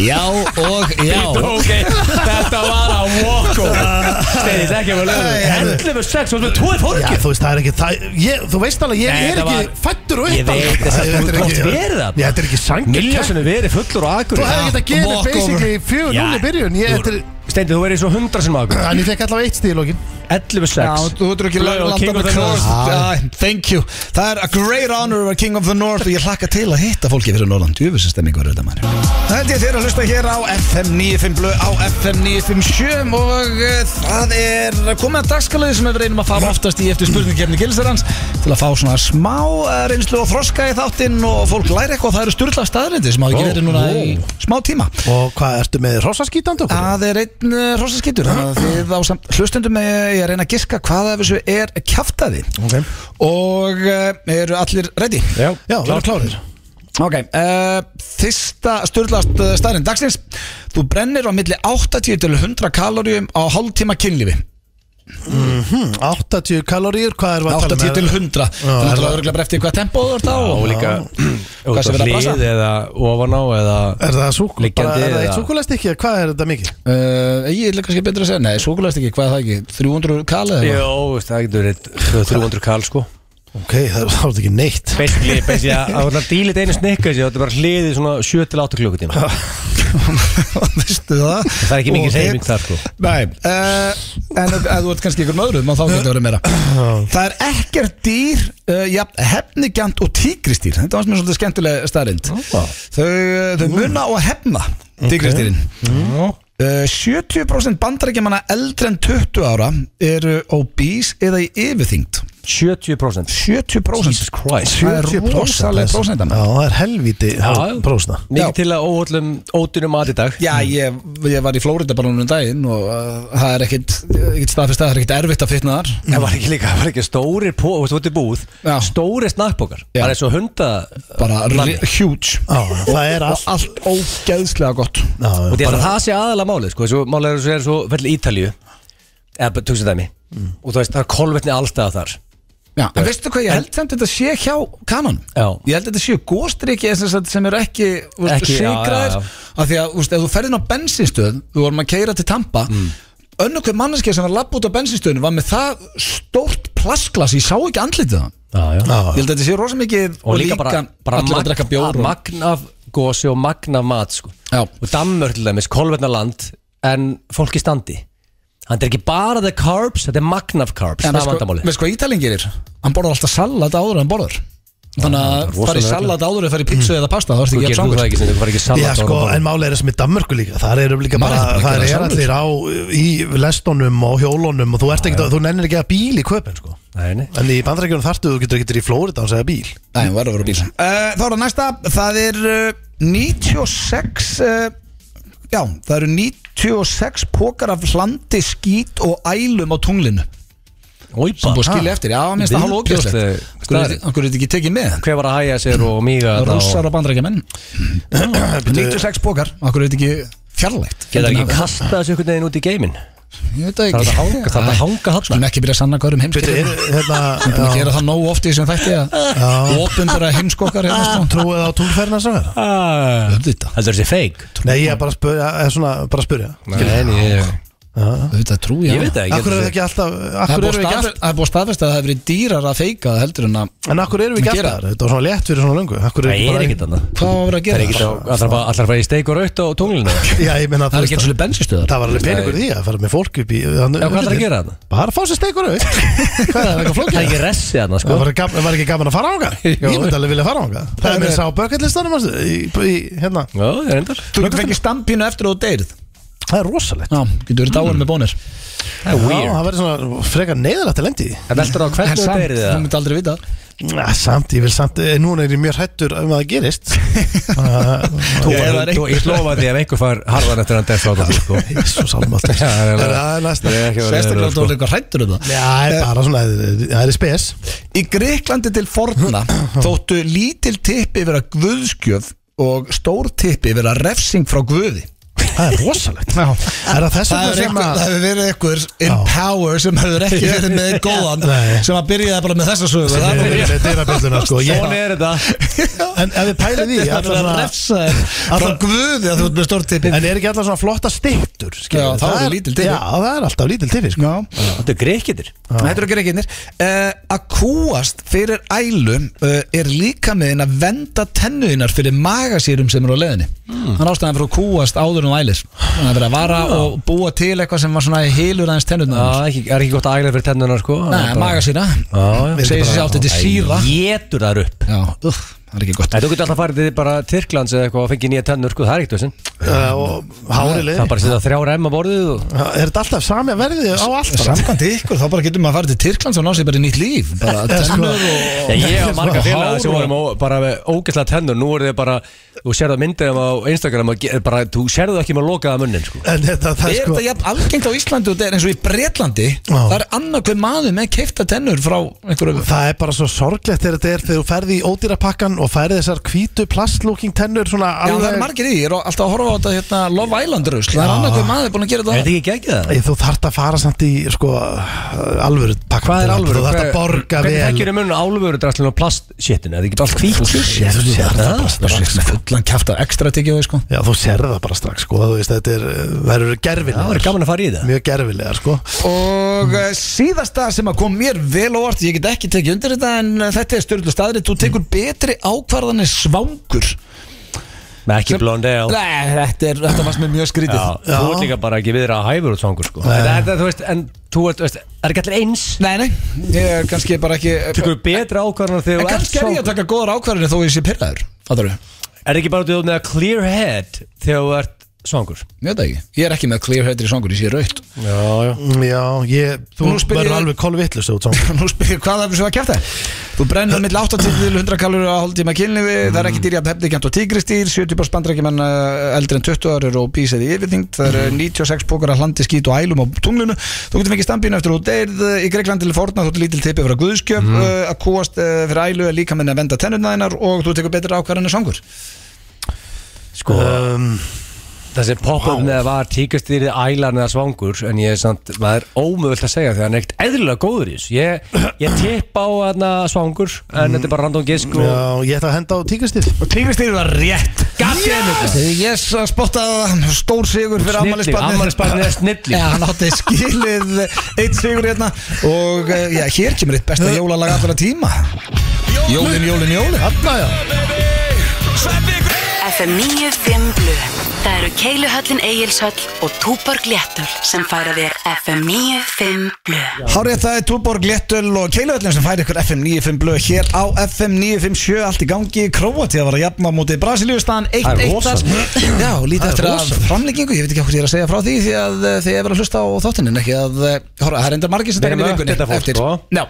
Speaker 1: Já og já
Speaker 3: Ok, þetta var að walkover Steindi, þetta er ekki að vera lögum 11.6, þú erum við tóið
Speaker 2: Já,
Speaker 3: fórkið
Speaker 2: þú veist, það er ekki það, ég, þú veist alveg, ég
Speaker 3: Nei,
Speaker 2: er
Speaker 3: þetta
Speaker 2: ekki
Speaker 3: var-
Speaker 2: fættur og
Speaker 3: Ég
Speaker 2: upp
Speaker 3: veit, þess að þú
Speaker 2: þetta er
Speaker 3: gott
Speaker 2: ekki
Speaker 3: verið
Speaker 2: Já,
Speaker 3: þarna.
Speaker 2: þetta er ekki sangjur
Speaker 3: Miljósunum verið fullur og akkur
Speaker 2: Þú hefði
Speaker 1: Já,
Speaker 2: ekki að gera
Speaker 1: walkover.
Speaker 2: basically 4-0 í byrjun ég, þetta er-
Speaker 3: Steindi, þú verið svo 100 sem akkur
Speaker 2: En ég fekk allavega eitt stíl okkur
Speaker 3: 11.6
Speaker 1: þú ert ekki
Speaker 3: Blöð og
Speaker 1: landað
Speaker 3: King of
Speaker 1: með
Speaker 3: the
Speaker 1: cross
Speaker 3: North.
Speaker 1: Æ, Thank you Það er a great honor of a king of the north og ég hlakka til að hitta fólki fyrir Norðan Djöfisestemmingur þetta maður Það held ég þeir að hlusta hér á FM 95 blöð á FM 957 og uh, það er komið að dagskalaði sem við reynum að fara oftast í eftir spurningkefni Gilsarans til að fá svona smá eh, reynslu og froska í þáttinn og fólk læri eitthvað það eru styrla staðrindi sem hafa ekki verið núna í smá tíma
Speaker 2: Og hvað, ertu með rosaskítandi okkur?
Speaker 3: Ah.
Speaker 1: Það er einn einn uh, rosaskittur þannig að þið á samt hlustendum með eh, ég að reyna að giska hvað af þessu er kjaftaði
Speaker 2: Ok.
Speaker 1: og uh, eru allir ready?
Speaker 3: Já,
Speaker 2: Já, við erum klárir
Speaker 1: Ok, uh, fyrsta styrlast uh, staðurinn dagsins Þú brennir á milli 80 til 100 kaloríum á hálftíma kynlífi
Speaker 2: Hm, 80 kaloríur, hvað er við að tala um?
Speaker 1: 80 til 100 Það er
Speaker 2: er
Speaker 1: náttúrulega
Speaker 2: það-
Speaker 1: örgulega bara eftir hvað tempó þú ert á
Speaker 3: Og líka
Speaker 1: Hvað
Speaker 3: út á
Speaker 1: sem verið að brasa?
Speaker 3: hlið eða ofan á eða
Speaker 2: Er það súk? Bara,
Speaker 3: Liggjandi
Speaker 2: er það
Speaker 3: eða-
Speaker 2: eitt súkulegstykki? Hvað er þetta mikið?
Speaker 1: Uh, ég er kannski betur að segja, nei, svo ekki, hvað er það ekki 300 kalið
Speaker 3: Jó, veist, það getur verið 300 kall sko
Speaker 2: Ok, það er þá er þetta ekki neitt
Speaker 3: Basically, basically að það var dílit einu snikka þessi Það er bara hliðið svona 7-8 klukkutíma
Speaker 1: Vistu það?
Speaker 3: Það er ekki
Speaker 1: Og
Speaker 3: mikið
Speaker 1: þið-
Speaker 3: reyning þar sko
Speaker 1: Nei, uh, en ef ef þú ert kannski ykkur möðrum þá getur það verið meira Það er ekkert dýr uh, ja, hefnigjant og tígristýr Þetta var sem er svolítið skemmtileg starrend Þau, uh, þau munna og hefna tígristýrin uh, 70% bandarækjumanna eldri en 20 ára eru obese eða í yfirþyngd
Speaker 3: 70%
Speaker 1: 70%
Speaker 3: Jesus Christ.
Speaker 1: Það er
Speaker 2: 70%
Speaker 1: rosaleg
Speaker 2: þess.
Speaker 1: prósenta
Speaker 2: Já, það er helviti
Speaker 3: já.
Speaker 2: prósna
Speaker 1: Já.
Speaker 3: Mikið til að óhóllum ótunum mat í dag
Speaker 1: Já, ég, ég var í Flórida bara núna um daginn og uh, það er ekkit, ekkit staðfyrst að það er ekkit erfitt að fitna þar
Speaker 3: Það var ekki líka, það var ekki stóri pó, þú veist, þú ert í búð
Speaker 1: Já.
Speaker 3: Stóri snakkbókar,
Speaker 1: Já.
Speaker 3: bara eins og hunda
Speaker 1: bara
Speaker 3: Lalli.
Speaker 1: ri- huge
Speaker 2: Já, það er
Speaker 1: og
Speaker 2: allt
Speaker 1: allt ógeðslega gott
Speaker 2: Já,
Speaker 3: Og ég held að
Speaker 2: bara-
Speaker 3: það sé aðalega málið, sko Svo málið er svo er svo fell Ítalíu Eða, bara tókstu dæmi
Speaker 1: Mm.
Speaker 3: Og þú veist, það er kolvetni alltaf þar
Speaker 1: Já, en veistu hvað, ég held samt þetta sé hjá kanon
Speaker 3: Já.
Speaker 1: Ég held þetta sé góstriki sem eru ekki, þú veist,
Speaker 3: Ekki, já,
Speaker 1: sigraðir
Speaker 3: já, já.
Speaker 1: af því að, þú veist, ef þú ferðin á bensinstöð þú vorum að keira til Tampa mm. önnur hver manneskja sem var lapp út á bensinstöðinu var með það stórt plasklas ég sá ekki andlitið það
Speaker 3: Já, já
Speaker 2: Já,
Speaker 1: Ég held að þetta sé rosa mikið
Speaker 3: og líka bara, bara
Speaker 1: allir að drekka bjór og,
Speaker 3: magn af gósi og magn af mat sko.
Speaker 1: Já.
Speaker 3: og dammur til dæmis, kolvetna land en fólk í standi þannig er ekki bara the carbs, þetta er magn af carbs
Speaker 1: En
Speaker 3: það er
Speaker 1: veist hvað-
Speaker 3: vandamáli
Speaker 1: veist hvað Ítalinn gerir? Hann borðar alltaf salat áður en hann borðar Þannig
Speaker 3: það
Speaker 1: að
Speaker 3: er rosalega
Speaker 1: fara í
Speaker 3: regla.
Speaker 1: salat áður en fara í pizza eða pasta Þá ertu
Speaker 3: þú
Speaker 1: ekki
Speaker 3: gerir
Speaker 1: að
Speaker 3: þú það
Speaker 1: sangur
Speaker 3: ekki sem þú fara ekki salat
Speaker 2: Já,
Speaker 3: og
Speaker 2: sko,
Speaker 3: bara-
Speaker 2: en máli er þessum í Danmörku líka Það eru líka
Speaker 1: Maður
Speaker 2: bara,
Speaker 1: er bara að
Speaker 2: það er
Speaker 1: gera
Speaker 2: allir á í lestunum og hjólunum og þú, ert ekkert, að- þú nennir ekki að bíl í köpinn sko.
Speaker 3: Nei, nei.
Speaker 2: En í bandarækjunum þartu, þú getur ekki í Flórida og segja bíl
Speaker 1: Nei, hún verður að vera á bíl uh, Þá er það næsta, það er uh, 96 uh, Já, það eru 96 pókar af hlandi, skít og ælum á tunglinu
Speaker 3: Oj,
Speaker 1: sem búið að
Speaker 3: bara.
Speaker 1: skilja eftir, já, minnst það hálf
Speaker 3: Viðbjóðsleg
Speaker 1: ógjöfslegt
Speaker 3: staðreynd.
Speaker 1: Akkur er þetta ekki tekið með
Speaker 3: hver var að hæja sér og mýga þarna
Speaker 1: Rússar
Speaker 3: og
Speaker 1: og bandrækja menn 96 pókar, akkur er þetta ekki fjarlægt Hérna,
Speaker 3: geta ekki kasta þessu einhvern veginn út í geimin
Speaker 1: Ég veit það
Speaker 3: það er
Speaker 1: ekki
Speaker 3: að hanga, það er að hanga
Speaker 1: Skulum
Speaker 3: hann
Speaker 1: ekki byrja að sanna hvað er um
Speaker 2: Þetta
Speaker 1: heimskokkar
Speaker 2: er,
Speaker 1: Við erum að
Speaker 2: hérna,
Speaker 1: gera það nógu oft í þessum þætti að Opundara heimskokkar hérna
Speaker 2: já,
Speaker 1: sko
Speaker 2: trúið á tunglferðina sem er
Speaker 1: Ah. Auðvitað,
Speaker 3: heldur þessi fake
Speaker 2: Nei, ég er bara að spurja, er svona, bara að spurja
Speaker 3: Nei, nei, ég,
Speaker 1: auðvitað trú
Speaker 3: ég veit það
Speaker 2: Akkur eru
Speaker 3: ekki
Speaker 2: ekki alltaf,
Speaker 1: Það er
Speaker 2: akkur
Speaker 1: búið
Speaker 2: eru ekki
Speaker 1: staðfest-
Speaker 2: alltaf
Speaker 1: það er búið staðfest að það hefur verið dýrar að feika það heldur en að
Speaker 2: En akkur eru við ekki
Speaker 1: Gera.
Speaker 2: alltaf, þetta var svona létt fyrir svona löngu Akkur
Speaker 3: það er ekki
Speaker 2: bara-
Speaker 3: þannig
Speaker 1: hvað var að vera að
Speaker 3: það er
Speaker 1: gera
Speaker 3: ekki alltaf að fara í steik og raut á tunglinu
Speaker 2: Já, ég meina,
Speaker 1: Það er
Speaker 2: þú veist
Speaker 1: ekki eins og bensinstöðar
Speaker 2: Það var alveg peningur í því að fara með fólk upp í
Speaker 3: Já, hvað ætlarðu að gera þarna?
Speaker 2: Bara að fá sér steikur auð Hvað er það eitthvað
Speaker 3: það er
Speaker 2: flókið?
Speaker 3: ekki ressi þarna sko
Speaker 2: Það var, gaman, var ekki gaman að fara á hana? Ég
Speaker 3: Jó.
Speaker 2: myndi alveg vilja fara á hana Það er mér sá bökallistanum í, í, hérna.
Speaker 3: Já, það er endar
Speaker 1: Þú getur fengið stampínu eftir að þú deyrð
Speaker 2: Það er rosalegt
Speaker 1: Já, getur verið dáin með bónir
Speaker 3: Það er
Speaker 2: Já,
Speaker 3: weird
Speaker 2: það verður svona frekar neyðilegt til lendi
Speaker 3: Það veldur á
Speaker 1: En
Speaker 3: hvernig þú
Speaker 1: samt,
Speaker 3: berið
Speaker 1: þú
Speaker 3: það
Speaker 1: myndi aldrei vita það.
Speaker 2: ja, Samt, ég vil samt, eh, núna er ég mjög hættur um að það gerist
Speaker 3: Þú
Speaker 1: Ég
Speaker 3: var-
Speaker 1: var
Speaker 3: þú- Ég lofa því ef einhver fær harðan eftir hann death á það sko
Speaker 2: Jésús almátt
Speaker 3: Já, það er alveg-
Speaker 2: Það er næsta
Speaker 3: Ég er ekki að vera
Speaker 1: Sérstaklega
Speaker 3: leiður,
Speaker 1: að þú
Speaker 3: sko.
Speaker 1: er eitthvað hrættur um það
Speaker 2: Já, það er bara svona, það er í spes
Speaker 1: Í Greiklandi til forna þóttu lítil tippi vera guðskjöf og stór tippi vera refsing frá guði
Speaker 2: Það er rosalegt
Speaker 1: Já
Speaker 2: Er það þess
Speaker 1: Það
Speaker 2: vegna
Speaker 1: hefur
Speaker 2: sem
Speaker 1: einhver- það hefur verið einhver
Speaker 2: að
Speaker 1: in power sem hefur ekki verið með góðan
Speaker 2: Nei.
Speaker 1: sem að byrjaði bara með þessa sögu
Speaker 2: Það
Speaker 1: Það
Speaker 2: er
Speaker 1: er
Speaker 2: verið með dyrabjölduna sko Ég-
Speaker 3: Svona er þetta
Speaker 2: En ef við pælið í
Speaker 1: Það
Speaker 2: allar
Speaker 1: er að
Speaker 2: svona-
Speaker 1: refsa þér frá
Speaker 2: Alla-
Speaker 1: guði að þú ert með stórt tippi
Speaker 2: En er ekki alltaf svona flotta stittur skilur
Speaker 1: Já,
Speaker 2: við?
Speaker 1: þá eru lítil typpi.
Speaker 2: Já, það er alltaf lítil typpi sko.
Speaker 1: Já
Speaker 3: Þetta er greikitir
Speaker 1: Þetta eru ekki reikinnir Að kúast fyrir ælu uh, er líka með þinn að venda tennuðinnar fyrir magasýrum sem eru á leiðinni Þannig ástæðan fyrir að kúast áður um ælir Þannig að vera að vara og búa til eitthvað sem var svona heilur aðeins tennuðnar
Speaker 3: Það er ekki- er ekki gott að ægla fyrir tennunar sko
Speaker 1: Nei, magasýra
Speaker 3: Já, já.
Speaker 1: Segir sér sjálft, þetta er síra
Speaker 3: Æ, Étur þar upp
Speaker 1: Já, uff, það er ekki gott
Speaker 3: Þú getur alltaf farið til bara Tyrklands eða eitthvað og fengið nýja tennur, sko, það er ekkert þessin
Speaker 2: uh, og hárili
Speaker 3: Það er bara að setja þrjár M á borðið og
Speaker 2: er þetta alltaf sami að verði á allt bara?
Speaker 1: Samkvæmt ykkur, þá bara getur maður að fara til Tyrklands og ná sér bara í nýtt líf bara tennur og
Speaker 3: Já, ég og marga félaga
Speaker 1: Hár
Speaker 3: sem
Speaker 1: og-
Speaker 3: vorum ó- bara með ógæslega tennur Nú eru þið bara, þú sérðu að myndið á Instagram og ge- bara, þú sérðu það ekki með lokaða munnin, sko
Speaker 2: en þetta, það
Speaker 1: Er
Speaker 2: er sko
Speaker 1: þetta jafn algengt á Íslandi og þetta er eins og í Bretlandi
Speaker 2: Já.
Speaker 1: Það er annarkveð maður með keifta tennur frá einhverju
Speaker 2: Það er bara svo sorglegt þegar þetta er þegar þú ferði í ódýrapakkan og færði þessar hvítu plastlooking tennur svona
Speaker 1: Já, það
Speaker 2: alveg
Speaker 1: er margir í, ég er alltaf að horfa á þetta hérna, Love Island rusl, það er
Speaker 2: Já.
Speaker 1: annarkveð maður búin að gera þetta
Speaker 3: Er þetta ekki ekki það?
Speaker 2: Æ, Þú þarft að fara samt í sko alvöru pakkan
Speaker 3: Hvað er alvöru?
Speaker 2: Þú þarft að borga
Speaker 3: Hvernig
Speaker 2: vel
Speaker 3: þekkir þið munum alvöru drastlinn og plastséttin? Er það ekki allt hvít?
Speaker 2: Ég þú sér
Speaker 1: Það
Speaker 2: það bara
Speaker 1: er
Speaker 2: strax
Speaker 1: svona fullan kæft af ekstra tekið sko.
Speaker 2: Já, þú sér það bara strax sko Þú veist, þetta er, uh, verður
Speaker 3: Það verður
Speaker 2: gerfilegar
Speaker 3: gaman að fara í það
Speaker 2: Mjög gerfilegar sko
Speaker 1: Og mm. síðasta sem að kom mér vel á óvart Ég get ekki tekið undir þetta En eh, þetta er styrlu staðrið Þú tekur betri ákvarðanir svangur
Speaker 3: Með ekki blóndi á
Speaker 1: Nei, þetta, er, þetta varst mér mjög skrítið
Speaker 3: Já, þú ert líka bara ekki viðra að hæfur út svangur sko Þetta er þetta, þú veist, en þú ert, þú veist, er ekki allir eins
Speaker 1: Nei, nei, ég er kannski bara ekki
Speaker 3: Tökum við betra ákvarðan
Speaker 1: En
Speaker 3: þegar þú ert
Speaker 1: kannski er ég að
Speaker 3: svangur
Speaker 1: taka góðar ákvarðanir þó ég sé pyrraður Fattar við?
Speaker 3: Er ekki bara þú með að clear head þegar þú ert svangur
Speaker 1: Ég veit það ekki Ég er ekki með clear header í svangur, ég sé raut
Speaker 3: Já, já
Speaker 2: Mm, Já, ég, þú
Speaker 1: Nú spyr ég-
Speaker 2: verður alveg kolvittlust út svona.
Speaker 1: Nú spyrir hvað það er svo að kæfta Þú brennur milli 80 til 100 kalur á hálftíma kynlífi Það er ekki dýrja hefnigjönd og tígristýr 70 bár spandrækjumenn eh, eldri en 20 ára og bísið í yfirþyngd Það eru 96 pókar að hlandi skít og ælum á tunglinu Þú getur fengið stambínu eftir og deyrð eh, í Greiklandi til forna þú ert lítil tippi frá guðskjöf mm. að kúast eh, fyrir ælu er líka minni að venda tennurna þinnar og þú tekur betra ákvarðan en svangur
Speaker 3: Sko,
Speaker 2: um,
Speaker 3: þessi pop-up með að var tíkastýrið ælan eða svangur En ég er samt, maður er ómögult að segja þegar hann er ekkert eðlilega góður í þessu Ég, ég tipp á hana, svangur, en þetta er bara random gisk og
Speaker 2: Já, ég ætla að henda á tíkristýr
Speaker 1: Og tígristýr var rétt Yes, yes að spotta stór sigur fyrir afmælisbarnið.
Speaker 3: Amalisbarnið er snilli
Speaker 1: Já, hann átti skilið eitt sigur hérna og eh, já, hér kemur eitt besta jólalag allra tíma Jólin, jólin, jólin
Speaker 2: Þarna já
Speaker 6: FM 95 Blu Það eru Keiluhöllin Egilshöll og Túborg Léttul sem færa þér FM 95 Blu
Speaker 1: Hárið það er Túborg, Léttöl og Keiluöllin sem færi ykkur FM 95 blöð hér á FM 957 allt í gangi Króati að vera jafn á móti Brasilíustaðan 1-1
Speaker 3: Það er
Speaker 1: þar. Já, lítið eftir að framleggingu ég veit ekki hvað ég er að segja frá því því að eh, þið er verið að hlusta á þáttinn en ekki að eh, horfa, það er enda margir sem taka
Speaker 3: Við erum
Speaker 1: við
Speaker 3: öll
Speaker 1: vikunni
Speaker 3: þetta fólk, sko.
Speaker 1: Já,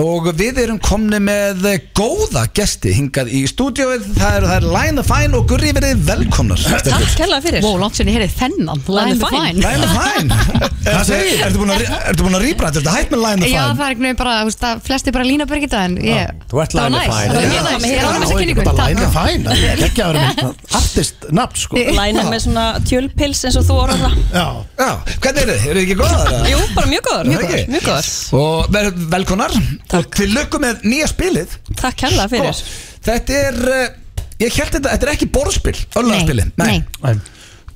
Speaker 1: og við erum komni með góða gesti hingað í stúdíóið það eru það er Line the Fine og Gurri verið velkomnar
Speaker 7: Takk kærlega fyrir
Speaker 8: Wow, langt sér ég heyrið þennan
Speaker 7: Line the Fine.
Speaker 1: Line the Fine Ertu ertu búin að re- ertu búin að rýbra þetta hætt með Line the
Speaker 8: Já,
Speaker 1: Fine
Speaker 8: það er einhvern veginn bara, þú veist, að flesti bara lína Birgitta en ég,
Speaker 3: Þú ert
Speaker 8: það var
Speaker 3: line
Speaker 8: næst,
Speaker 3: the fine.
Speaker 7: Já,
Speaker 8: það var mjög næst,
Speaker 7: með
Speaker 8: ég er ánægð með
Speaker 7: þessi
Speaker 8: þessi kynningu
Speaker 2: Bara
Speaker 8: Takk.
Speaker 2: læna fæn Ekki að vera með artist nafn sko
Speaker 7: Læna með svona tjölpils eins og þú orðar það
Speaker 2: Já,
Speaker 1: Já, hvernig eru þið? Eru þið ekki góðar? eða?
Speaker 7: Jú, bara mjög góður,
Speaker 1: Mjög
Speaker 7: mjög
Speaker 1: góður.
Speaker 7: góður, mjög góður.
Speaker 1: Og vel, velkonar
Speaker 7: Takk.
Speaker 1: Og til lukku með nýja spilið
Speaker 7: Takk kærlega fyrir
Speaker 1: Sko, Þetta er uh, Ég held þetta, þetta er ekki borðspil Öllagaspili
Speaker 8: nei.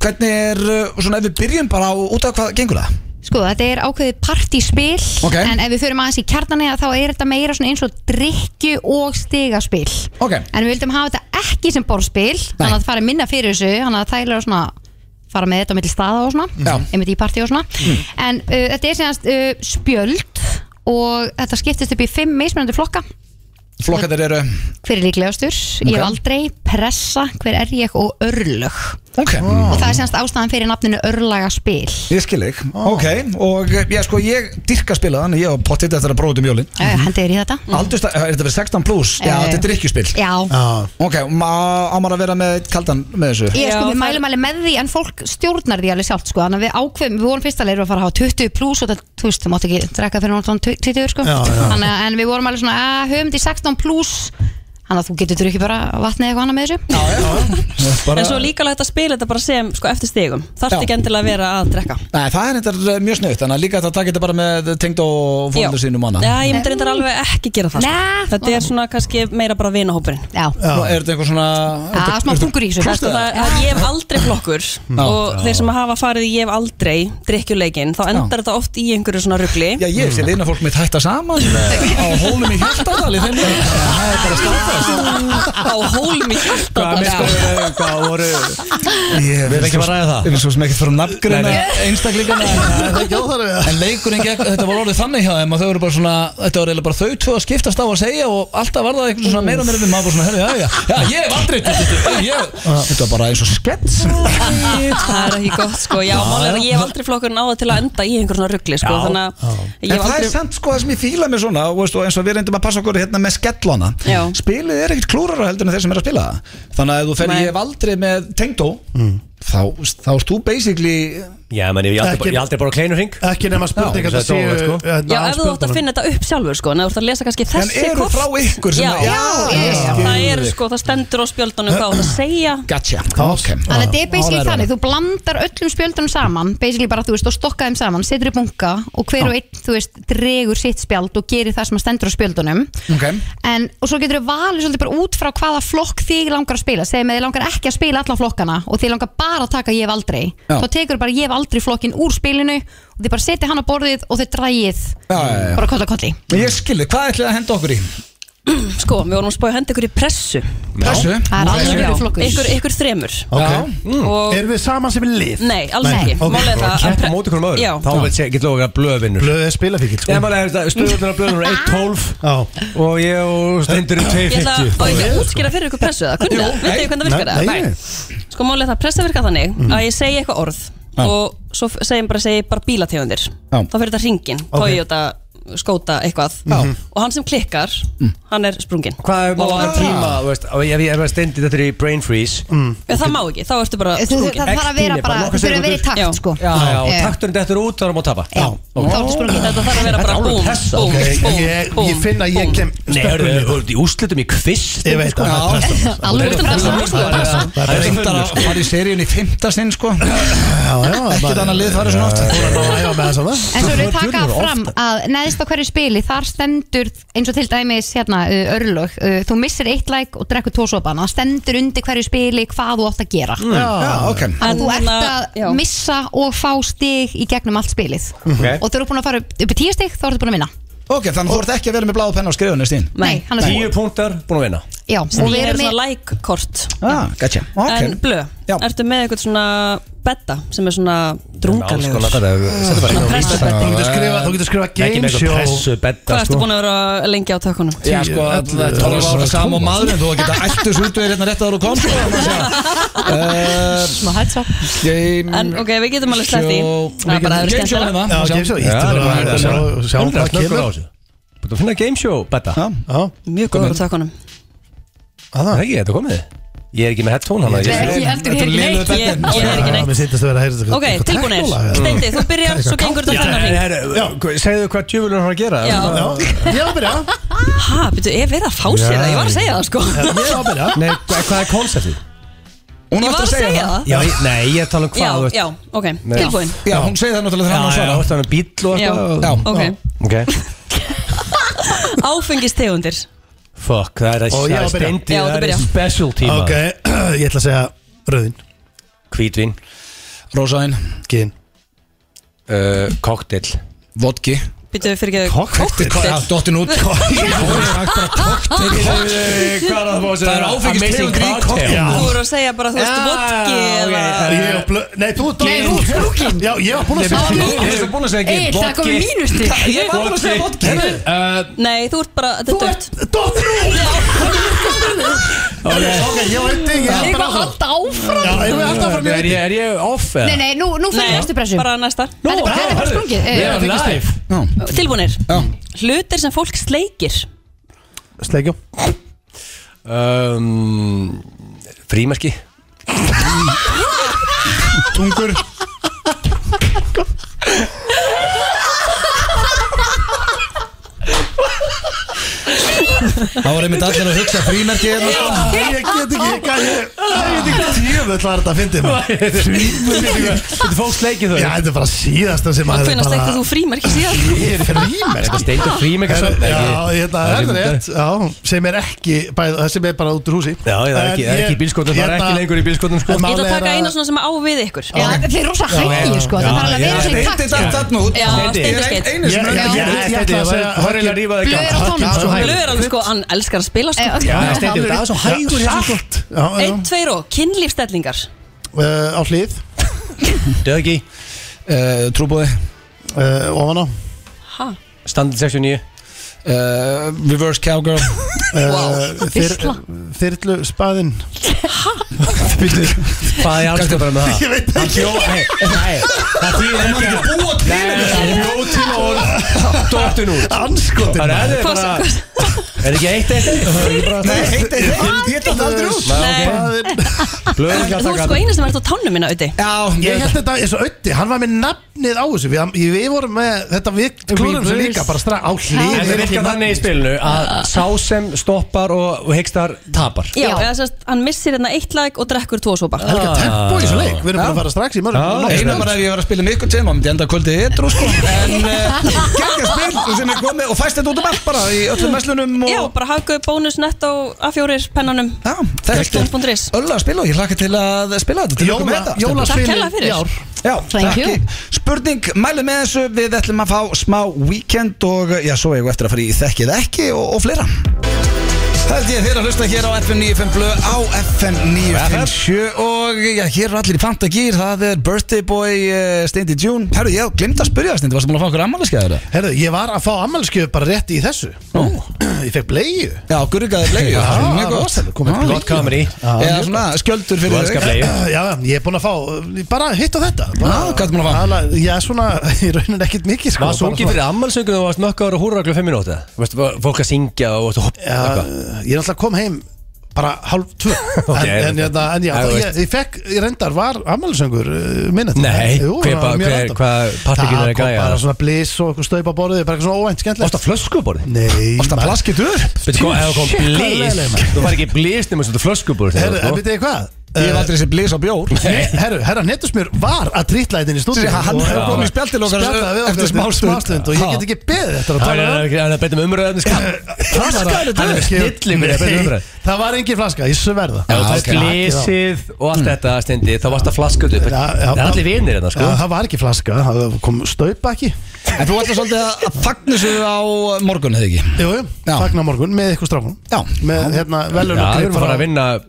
Speaker 1: Hvernig er, uh, svona ef við byrjum bara á, út af hvað gengur það?
Speaker 8: Sko, þetta er ákveðið partíspil
Speaker 1: Ok.
Speaker 8: en ef við förum aðeins í kjarnani þá er þetta meira svona eins og drikju og stigaspil
Speaker 1: Ok.
Speaker 8: en við vildum hafa þetta ekki sem borðspil þannig að það fari minna fyrir þessu þannig að það er svona fara með þetta á milli staða og svona
Speaker 1: Já. Mm.
Speaker 8: einmitt í partí og svona en uh, þetta er séðast uh, spjöld og þetta skiptist upp í fimm mismunandi flokka
Speaker 1: Flokkatir eru
Speaker 8: hver er líklegastur, ég er
Speaker 1: Ok.
Speaker 8: aldrei pressa, hver er ég og örlög
Speaker 1: Ok
Speaker 8: og það er séðast ástæðan fyrir nafninu örlagaspil
Speaker 1: Mm, Ég skil þig, ok, og uh, já sko ég dyrka spilaðan, ég á pottitt eftir að bróða út um jólin
Speaker 8: mm. hendur þér í þetta
Speaker 1: Aldursta, eh, er þetta verið 16 pluss? Já,
Speaker 8: Eh.
Speaker 1: þetta er drikkjuspil
Speaker 8: Já,
Speaker 2: já
Speaker 1: Ok, má- á maður að vera með kaldan með þessu?
Speaker 8: Ég sko,
Speaker 7: Já,
Speaker 8: við
Speaker 7: það-
Speaker 8: mælum alveg með því en fólk stjórnar því alveg sjálft sko Þannig að við ákveðum, við vorum fyrst að leira að fara að hafa 20 pluss og það, þú veist, þú mátt ekki drekka fyrir náttúrulega 20 sko
Speaker 2: Já, já.
Speaker 8: Þannig að en við vorum alveg svona, að höfum því 16 pluss Þannig að þú getur drukkið bara vatnið eitthvað annað með þessu
Speaker 1: Já, já bara...
Speaker 7: En svo líka alveg hægt að spila þetta bara sem sko, eftir stigum
Speaker 1: Já.
Speaker 7: Þarfti ekki endilega að vera að drekka
Speaker 1: Nei, það er þetta mjög snögt, þannig að líka þetta taka þetta bara með tengd og fólundur sínum manna
Speaker 7: Já, ég myndi reyndar alveg ekki gera það
Speaker 8: Nei.
Speaker 7: sko. Þetta er svona kannski meira bara vinahópurinn
Speaker 8: Já,
Speaker 1: Nú, Er þetta einhver svona
Speaker 8: Já, smá pungur í þessu.
Speaker 7: Sko,
Speaker 1: Klústa,
Speaker 7: Það er ég hef aldrei flokkur og þeir sem hafa farið í ég hef aldrei drikkjuleikin, þá endar þetta oft í einhverju svona rugli
Speaker 1: eh, Já, ég sé lina fólk mitt hætta saman á hólum í Hjaltadal í þeim leik. Þannig að Það er bara stáð
Speaker 7: á hólum í hjarta
Speaker 3: Hvað, sko-
Speaker 7: bara.
Speaker 3: miskunnarlega, hvað voru
Speaker 1: Ég
Speaker 3: Við erum ekki að ræða það.
Speaker 1: Við erum svo sem ekki að fara um
Speaker 3: Nei,
Speaker 1: nafngreina einstaklingana en- eh,
Speaker 2: ekki óþarfi það.
Speaker 1: En leikurinn gegn, þetta var orðið þannig hjá þeim að þau eru bara svona, þetta var eiginlega bara þau tvö að skiptast á að segja og alltaf var það eitthvað svona meira og meira við maður bara svona, herri, já, já, já, ég hef aldrei þetta, þetta, ég, þetta var bara eins og skets
Speaker 7: Það er ekki gott sko, já, mál er að ég hef aldrei flokkurinn á það til að enda í einhver svona ruggli sko, þannig að ég
Speaker 1: En
Speaker 7: hef
Speaker 1: það er
Speaker 7: aldrei
Speaker 1: samt sko það sem ég fíla með svona og, veist, og eins og við reyndum að passa okkur hérna með skellana
Speaker 7: Já.
Speaker 1: Spilið er ekkert klúrara heldur en þeir sem er að spila það Þannig að ef þú fer
Speaker 7: Nei.
Speaker 1: ég hef aldrei með tengdó þá, þá erst þú basically
Speaker 3: Já, menn, ég hef aldrei,
Speaker 2: Ekki-
Speaker 3: ég hef aldrei bara kleinur hring
Speaker 2: Ekki nema spurning
Speaker 3: Já,
Speaker 2: að það
Speaker 3: þetta er óvænt, sko.
Speaker 2: séu hérna
Speaker 7: Já, ef þú átt að finna þetta upp sjálfur sko, en ef þú ert að lesa kannski
Speaker 1: En
Speaker 7: þessi
Speaker 1: eru
Speaker 7: kort
Speaker 1: frá ykkur sem
Speaker 7: Já,
Speaker 1: að-
Speaker 8: já,
Speaker 1: ég skil
Speaker 7: það er
Speaker 1: þig.
Speaker 7: sko, það stendur á spjöldunum hvað þú ert að segja
Speaker 1: Gotcha, ok
Speaker 8: Þannig að þetta er basically
Speaker 1: Áræður
Speaker 8: þannig, þú blandar öllum spjöldunum saman basically bara, þú veist, og stokka þeim saman setur í bunka og hver og einn, þú veist dregur sitt spjald og gerir það sem að stendur á spjöldunum
Speaker 1: Ok.
Speaker 8: en, og svo getur þau valið svolítið bara út frá hvaða flokk þig langar að spila segjum að þið langar ekki að spila alla flokkana og þið langar bara að taka ég hef aldrei
Speaker 1: Já.
Speaker 8: þá tekur bara ég hef aldrei flokkin úr spilinu og þið bara setja hann á borðið og þið drægið
Speaker 1: Já, já, já.
Speaker 8: bara kolla kolli
Speaker 1: Ég skilði, hvað ætlaði að henda okkur í?
Speaker 7: Sko, við vorum að spája henda ykkur í pressu
Speaker 1: Pressu?
Speaker 8: það er
Speaker 1: Pressu.
Speaker 8: alveg flokkur
Speaker 7: Ykkur, ykkur þremur
Speaker 1: Já.
Speaker 7: og,
Speaker 2: Mm. Erum við saman sem við lið?
Speaker 7: Nei, alls
Speaker 2: Nei,
Speaker 7: ekki
Speaker 2: ok.
Speaker 7: Mál er það
Speaker 3: Keppa
Speaker 7: pre-
Speaker 3: móti hvernig
Speaker 7: Já,
Speaker 3: maður Þá veit ég, get loka að blöðvinnur
Speaker 2: Blöð er spilafíkil
Speaker 3: Ég
Speaker 2: sko.
Speaker 3: bara, þetta, stöðunar að blöðvinnur er 1.12
Speaker 2: Já.
Speaker 3: Og ég og stendurinn
Speaker 7: ég ætla að, á
Speaker 3: 2.50
Speaker 7: ekki að útskýra fyrir ykkur pressu það Kunnið, það? veit ég hvernig það virkar
Speaker 2: Nei,
Speaker 7: það?
Speaker 2: nei.
Speaker 7: Nei Sko, mál er það, pressa virkar þannig að ég segi eitthvað orð og svo f- segjum bara, segi bara bílategundir
Speaker 1: Já.
Speaker 7: Þá fyrir þetta ringin, Toyota, skóta, eitthvað Og hann sem klikkar, hann er sprungin
Speaker 3: Hvað er
Speaker 7: Og-
Speaker 3: maður að tíma, þú veist og Ef ég er stendur þetta er í brain freeze
Speaker 7: Já, það má ekki, þá ertu bara
Speaker 8: Þú-
Speaker 7: sprungin
Speaker 8: það þarf að vera
Speaker 3: Ektíni, bara
Speaker 8: bara,
Speaker 3: nokkrar
Speaker 8: þú þurfum að vera í
Speaker 3: sekúndur.
Speaker 8: takt
Speaker 7: Já.
Speaker 8: sko
Speaker 3: Já, já, og
Speaker 8: Eh,
Speaker 3: taktum þetta út, þá erum að tapa
Speaker 8: já, þá ertu um sprungin
Speaker 7: Þetta þarf að vera bara
Speaker 3: alveg
Speaker 7: búm,
Speaker 3: pressa,
Speaker 7: búm,
Speaker 2: Ok,
Speaker 7: búm,
Speaker 2: ég, ég
Speaker 7: búm,
Speaker 2: finn að ég
Speaker 7: búm.
Speaker 2: kem
Speaker 3: Nei, eru þið- eru þið í úslitum í kvist?
Speaker 2: Ég veit að það er pressa
Speaker 8: Alveg út um
Speaker 7: Pressa,
Speaker 8: það
Speaker 7: sko.
Speaker 1: Það er reyndar að fara í seríun í fymta sinn sko
Speaker 2: Já, já,
Speaker 1: Ekkert annað lið farið svona oft
Speaker 2: Þú er að ná að með þess að það
Speaker 8: En svo erum við taka fram að neðst á hverju spili þar stendur eins og til dæmis hérna, uh, örlög, uh, þú missir eitt læk og drekkur tósopana, það stendur undir hverju spili hvað þú átt að gera mm.
Speaker 1: Já, ok
Speaker 8: að þú ert að
Speaker 7: Já.
Speaker 8: missa og fá stig í gegnum allt spilið og þú eru búin að fara upp- upp í tíu stig þá ertu búin að vinna
Speaker 1: Ok, þannig þú ert ekki að vera með bláðu penna á skrifunni stín
Speaker 8: Nei, hann er
Speaker 3: Tíu punktar, búin að vinna
Speaker 8: Já, og við
Speaker 7: Ég er
Speaker 8: erum
Speaker 7: svona
Speaker 8: með
Speaker 7: like-kort
Speaker 1: Ah, gotcha Ok
Speaker 7: En blöð,
Speaker 1: Já.
Speaker 7: ertu með eitthvað svona betta sem er svona
Speaker 1: Sko,
Speaker 3: Alls
Speaker 7: drungalegur
Speaker 3: konar,
Speaker 7: Hvað
Speaker 3: þetta er- þetta er bara-
Speaker 7: Svona pressa-
Speaker 2: Þú getur skrifa, þú getur skrifa
Speaker 3: Ekki
Speaker 2: game
Speaker 3: með eitthvað
Speaker 2: show
Speaker 3: pressu, betta sko.
Speaker 7: ertu búin að vera lengi á tökunum?
Speaker 1: Já, sko, þetta er tólf ára saman og maður en þú að geta ættus út við hérna rétt að þú kom sko, það má sjá.
Speaker 8: smá headshot
Speaker 1: Eh, Game
Speaker 7: En ok, við getum alveg slætt í
Speaker 1: show-
Speaker 7: Það er bara að vera
Speaker 1: Game show hérna.
Speaker 7: skemmtilega
Speaker 2: Já, game show, ítti bara að sjá sjá
Speaker 3: Sjáum
Speaker 2: hvað
Speaker 3: hvað
Speaker 2: kemur
Speaker 3: á þessu Búin að finna game show, betta
Speaker 1: Já.
Speaker 2: Já,
Speaker 7: Mjög góður á tökunum
Speaker 2: að
Speaker 3: Það
Speaker 2: það
Speaker 3: er ekki, þetta er komið Ég er ekki með headphone hana
Speaker 1: hérna.
Speaker 8: Nei,
Speaker 3: ég-
Speaker 8: ekki heldur
Speaker 1: Þetta er
Speaker 8: hér ekki
Speaker 1: lélegur
Speaker 8: neitt
Speaker 7: Ég
Speaker 1: bettinn.
Speaker 7: ég er ekki
Speaker 2: Mér
Speaker 7: neitt
Speaker 2: sittast að vera að heyra þetta
Speaker 7: Ok,
Speaker 2: eitthvað
Speaker 7: tilbúinir
Speaker 2: technolag eða?
Speaker 7: Steindi, þú byrjar, svo gengur þetta
Speaker 3: Já,
Speaker 7: þennan hring
Speaker 3: herru, já, Segðu hvað djöfulur hann að gera
Speaker 7: Já.
Speaker 2: Já, ég var að byrja
Speaker 7: Ha, betur, er verið að fá sér það? Ég var að segja það sko
Speaker 2: Ég var að byrja
Speaker 3: Nei, hva- hvað er konseptið?
Speaker 1: Hún
Speaker 7: Ég
Speaker 1: átti
Speaker 7: var að segja það
Speaker 3: Já, ég- nei, ég er að tala um
Speaker 7: Já,
Speaker 3: hvað þú veist.
Speaker 7: já, ok,
Speaker 3: Nei.
Speaker 7: tilbúin
Speaker 1: Já, hún segir það náttúrulega
Speaker 3: Já,
Speaker 1: þegar hann á að
Speaker 3: já,
Speaker 1: svara
Speaker 3: þetta er bíl og
Speaker 7: Já,
Speaker 3: eitthvað
Speaker 7: ok
Speaker 3: Ok,
Speaker 7: Áfengistegundir
Speaker 3: fuck, það er
Speaker 2: Og ég á að byrja.
Speaker 3: stendi
Speaker 7: Já, þú
Speaker 3: Það er
Speaker 7: byrja.
Speaker 3: specialty
Speaker 2: Ok,
Speaker 3: maður.
Speaker 2: ég ætla að segja rauðin
Speaker 3: Hvítvín
Speaker 1: Rósaðinn,
Speaker 2: Gin
Speaker 3: uh, Cocktail
Speaker 1: vodki
Speaker 7: Betur, fyrir ekki
Speaker 1: Já, dottin út
Speaker 3: Hvað er það að fá að segja?
Speaker 1: Það er áfengistegundir í cocktail.
Speaker 2: Já.
Speaker 7: Þú voru að segja bara, þú veist,
Speaker 3: Já,
Speaker 7: vodki
Speaker 3: ok,
Speaker 7: eða
Speaker 2: Ég á blö... Nei, þú ert
Speaker 8: Nei, þú ert flókin.
Speaker 2: Já, ég var búin að segja
Speaker 1: Ég er svo búin að segja
Speaker 8: Egil,
Speaker 1: ekki
Speaker 8: það komið mínustig
Speaker 1: Ég var bara að segja vodki
Speaker 7: Nei, þú ert bara, þetta er dött
Speaker 2: Dóttir út Ok, ég var eitthvað Ég held bara
Speaker 8: Eitthvað
Speaker 2: áfram
Speaker 8: halda áfram
Speaker 2: Já, ég var alltaf áfram
Speaker 3: Er ég- er ég off eða?
Speaker 8: Nei, nei, nú, nú fyrir næstu pressu
Speaker 7: bara næsta
Speaker 8: Þetta er bara- þetta er bara sprungið
Speaker 3: Við erum
Speaker 8: Eh,
Speaker 3: live
Speaker 7: Tilbúinir Hlutir sem fólk sleikir
Speaker 2: Sleikjum
Speaker 3: um, Frímerki
Speaker 1: Tungur Það var einmitt allir að hugsa hérna, frímerki hérna sko.
Speaker 2: Ég get ekki, ég kann ég Tjöfull var þetta að fyndið maður
Speaker 3: Þetta fólk
Speaker 2: Já,
Speaker 3: sleikið þau
Speaker 2: þetta er bara síðasta sem maður
Speaker 7: Hvenær sleikti þú frímerki síðan?
Speaker 2: Ég er frímer
Speaker 3: Þetta
Speaker 8: Ah.
Speaker 3: steindur frímegasöfn
Speaker 2: Já, hérna, það er rétt Já, sem er ekki, bæð, sem er bara út úr húsi hérna-
Speaker 3: Já, það er ekki, það er ekki í bílskotum, það er ekki lengur í bílskotum sko
Speaker 7: Ég ætla
Speaker 2: Málið
Speaker 7: að
Speaker 2: er
Speaker 7: taka
Speaker 2: að-
Speaker 7: eina svona sem á við ykkur
Speaker 8: Já, þeir eru rosa hægir sko Það þarf alveg að vera svona í
Speaker 1: Steindi
Speaker 8: takt sko.
Speaker 1: datt þarna út
Speaker 7: Já, Steindi skeitt.
Speaker 1: Einu sem
Speaker 2: Já,
Speaker 1: önnur
Speaker 2: já.
Speaker 1: gerir.
Speaker 2: ég ætla að segja-
Speaker 3: Hörrilega rífaði
Speaker 8: Blöð á tónum sko
Speaker 7: Blöð er alveg sko, hann elskar að spila
Speaker 8: Eh,
Speaker 7: sko
Speaker 8: ok.
Speaker 3: Já, stendur það er svo hægur í þessu
Speaker 2: Allt Já, já,
Speaker 7: Einn, tveir og kynlífstellingar
Speaker 2: uh, á hlið
Speaker 3: Dögi,
Speaker 1: Eh, Trúbóði
Speaker 2: uh, Ofan á
Speaker 7: Ha?
Speaker 3: standið 69
Speaker 1: eh, Reverse Cowgirl
Speaker 2: uh, þyr-
Speaker 8: Isla.
Speaker 2: Þyrlu spaðinn
Speaker 3: Hvað er alls bara með það?
Speaker 2: Ég veit
Speaker 3: Hann bjó, nei, nei, það þýðir ekki að
Speaker 1: Búa til
Speaker 3: Nei, það bjó til orð Dóttin út
Speaker 2: Anskotin
Speaker 3: Það er eða
Speaker 7: Hvað-
Speaker 3: bara Er ekki eitt eitt eitt? Það er ekki bara
Speaker 1: Nei, heitt er heitt Ég datt aldrei út
Speaker 7: Nei.
Speaker 3: Blöður ekki að
Speaker 7: Þú ert
Speaker 3: taka
Speaker 7: sko eina sem ert á tánum minna auði
Speaker 1: Já,
Speaker 2: Ég held þetta eins og ötti, hann var með nafnið á þessu Við, við vorum með, þetta við klúrum þessu líka Bara strax á hlið er
Speaker 3: En það
Speaker 2: ekki
Speaker 3: virkar þannig í spilinu að sá sem stoppar og, og hyggstar tapar
Speaker 7: Já, eða sérst, hann missir hérna eitt lag og drekkur tvo sopa
Speaker 2: Helga tempo í þessu leik, við erum
Speaker 1: Já.
Speaker 2: bara að fara strax í
Speaker 3: Já,
Speaker 2: mörgum
Speaker 1: Einu bara ef ég var að spila með ykkur tíma Myndi enda kvöldið ytrú sko En uh, geggja spil sem ég kom með Og fæst þetta út um allt bara Í öllum meslunum og
Speaker 7: Já, bara hafgu bónus netto A4 pennanum
Speaker 1: Já, þetta er
Speaker 7: Skjól.is.
Speaker 1: Öll að spila og ég hlakka til að spila þetta til ykkur með
Speaker 2: Jóla,
Speaker 1: þetta.
Speaker 7: Takk
Speaker 2: jólaspilin
Speaker 7: hella fyrir
Speaker 1: Já,
Speaker 8: Thank you.
Speaker 1: takk. Spurning, mælum með þessu Við ætlum að fá smá weekend og já, svo eigum við eftir að fara í þekkið ekki og, og fleira Held ég þeir að hlusta hér á FM 95 blöð á FM 957 og já, hér eru allir í Pantagýr, það er Birthday Boy uh, Steindi June. Herru, ég glemt að spyrja það Steindi, varstu búin að fá okkur ammaliðskæður?
Speaker 2: Herðu, ég var að fá ammælskjöf bara rétt í þessu
Speaker 1: Nú.
Speaker 2: Ég fekk bleiðu
Speaker 1: Já, gurgaði bleiðu,
Speaker 2: Já,
Speaker 1: það er mjög gott.
Speaker 2: rosalega, komið
Speaker 1: Já,
Speaker 2: blei.
Speaker 3: Gott comedy
Speaker 1: Eða svona skjöldur
Speaker 3: Þú
Speaker 1: fyrir
Speaker 3: elskar bleið
Speaker 2: Ah, Já, ég er búinn að fá, uh, bara hitt á þetta
Speaker 3: Ah,
Speaker 2: bara,
Speaker 1: Já, hvað ertu búinn að fá?
Speaker 2: Aðalega- Já, svona, í rauninni ekkert mikið sko,
Speaker 3: Var sungið fyrir ammálsöngur og varst nokkaður og húrraklu 5 minúti Varst var fólk að syngja og varst að hoppa
Speaker 2: Já,
Speaker 3: eitthvað?
Speaker 2: ég er alltaf kom heim bara hálf tvö
Speaker 3: Ok,
Speaker 2: en, en, en,
Speaker 3: þetta-
Speaker 2: en já,
Speaker 3: Já, þú
Speaker 2: ég,
Speaker 3: veist.
Speaker 2: ég fekk, ég reyndar var eh, ammælsöngur minnet
Speaker 3: Nei, hver ba- hver- hvað partíkin er að græja?
Speaker 2: bara svona bliss og eitthvað staup á borðið bara eitthvað svona óvænt skemmtilegt
Speaker 3: Varst að flöskuborði?
Speaker 2: Nei,
Speaker 1: Ofta
Speaker 2: maður-
Speaker 1: plaskitur
Speaker 3: Veitu hvað, ef það kom
Speaker 2: Shit, hvað er leiðileg,
Speaker 3: blís
Speaker 2: maður.
Speaker 3: Þú var ekki blís nema svona flöskuborði
Speaker 2: Herru, en veit ég hvað?
Speaker 1: Ég
Speaker 2: Eh,
Speaker 1: hef aldrei séð blís á bjór
Speaker 2: Nei, herru, herra Netusmjör var að trýtla þetta inn í stúdíu
Speaker 1: Sér, hann
Speaker 2: og-
Speaker 1: hefur
Speaker 2: Já.
Speaker 1: komið í spjald til okkar
Speaker 2: Spjallaði við okkur
Speaker 1: eftir smástund.
Speaker 2: og ég
Speaker 1: Ha.
Speaker 2: get ekki beðið eftir að
Speaker 3: Það
Speaker 2: tala um
Speaker 3: er að beita með umröðum
Speaker 2: Það var
Speaker 3: Flaskaðu þetta upp. Snillingur er
Speaker 2: um
Speaker 3: betur umræðu.
Speaker 2: Það var engin flaska, ég sverða
Speaker 3: Ef það
Speaker 1: ok.
Speaker 3: er blísið og allt þetta stendi Þá varst að flaskut upp
Speaker 2: Mm. Já, já,
Speaker 3: Það er
Speaker 2: bara-
Speaker 3: allir vinir hérna sko
Speaker 2: Já, það var ekki flaska, það kom staupa ekki
Speaker 1: En þú ætlar svolítið að- að fagna þessu á morgun, hefði ekki?
Speaker 2: Jú, jú,
Speaker 1: Já.
Speaker 2: fagna morgun með ykkur strákunum
Speaker 1: Já.
Speaker 2: Með hérna velun
Speaker 3: Já, við erum að fara að vinna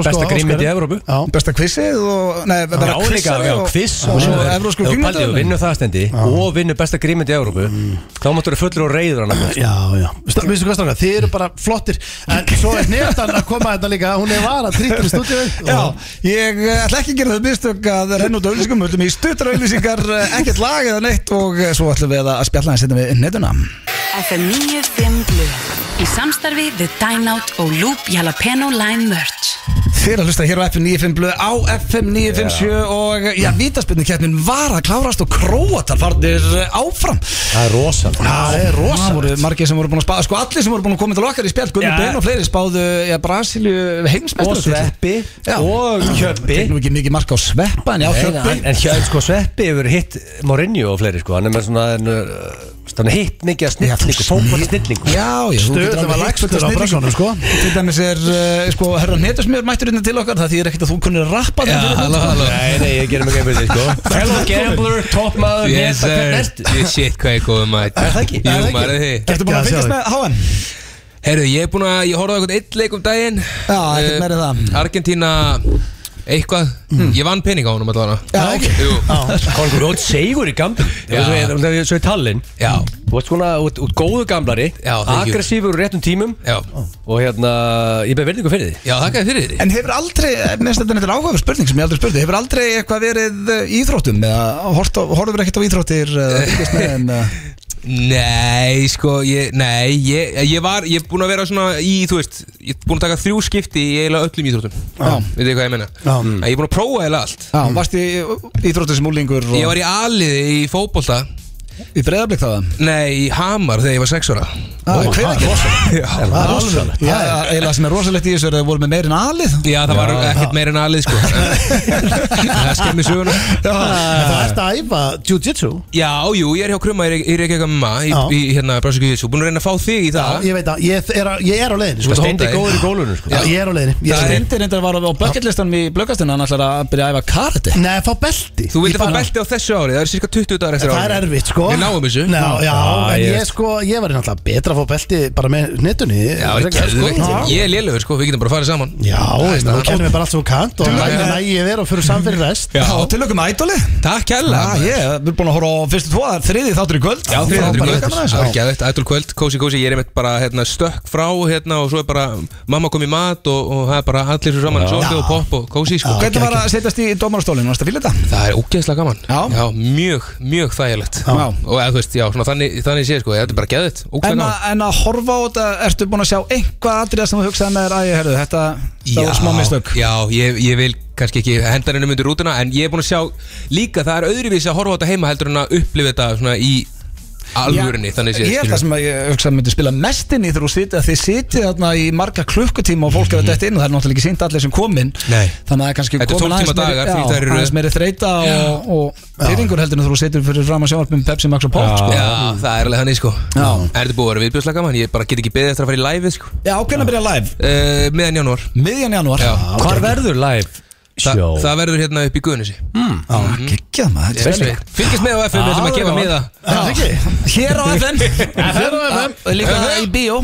Speaker 3: besta grímið í Evrópu
Speaker 2: Já,
Speaker 1: Besta kvissið og Nei,
Speaker 3: Já,
Speaker 1: vera
Speaker 3: líka,
Speaker 1: kvissari
Speaker 3: já,
Speaker 1: og-
Speaker 3: kviss
Speaker 1: Og svo evrósku
Speaker 3: Þú
Speaker 1: kringmyndaðurinn
Speaker 3: vinnur það stendi og vinnur besta grímið í Európu
Speaker 2: Mm.
Speaker 3: Þá máttu vera fullur og reyður hann annars.
Speaker 2: já, já Sta- Veistu hvað stráka, þið eru bara flottir En svo er nefndan að koma þetta líka Hún er var að trýtla í stúdíu
Speaker 1: Já, ég eh, ætla ekki að gera þau mistök að renna út auðlýsingum, höllum í stuttar auðlýsingar ekkert lag eða neitt og eh, svo ætlum við að spjalla hans hérna við netuna
Speaker 6: FM 95 Blu Í samstarfi við Dine Out og Loop Jalapeno Lime Merch
Speaker 1: Þið er að hlusta hér á FM 95 blöð á FM 957 og eh, já, vítaspilni keppnin var að klárast og króatar farnir eh, áfram
Speaker 3: Það er rosalega
Speaker 1: Það
Speaker 2: er rosalegt.
Speaker 1: Það voru margir sem voru búin að spáða Sko allir sem voru búin að koma til okkar í spjall Gunni
Speaker 3: Já.
Speaker 1: Ben og fleiri spáðu ja, Brasilju
Speaker 3: og
Speaker 1: heimsmestur
Speaker 3: sveppi
Speaker 1: Já.
Speaker 3: og kjöppi
Speaker 1: Nú ekki mikið mark á sveppa En já,
Speaker 3: Nei,
Speaker 1: Hjöppi
Speaker 3: en, en hjá- sko, sveppi hefur hitt Mourinho og fleiri sko, hann er með svona hann, uh, hann er hitt mikið að
Speaker 1: Já, þú
Speaker 3: snillingu fókvara snillingu
Speaker 1: Já, já, þú
Speaker 2: Stöðugt
Speaker 1: getur
Speaker 2: var
Speaker 1: alveg
Speaker 2: lagstur
Speaker 1: hitt
Speaker 2: á
Speaker 1: fullt af
Speaker 2: brassanum, sko.
Speaker 1: snillingum. Til dæmis er, uh, sko, herra netusmiður mættur innan til okkar Það þýðir ekkert að þú kunnir rappa þeim fyrir hund, sko.
Speaker 3: Nei, nei, ég gerum ekki einhvern veginn sko Hello Gambler, toppmaður,
Speaker 9: Yes
Speaker 3: neta,
Speaker 9: sir,
Speaker 3: hvernig ertu?
Speaker 9: ég shit hvað ég góði maður
Speaker 1: Er það ekki? Er
Speaker 9: Jú
Speaker 1: það ekki?
Speaker 9: maður er þið
Speaker 1: Ertu búin
Speaker 2: Geggjað að
Speaker 1: að
Speaker 2: sjá
Speaker 1: fylgjast
Speaker 2: þig.
Speaker 1: með HM?
Speaker 9: Herru, ég er búin að, ég horfði á eitthvað eitt leik um daginn
Speaker 1: Já, ekkert
Speaker 9: Eh,
Speaker 1: meira en það.
Speaker 9: Argentína, eitthvað, Hmm. ég vann pening á honum allavega
Speaker 1: Já, ok.
Speaker 9: Jú,
Speaker 3: Kongur, þú átt segur í gamblum
Speaker 9: Já.
Speaker 3: Svo er- það er- Svo í tallinn
Speaker 9: já,
Speaker 3: Þú ert svona, þú ert- þú ert góðu gamblari
Speaker 9: Já, thank you.
Speaker 3: Aggressífur úr réttum tímum
Speaker 9: já,
Speaker 3: Og hérna, ég beð verðingu fyrir því
Speaker 9: já, þakkaði fyrir því
Speaker 1: En hefur aldrei, minnst þetta er áhugaverð spurning sem ég aldrei spurði, hefur aldrei eitthvað verið eh, í íþróttum eða horfur ekkert á íþróttir eða fylgjast með eh, þeim, eða-
Speaker 9: Nei, sko, ég, nei, ég, ég var, ég er búin að vera svona í, þú veist Ég er búin að taka þrjú skipti í eiginlega öllum íþróttum
Speaker 1: Já.
Speaker 9: Veit þið hvað ég menna?
Speaker 1: Já.
Speaker 9: En Ég er búin að prófa eiginlega allt Hmm.
Speaker 1: Já, varst í íþróttir sem úlingur og
Speaker 9: Ég var í aliði í fótbolta
Speaker 1: í breyðablik þá það
Speaker 9: Nei, í Hamar þegar ég var sex ára
Speaker 1: Ah, hver að gera?
Speaker 2: það er rosalegt
Speaker 1: Það er eiginlega sem er rosalegt í þessu er að það voru með meirinn alið
Speaker 9: Já, það var ekkert meira en aðlið sko Það skemmir söguna
Speaker 2: Það ert að æfa jiu-jitsu
Speaker 9: Já, jú, ég er hjá Krumma í Reykjavík MMA í,
Speaker 2: Já.
Speaker 9: í hérna Brásíku Jitsu Búin að reyna að fá þig í það
Speaker 2: Ég veit að ég er á- ég er á leiðinni
Speaker 9: Þú
Speaker 2: sko.
Speaker 9: ert
Speaker 3: Steindi góður í gólunum sko.
Speaker 2: Já, Ég er á leiðinni Ég
Speaker 9: Það
Speaker 2: er-
Speaker 9: er-
Speaker 1: Steindi reyndar var á bucketlistanum í blöggastinu hann ætlar að byrja að æfa karate
Speaker 2: Nei, fá belti
Speaker 9: Þú
Speaker 2: Ég
Speaker 9: vildi fá
Speaker 2: bara-
Speaker 9: belti á þessu ári, það er cirka 20 dagar eftir ári
Speaker 2: Það er erfitt sko
Speaker 9: Við náum þessu
Speaker 2: Ná, Já,
Speaker 3: Já,
Speaker 2: en
Speaker 3: ég-
Speaker 2: ég sko Ég var náttúrulega betra að fá belti bara með netunni
Speaker 9: Já, það er geðveikt. Ég er lélugur sko, við getum bara farið saman
Speaker 2: Já, ég meina,
Speaker 9: staðan.
Speaker 2: þú kennir mér bara allt sem þú kant og
Speaker 9: Já,
Speaker 2: nægir
Speaker 9: já.
Speaker 2: nægir þér og fyrir samfyrir rest
Speaker 9: Já,
Speaker 1: Og til okkur með ædoli
Speaker 9: takk hella
Speaker 1: Já, ég, við erum búin að horfa á fyrstu tvo það er Þriði þáttur í kvöld
Speaker 9: Já,
Speaker 1: Frábært,
Speaker 9: þriðjöndur kvöld
Speaker 1: gaman að þessu.
Speaker 9: Það er geðvægt, ætlur kvöld, kósi kósi Ég er einmitt bara hérna, stökk frá hérna og svo er bara mamma kom í mat og, og það er bara allir svo saman Sofi og popp og kósi sko
Speaker 1: Hvernig var að setjast í dómarastólinu? Varst að fylgja þetta?
Speaker 9: Það er ógeðslega gaman
Speaker 1: Já.
Speaker 9: mjög, mjög þægilegt
Speaker 1: Já.
Speaker 9: Og eða, þú veist, já, svona, þannig, þannig sé sko Þetta er bara geðvægt,
Speaker 1: En,
Speaker 9: ógeðslega
Speaker 1: að-
Speaker 9: gaman
Speaker 1: en að horfa á þetta, ertu búin að sjá einhvað atriða sem þú hugsaði með þér að ég herðu þetta, þetta var smá mistök
Speaker 9: Já, ég, ég vil kannski ekki henda henni myndir rútuna En ég er búin að sjá líka, það er öðruvísi að horfa á þetta heima heldur en að upplifa þetta svona í alvörunni, þannig sé
Speaker 1: Ég held það sem að ég hugsaði myndi spila mest inn í þegar þú sitja þið sitja þarna í marga klukkutíma og fólk er að detta inn og það er náttúrulega ekki sýnt allir sem komin
Speaker 9: Mhm. Nei.
Speaker 1: þannig að það er kannski
Speaker 9: Þetta er 12
Speaker 1: komin aðeins
Speaker 9: tíma
Speaker 1: meiri,
Speaker 9: dagar,
Speaker 1: já,
Speaker 9: því það eru-
Speaker 1: aðeins meiri þreita og, og pyrringur heldur en þegar þú situr fyrir fram að sjónvarpum Pepsi Max og Pop sko.
Speaker 9: Já, það er alveg þannig sko
Speaker 1: Já.
Speaker 9: Er þetta búið að vera viðbjörslega gaman? Ég bara get ekki beðið eftir að fara í live sko
Speaker 1: Já, ákveðin að byrja live
Speaker 9: uh, Meðan janúar
Speaker 1: miðjan janúar
Speaker 9: Já.
Speaker 3: Hvar verður live
Speaker 9: Þa,
Speaker 3: sjó?
Speaker 9: Það verður hérna upp í Guðnissi
Speaker 1: Mm. Gekkjað maður þetta er spenning.
Speaker 9: Fylgist með á FM, við ætlum að gefa miða
Speaker 1: Já. Hér á FM Hér á FM Líka í bíó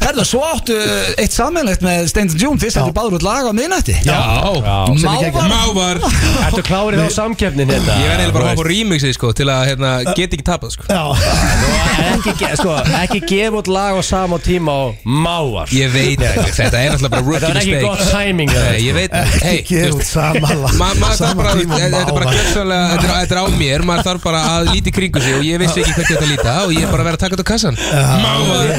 Speaker 1: Herðu, svo áttu eitt sammeðlegt með Steins Jún Þið settu báður út lag á miðnætti
Speaker 9: Já,
Speaker 1: Sem er geggjað.
Speaker 9: Mávar
Speaker 3: Ertu klárið á samkeppnin hérna?
Speaker 9: Ég verði eiginlega bara að hafa
Speaker 3: Þú
Speaker 9: á remixið sko Til að hérna, geta ekki tapað sko
Speaker 2: Já,
Speaker 3: veist, ekki, ge- sko, ekki gefa út lag á sama tíma á mávar
Speaker 9: Ég veit ekki, þetta er alltaf bara
Speaker 3: Þetta
Speaker 9: rookie
Speaker 3: var ekki gott
Speaker 9: mistake
Speaker 3: timing
Speaker 9: Nei,
Speaker 3: eða?
Speaker 9: Ég veit ekki hey, þú
Speaker 2: gefur
Speaker 9: veist,
Speaker 2: út sama lag
Speaker 9: ma- maður þarf
Speaker 2: sama
Speaker 9: bara-
Speaker 2: tíma
Speaker 9: Þetta þetta er bara
Speaker 2: mávar.
Speaker 9: gjössalega Þetta er- þetta er á mér, maður þarf bara að líti kringu sig Og ég vissi ekki hvernig þetta líta Og ég er bara að vera að taka þetta á kassan Mávar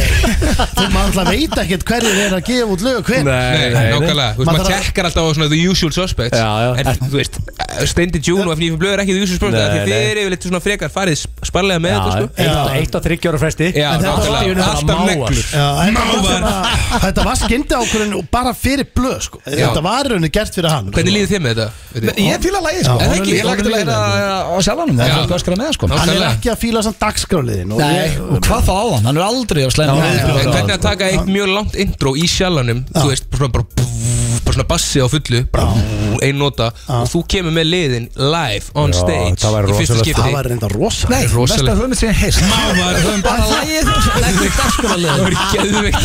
Speaker 2: Þú maður alltaf veit ekkert hverju þeir eru að gefa út lög hver
Speaker 9: Nei,
Speaker 3: Nei, nei, nei.
Speaker 9: nákvæmlega,
Speaker 2: Maður
Speaker 9: þú veist, maður
Speaker 2: þarf að-
Speaker 9: tekkar alltaf á svona the usual suspects
Speaker 3: Já, já.
Speaker 9: En þú veist, Steindi June og FNF Blöð er ekki the usual suspects
Speaker 3: Nei,
Speaker 9: af Því þið
Speaker 3: nei.
Speaker 9: eru yfirleitt svona frekar farið sp- sparlega með
Speaker 3: Já,
Speaker 9: þetta sko
Speaker 3: eitt- Eitt og þryggjóra fresti
Speaker 9: Já,
Speaker 3: En þetta
Speaker 9: nákvæmlega.
Speaker 3: var í rauninu bara
Speaker 9: Alltaf
Speaker 3: mávar.
Speaker 9: neglur.
Speaker 2: Já, þetta var
Speaker 9: Mávar.
Speaker 2: svona- Þetta var skyndi ákvörðin og bara fyrir blöð sko.
Speaker 9: Já.
Speaker 2: Þetta var rauninu gert fyrir hann sko.
Speaker 9: Hvernig líður þið með þetta? Veit þið?
Speaker 1: Ég fýla lagið sko
Speaker 9: Er það ekki?
Speaker 1: Ég lagði til að heyra á sjálfanum Það
Speaker 9: Já.
Speaker 1: er fólk öskra með sko
Speaker 9: Já.
Speaker 2: Hann er
Speaker 9: nákvæmlega.
Speaker 2: ekki að fíla samt dagskráliðin
Speaker 1: Nei, og hvað þá á hann? Hann er aldrei á slæna
Speaker 9: En Hvernig að taka eitt mjög langt intro í sjallanum Þú veist, bara svona, bara, bú- bara svona bassi á fullu bara bú- Ein nota Og þú kemur með liðin live on
Speaker 3: Já,
Speaker 9: stage
Speaker 3: það væri
Speaker 9: Í fyrsta
Speaker 3: rosalegt.
Speaker 2: Það
Speaker 9: skipti
Speaker 2: var reynda rosa
Speaker 1: Nei,
Speaker 9: rosaleg.
Speaker 1: besta hugmynd sem ég heist
Speaker 9: Mávar,
Speaker 1: Við höfum bara lagið Leggur í
Speaker 9: um Það
Speaker 1: dagskólalið
Speaker 9: var geðveikt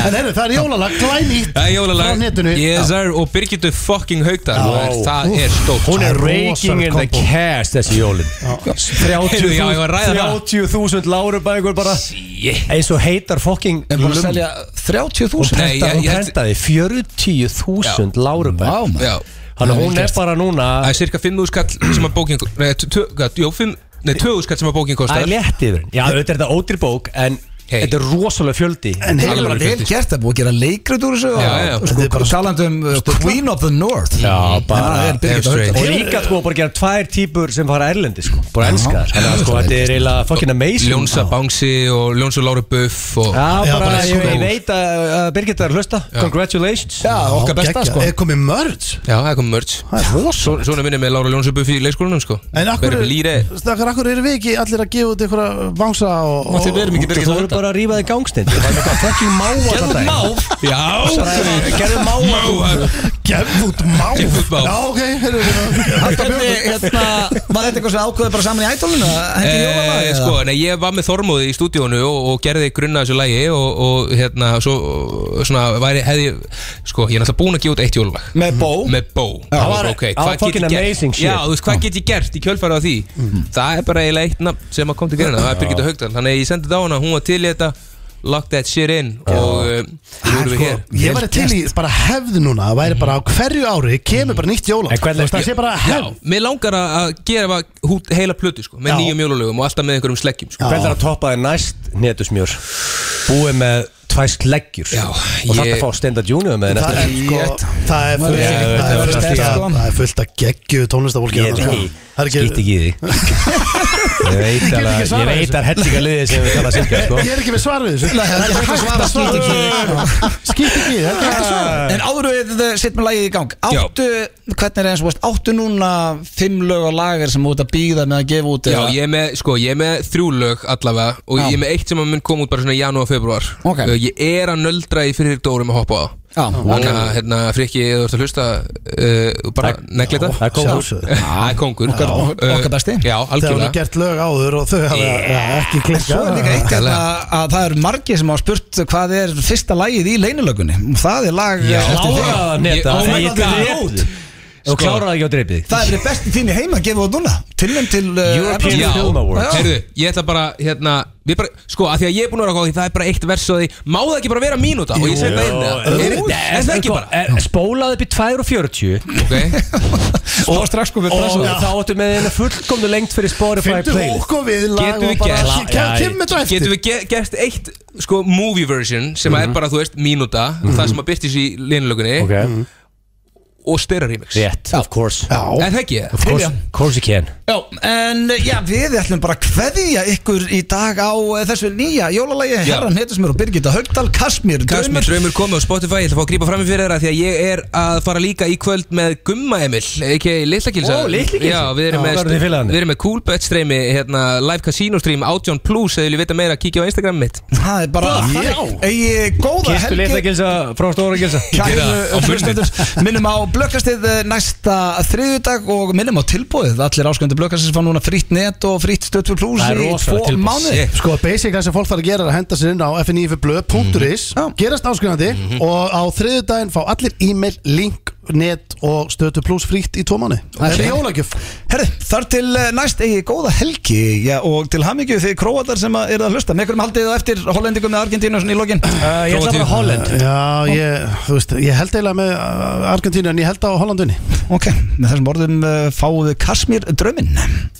Speaker 2: En heyrðu, það er jólalag, glænýtt
Speaker 9: Það er jólalag
Speaker 2: Frá netinu
Speaker 9: Yes sir, og Birgitur fucking haugtar
Speaker 2: Já.
Speaker 9: Það er stórt
Speaker 3: Hún er
Speaker 2: Það er
Speaker 3: raking
Speaker 2: rosalegt
Speaker 3: in the
Speaker 2: kombo.
Speaker 3: cast þessi jólin 30.000
Speaker 9: Heyrðu, já, ég var að ræða það.
Speaker 3: 30.000 lárubækur bara
Speaker 9: Shit.
Speaker 3: eins og heitar fokking
Speaker 1: Við erum búin að
Speaker 3: lump.
Speaker 1: selja
Speaker 3: Hún
Speaker 1: 30.000
Speaker 9: Nei, ég-
Speaker 3: prentaði, hún
Speaker 9: ég-
Speaker 3: prentaði 40.000
Speaker 1: Vá,
Speaker 3: lárubækur
Speaker 1: maður.
Speaker 9: Já,
Speaker 3: Þannig að hún er bara núna
Speaker 9: það er cirka 5.000 skall sem að bókin Nei, tvö- tvö- jú, fimm- nei 2.000 skall sem að bókin
Speaker 3: Það
Speaker 9: kostar
Speaker 3: er létt yfir henni. Já, auðvitað er það ódýr bók En
Speaker 9: Hey.
Speaker 3: þetta er rosalega fjöldi
Speaker 1: En
Speaker 9: Alveg
Speaker 1: hefur bara vel
Speaker 9: fyndist.
Speaker 1: gert það búið að gera leikrit úr þessu
Speaker 9: Já, já.
Speaker 1: og sko, talandi um uh, Queen of the North
Speaker 3: Já, bara
Speaker 1: Það er Birgit
Speaker 9: Damn straight.
Speaker 3: Og
Speaker 1: Haugdal.
Speaker 3: líka sko bara gera tvær típur sem fara erlendi sko Bara enska
Speaker 1: Já.
Speaker 3: Þannig að sko þetta er eiginlega fucking amazing
Speaker 9: Ljónsa Bangsi og Ljónsa Láru Buff og
Speaker 3: Já,
Speaker 2: Já,
Speaker 3: bara
Speaker 2: bara sko.
Speaker 3: ég ég veit að að Birgit er að hlusta Congratulations
Speaker 1: Já, okkar besta sko
Speaker 2: Er komið mörds
Speaker 9: Já, það er komið mörg
Speaker 2: Það er rosa
Speaker 9: Svona minni með Láru Ljónsa Buff í leikskólanum sko
Speaker 2: En akkur,
Speaker 9: Verður líri
Speaker 2: stakar, akkur eru við ekki allir að gefa út einhverja bánsa og, og,
Speaker 9: Við erum ekki
Speaker 3: Þú voru bara að rífa þig gangsnind Það var með eitthvað fucking mávar
Speaker 9: Gerðu
Speaker 3: þetta
Speaker 9: máv Já
Speaker 3: sko. Gerðu mávar
Speaker 9: Mávar
Speaker 2: gefa út má
Speaker 9: Gefa út má.
Speaker 2: Já, ok, heyrðu
Speaker 1: Hvernig, hérna, var þetta eitthvað sem ákveði bara saman í ædólinu? Hendi jólalag
Speaker 9: Eh,
Speaker 1: eða?
Speaker 9: sko, nei, ég var með Þormóði í stúdíónu og, og gerði grunna þessu lægi og, og hérna, svo, svona, væri, hefði, sko, ég er náttúrulega búin að gefa út eitt jólulag
Speaker 1: Með bó
Speaker 9: með bó
Speaker 3: Það
Speaker 9: Það
Speaker 3: var-
Speaker 9: var ok,
Speaker 3: það var
Speaker 9: hvað get
Speaker 3: fucking
Speaker 9: ég
Speaker 3: amazing
Speaker 9: gert
Speaker 3: shit. Mhm.
Speaker 9: Já, þú veist, hvað get ég gert í kjölfæra á því Það er bara eiginlega eitt nafn sem að kom til gerina Það er Birgitta Haugdal, þannig að ég sendi þetta á hana Hún var til í þetta, lock that shit in Og uh, nú erum
Speaker 3: sko,
Speaker 9: við hér
Speaker 2: Ah, sko, Ég væri til í bara hefði núna Það væri bara á hverju ári kemur bara nýtt jólag
Speaker 3: En hvernig-
Speaker 2: Það sé bara
Speaker 9: Já,
Speaker 2: hefð
Speaker 9: mér langar að að gera hút heila plötu sko, með
Speaker 2: Já.
Speaker 9: nýjum jólulögum og alltaf með einhverjum sleggjum sko.
Speaker 3: Hvernig er að toppa þig næst netusmjör Búið með tvær sleggjur
Speaker 9: Já,
Speaker 3: Og þetta
Speaker 9: ég-
Speaker 3: fá Stenda Junior með
Speaker 2: Það
Speaker 3: næsta
Speaker 2: er sko,
Speaker 9: Shit.
Speaker 2: það er fullt það
Speaker 3: Já,
Speaker 2: er
Speaker 3: þetta var
Speaker 2: fullt
Speaker 3: stíð,
Speaker 2: af-
Speaker 1: sko.
Speaker 2: það er fullt að geggju tónlistafólki
Speaker 3: Ég
Speaker 2: þarna,
Speaker 3: veit
Speaker 2: sko.
Speaker 3: ekki.
Speaker 2: Það er
Speaker 3: Skýtt ekki í því Ég veit
Speaker 2: get ekki
Speaker 3: alveg Ég
Speaker 2: svarað
Speaker 3: veit að hellinga liðið sem við tala sirka sko.
Speaker 2: Ég er ekki með svar við þessu
Speaker 1: Nei, það er ekki hægt að svara skýt ekki í.
Speaker 2: Skýtt ekki í, það er ekki hægt að svara
Speaker 1: En áður við sitt með lagið í gang Áttu, hvernig er eins og veist Áttu núna fimm lög og lagar sem þú ert að býða með að gefa út
Speaker 9: Já,
Speaker 1: eða-
Speaker 9: ég er með, sko, ég er með þrjú lög allavega og
Speaker 1: Já.
Speaker 9: ég er með eitt sem að mun koma út bara svona í janúar, februar
Speaker 1: Ok.
Speaker 9: Uh, Ég er að nöldra í fyrir dórum að hoppa á það
Speaker 1: Já,
Speaker 9: Þannig að, hérna, frikki, þú ert að hlusta uh, bara negli þetta
Speaker 3: Það er góð hús
Speaker 2: Sjálfsögðu.
Speaker 9: Það er kongur
Speaker 1: Okkar-
Speaker 9: Uh,
Speaker 1: okkar besti.
Speaker 2: Það
Speaker 9: Já,
Speaker 2: er
Speaker 9: algjörlega
Speaker 2: gert lög áður og þau hafa ekki
Speaker 1: Svo er líka
Speaker 2: klikkað
Speaker 1: eitt hérna að það eru margir sem hafa spurt hvað er fyrsta lagið í leinilögunni og það er lag
Speaker 9: Já.
Speaker 1: eftir þig.
Speaker 3: Kláraða netta
Speaker 9: Ég-
Speaker 3: Þegar
Speaker 9: Oh my
Speaker 3: ég dreipið Og kláraða ekki á dreipið
Speaker 1: Það er þið besti þín í heima að gefa út núna Tilnum til uh, Evrópu.
Speaker 3: European
Speaker 9: Já,
Speaker 3: Film Awards.
Speaker 9: heyrðu, ég ætla bara, hérna, við bara, sko, að því að ég er búin að vera góð, það er bara eitt vers og því, má það ekki bara vera mínúta og ég segi það inn, eða? er er það ekki bara,
Speaker 3: Spólað upp í 2.40
Speaker 9: ok,
Speaker 1: Og strax sko við
Speaker 3: Og
Speaker 1: pressa
Speaker 3: þá áttu með eina fullkomnu lengt fyrir Spotify
Speaker 2: Fyndu
Speaker 3: playlist
Speaker 2: okkur við lag
Speaker 9: Getum
Speaker 2: og
Speaker 9: við
Speaker 2: bara
Speaker 9: gert-
Speaker 3: Já,
Speaker 2: Kemur með þetta
Speaker 9: getum
Speaker 2: eftir
Speaker 9: við ge- gert eitt, sko, movie version sem er bara, þú veist, mínúta, það sem að byrtist í linlögunni
Speaker 3: Mhm. Ok,
Speaker 9: og styrra remix,
Speaker 3: rétt, Eh? Mm. of course
Speaker 9: er það ekki,
Speaker 3: Of course, course you can
Speaker 1: Já, en uh, já, við ætlum bara að kveðja ykkur í dag á uh, þessu nýja jólalagi
Speaker 9: Já.
Speaker 1: Herran Hetusmur og Birgitta Haugdal, Kasmir, Draumur.
Speaker 9: Kasmir Draumur komið á Spotify, ég ætla að fá að grípa fram í fyrir þeirra því að ég er að fara líka í kvöld með Gumma Emil, ekki Lilla Kilsa
Speaker 3: Ó, Litla Kilsa.
Speaker 9: Já, við erum
Speaker 3: Já,
Speaker 9: með,
Speaker 3: verður þið félagarnir?
Speaker 9: við erum með Coolbet streymi, hérna, live casino stream, Átjón Plus, eða viljið vita meira, kíkja á Instagram mitt
Speaker 1: Það er bara þannig. Eigi góða
Speaker 3: Kistu litla
Speaker 1: helgi
Speaker 3: gilsa frá stóra gilsa
Speaker 1: Kæru
Speaker 9: Gera á
Speaker 1: hlustendur, minnum á blökkastið uh, næsta þriðjudag og minnum á tilbúið Allir ásköndu blökkastið sem fá núna frýtt net og frýtt stöðtvöld plus
Speaker 3: Það er
Speaker 1: í
Speaker 3: rosalegt
Speaker 1: tvo
Speaker 3: tilboð.
Speaker 1: mánuði
Speaker 9: Shit.
Speaker 2: Sko, basic það sem fólk þarf að gera er að henda sér inn á fnifblöð.is
Speaker 1: Já.
Speaker 2: Gerast áskrifandi og á þriðu daginn fá allir e-mail, link, net og stötu pluss frítt í tvo manni Það er
Speaker 1: Ok.
Speaker 2: jólagjöf
Speaker 1: Herri, þar til eh, næst eigi góða helgi já, og til hamingju þið króatar sem að eru að hlusta með hverjum haldið þið á eftir hollendingum með Argentínu svona í lokin
Speaker 3: Uh, Ég ætla að fara á Holland
Speaker 2: Já, ég, þú veist, ég held eiginlega með uh, Argentínu en ég held á Hollandunni
Speaker 1: eh, ok, með þessum orðum uh, fáuðu Kasmir drömmin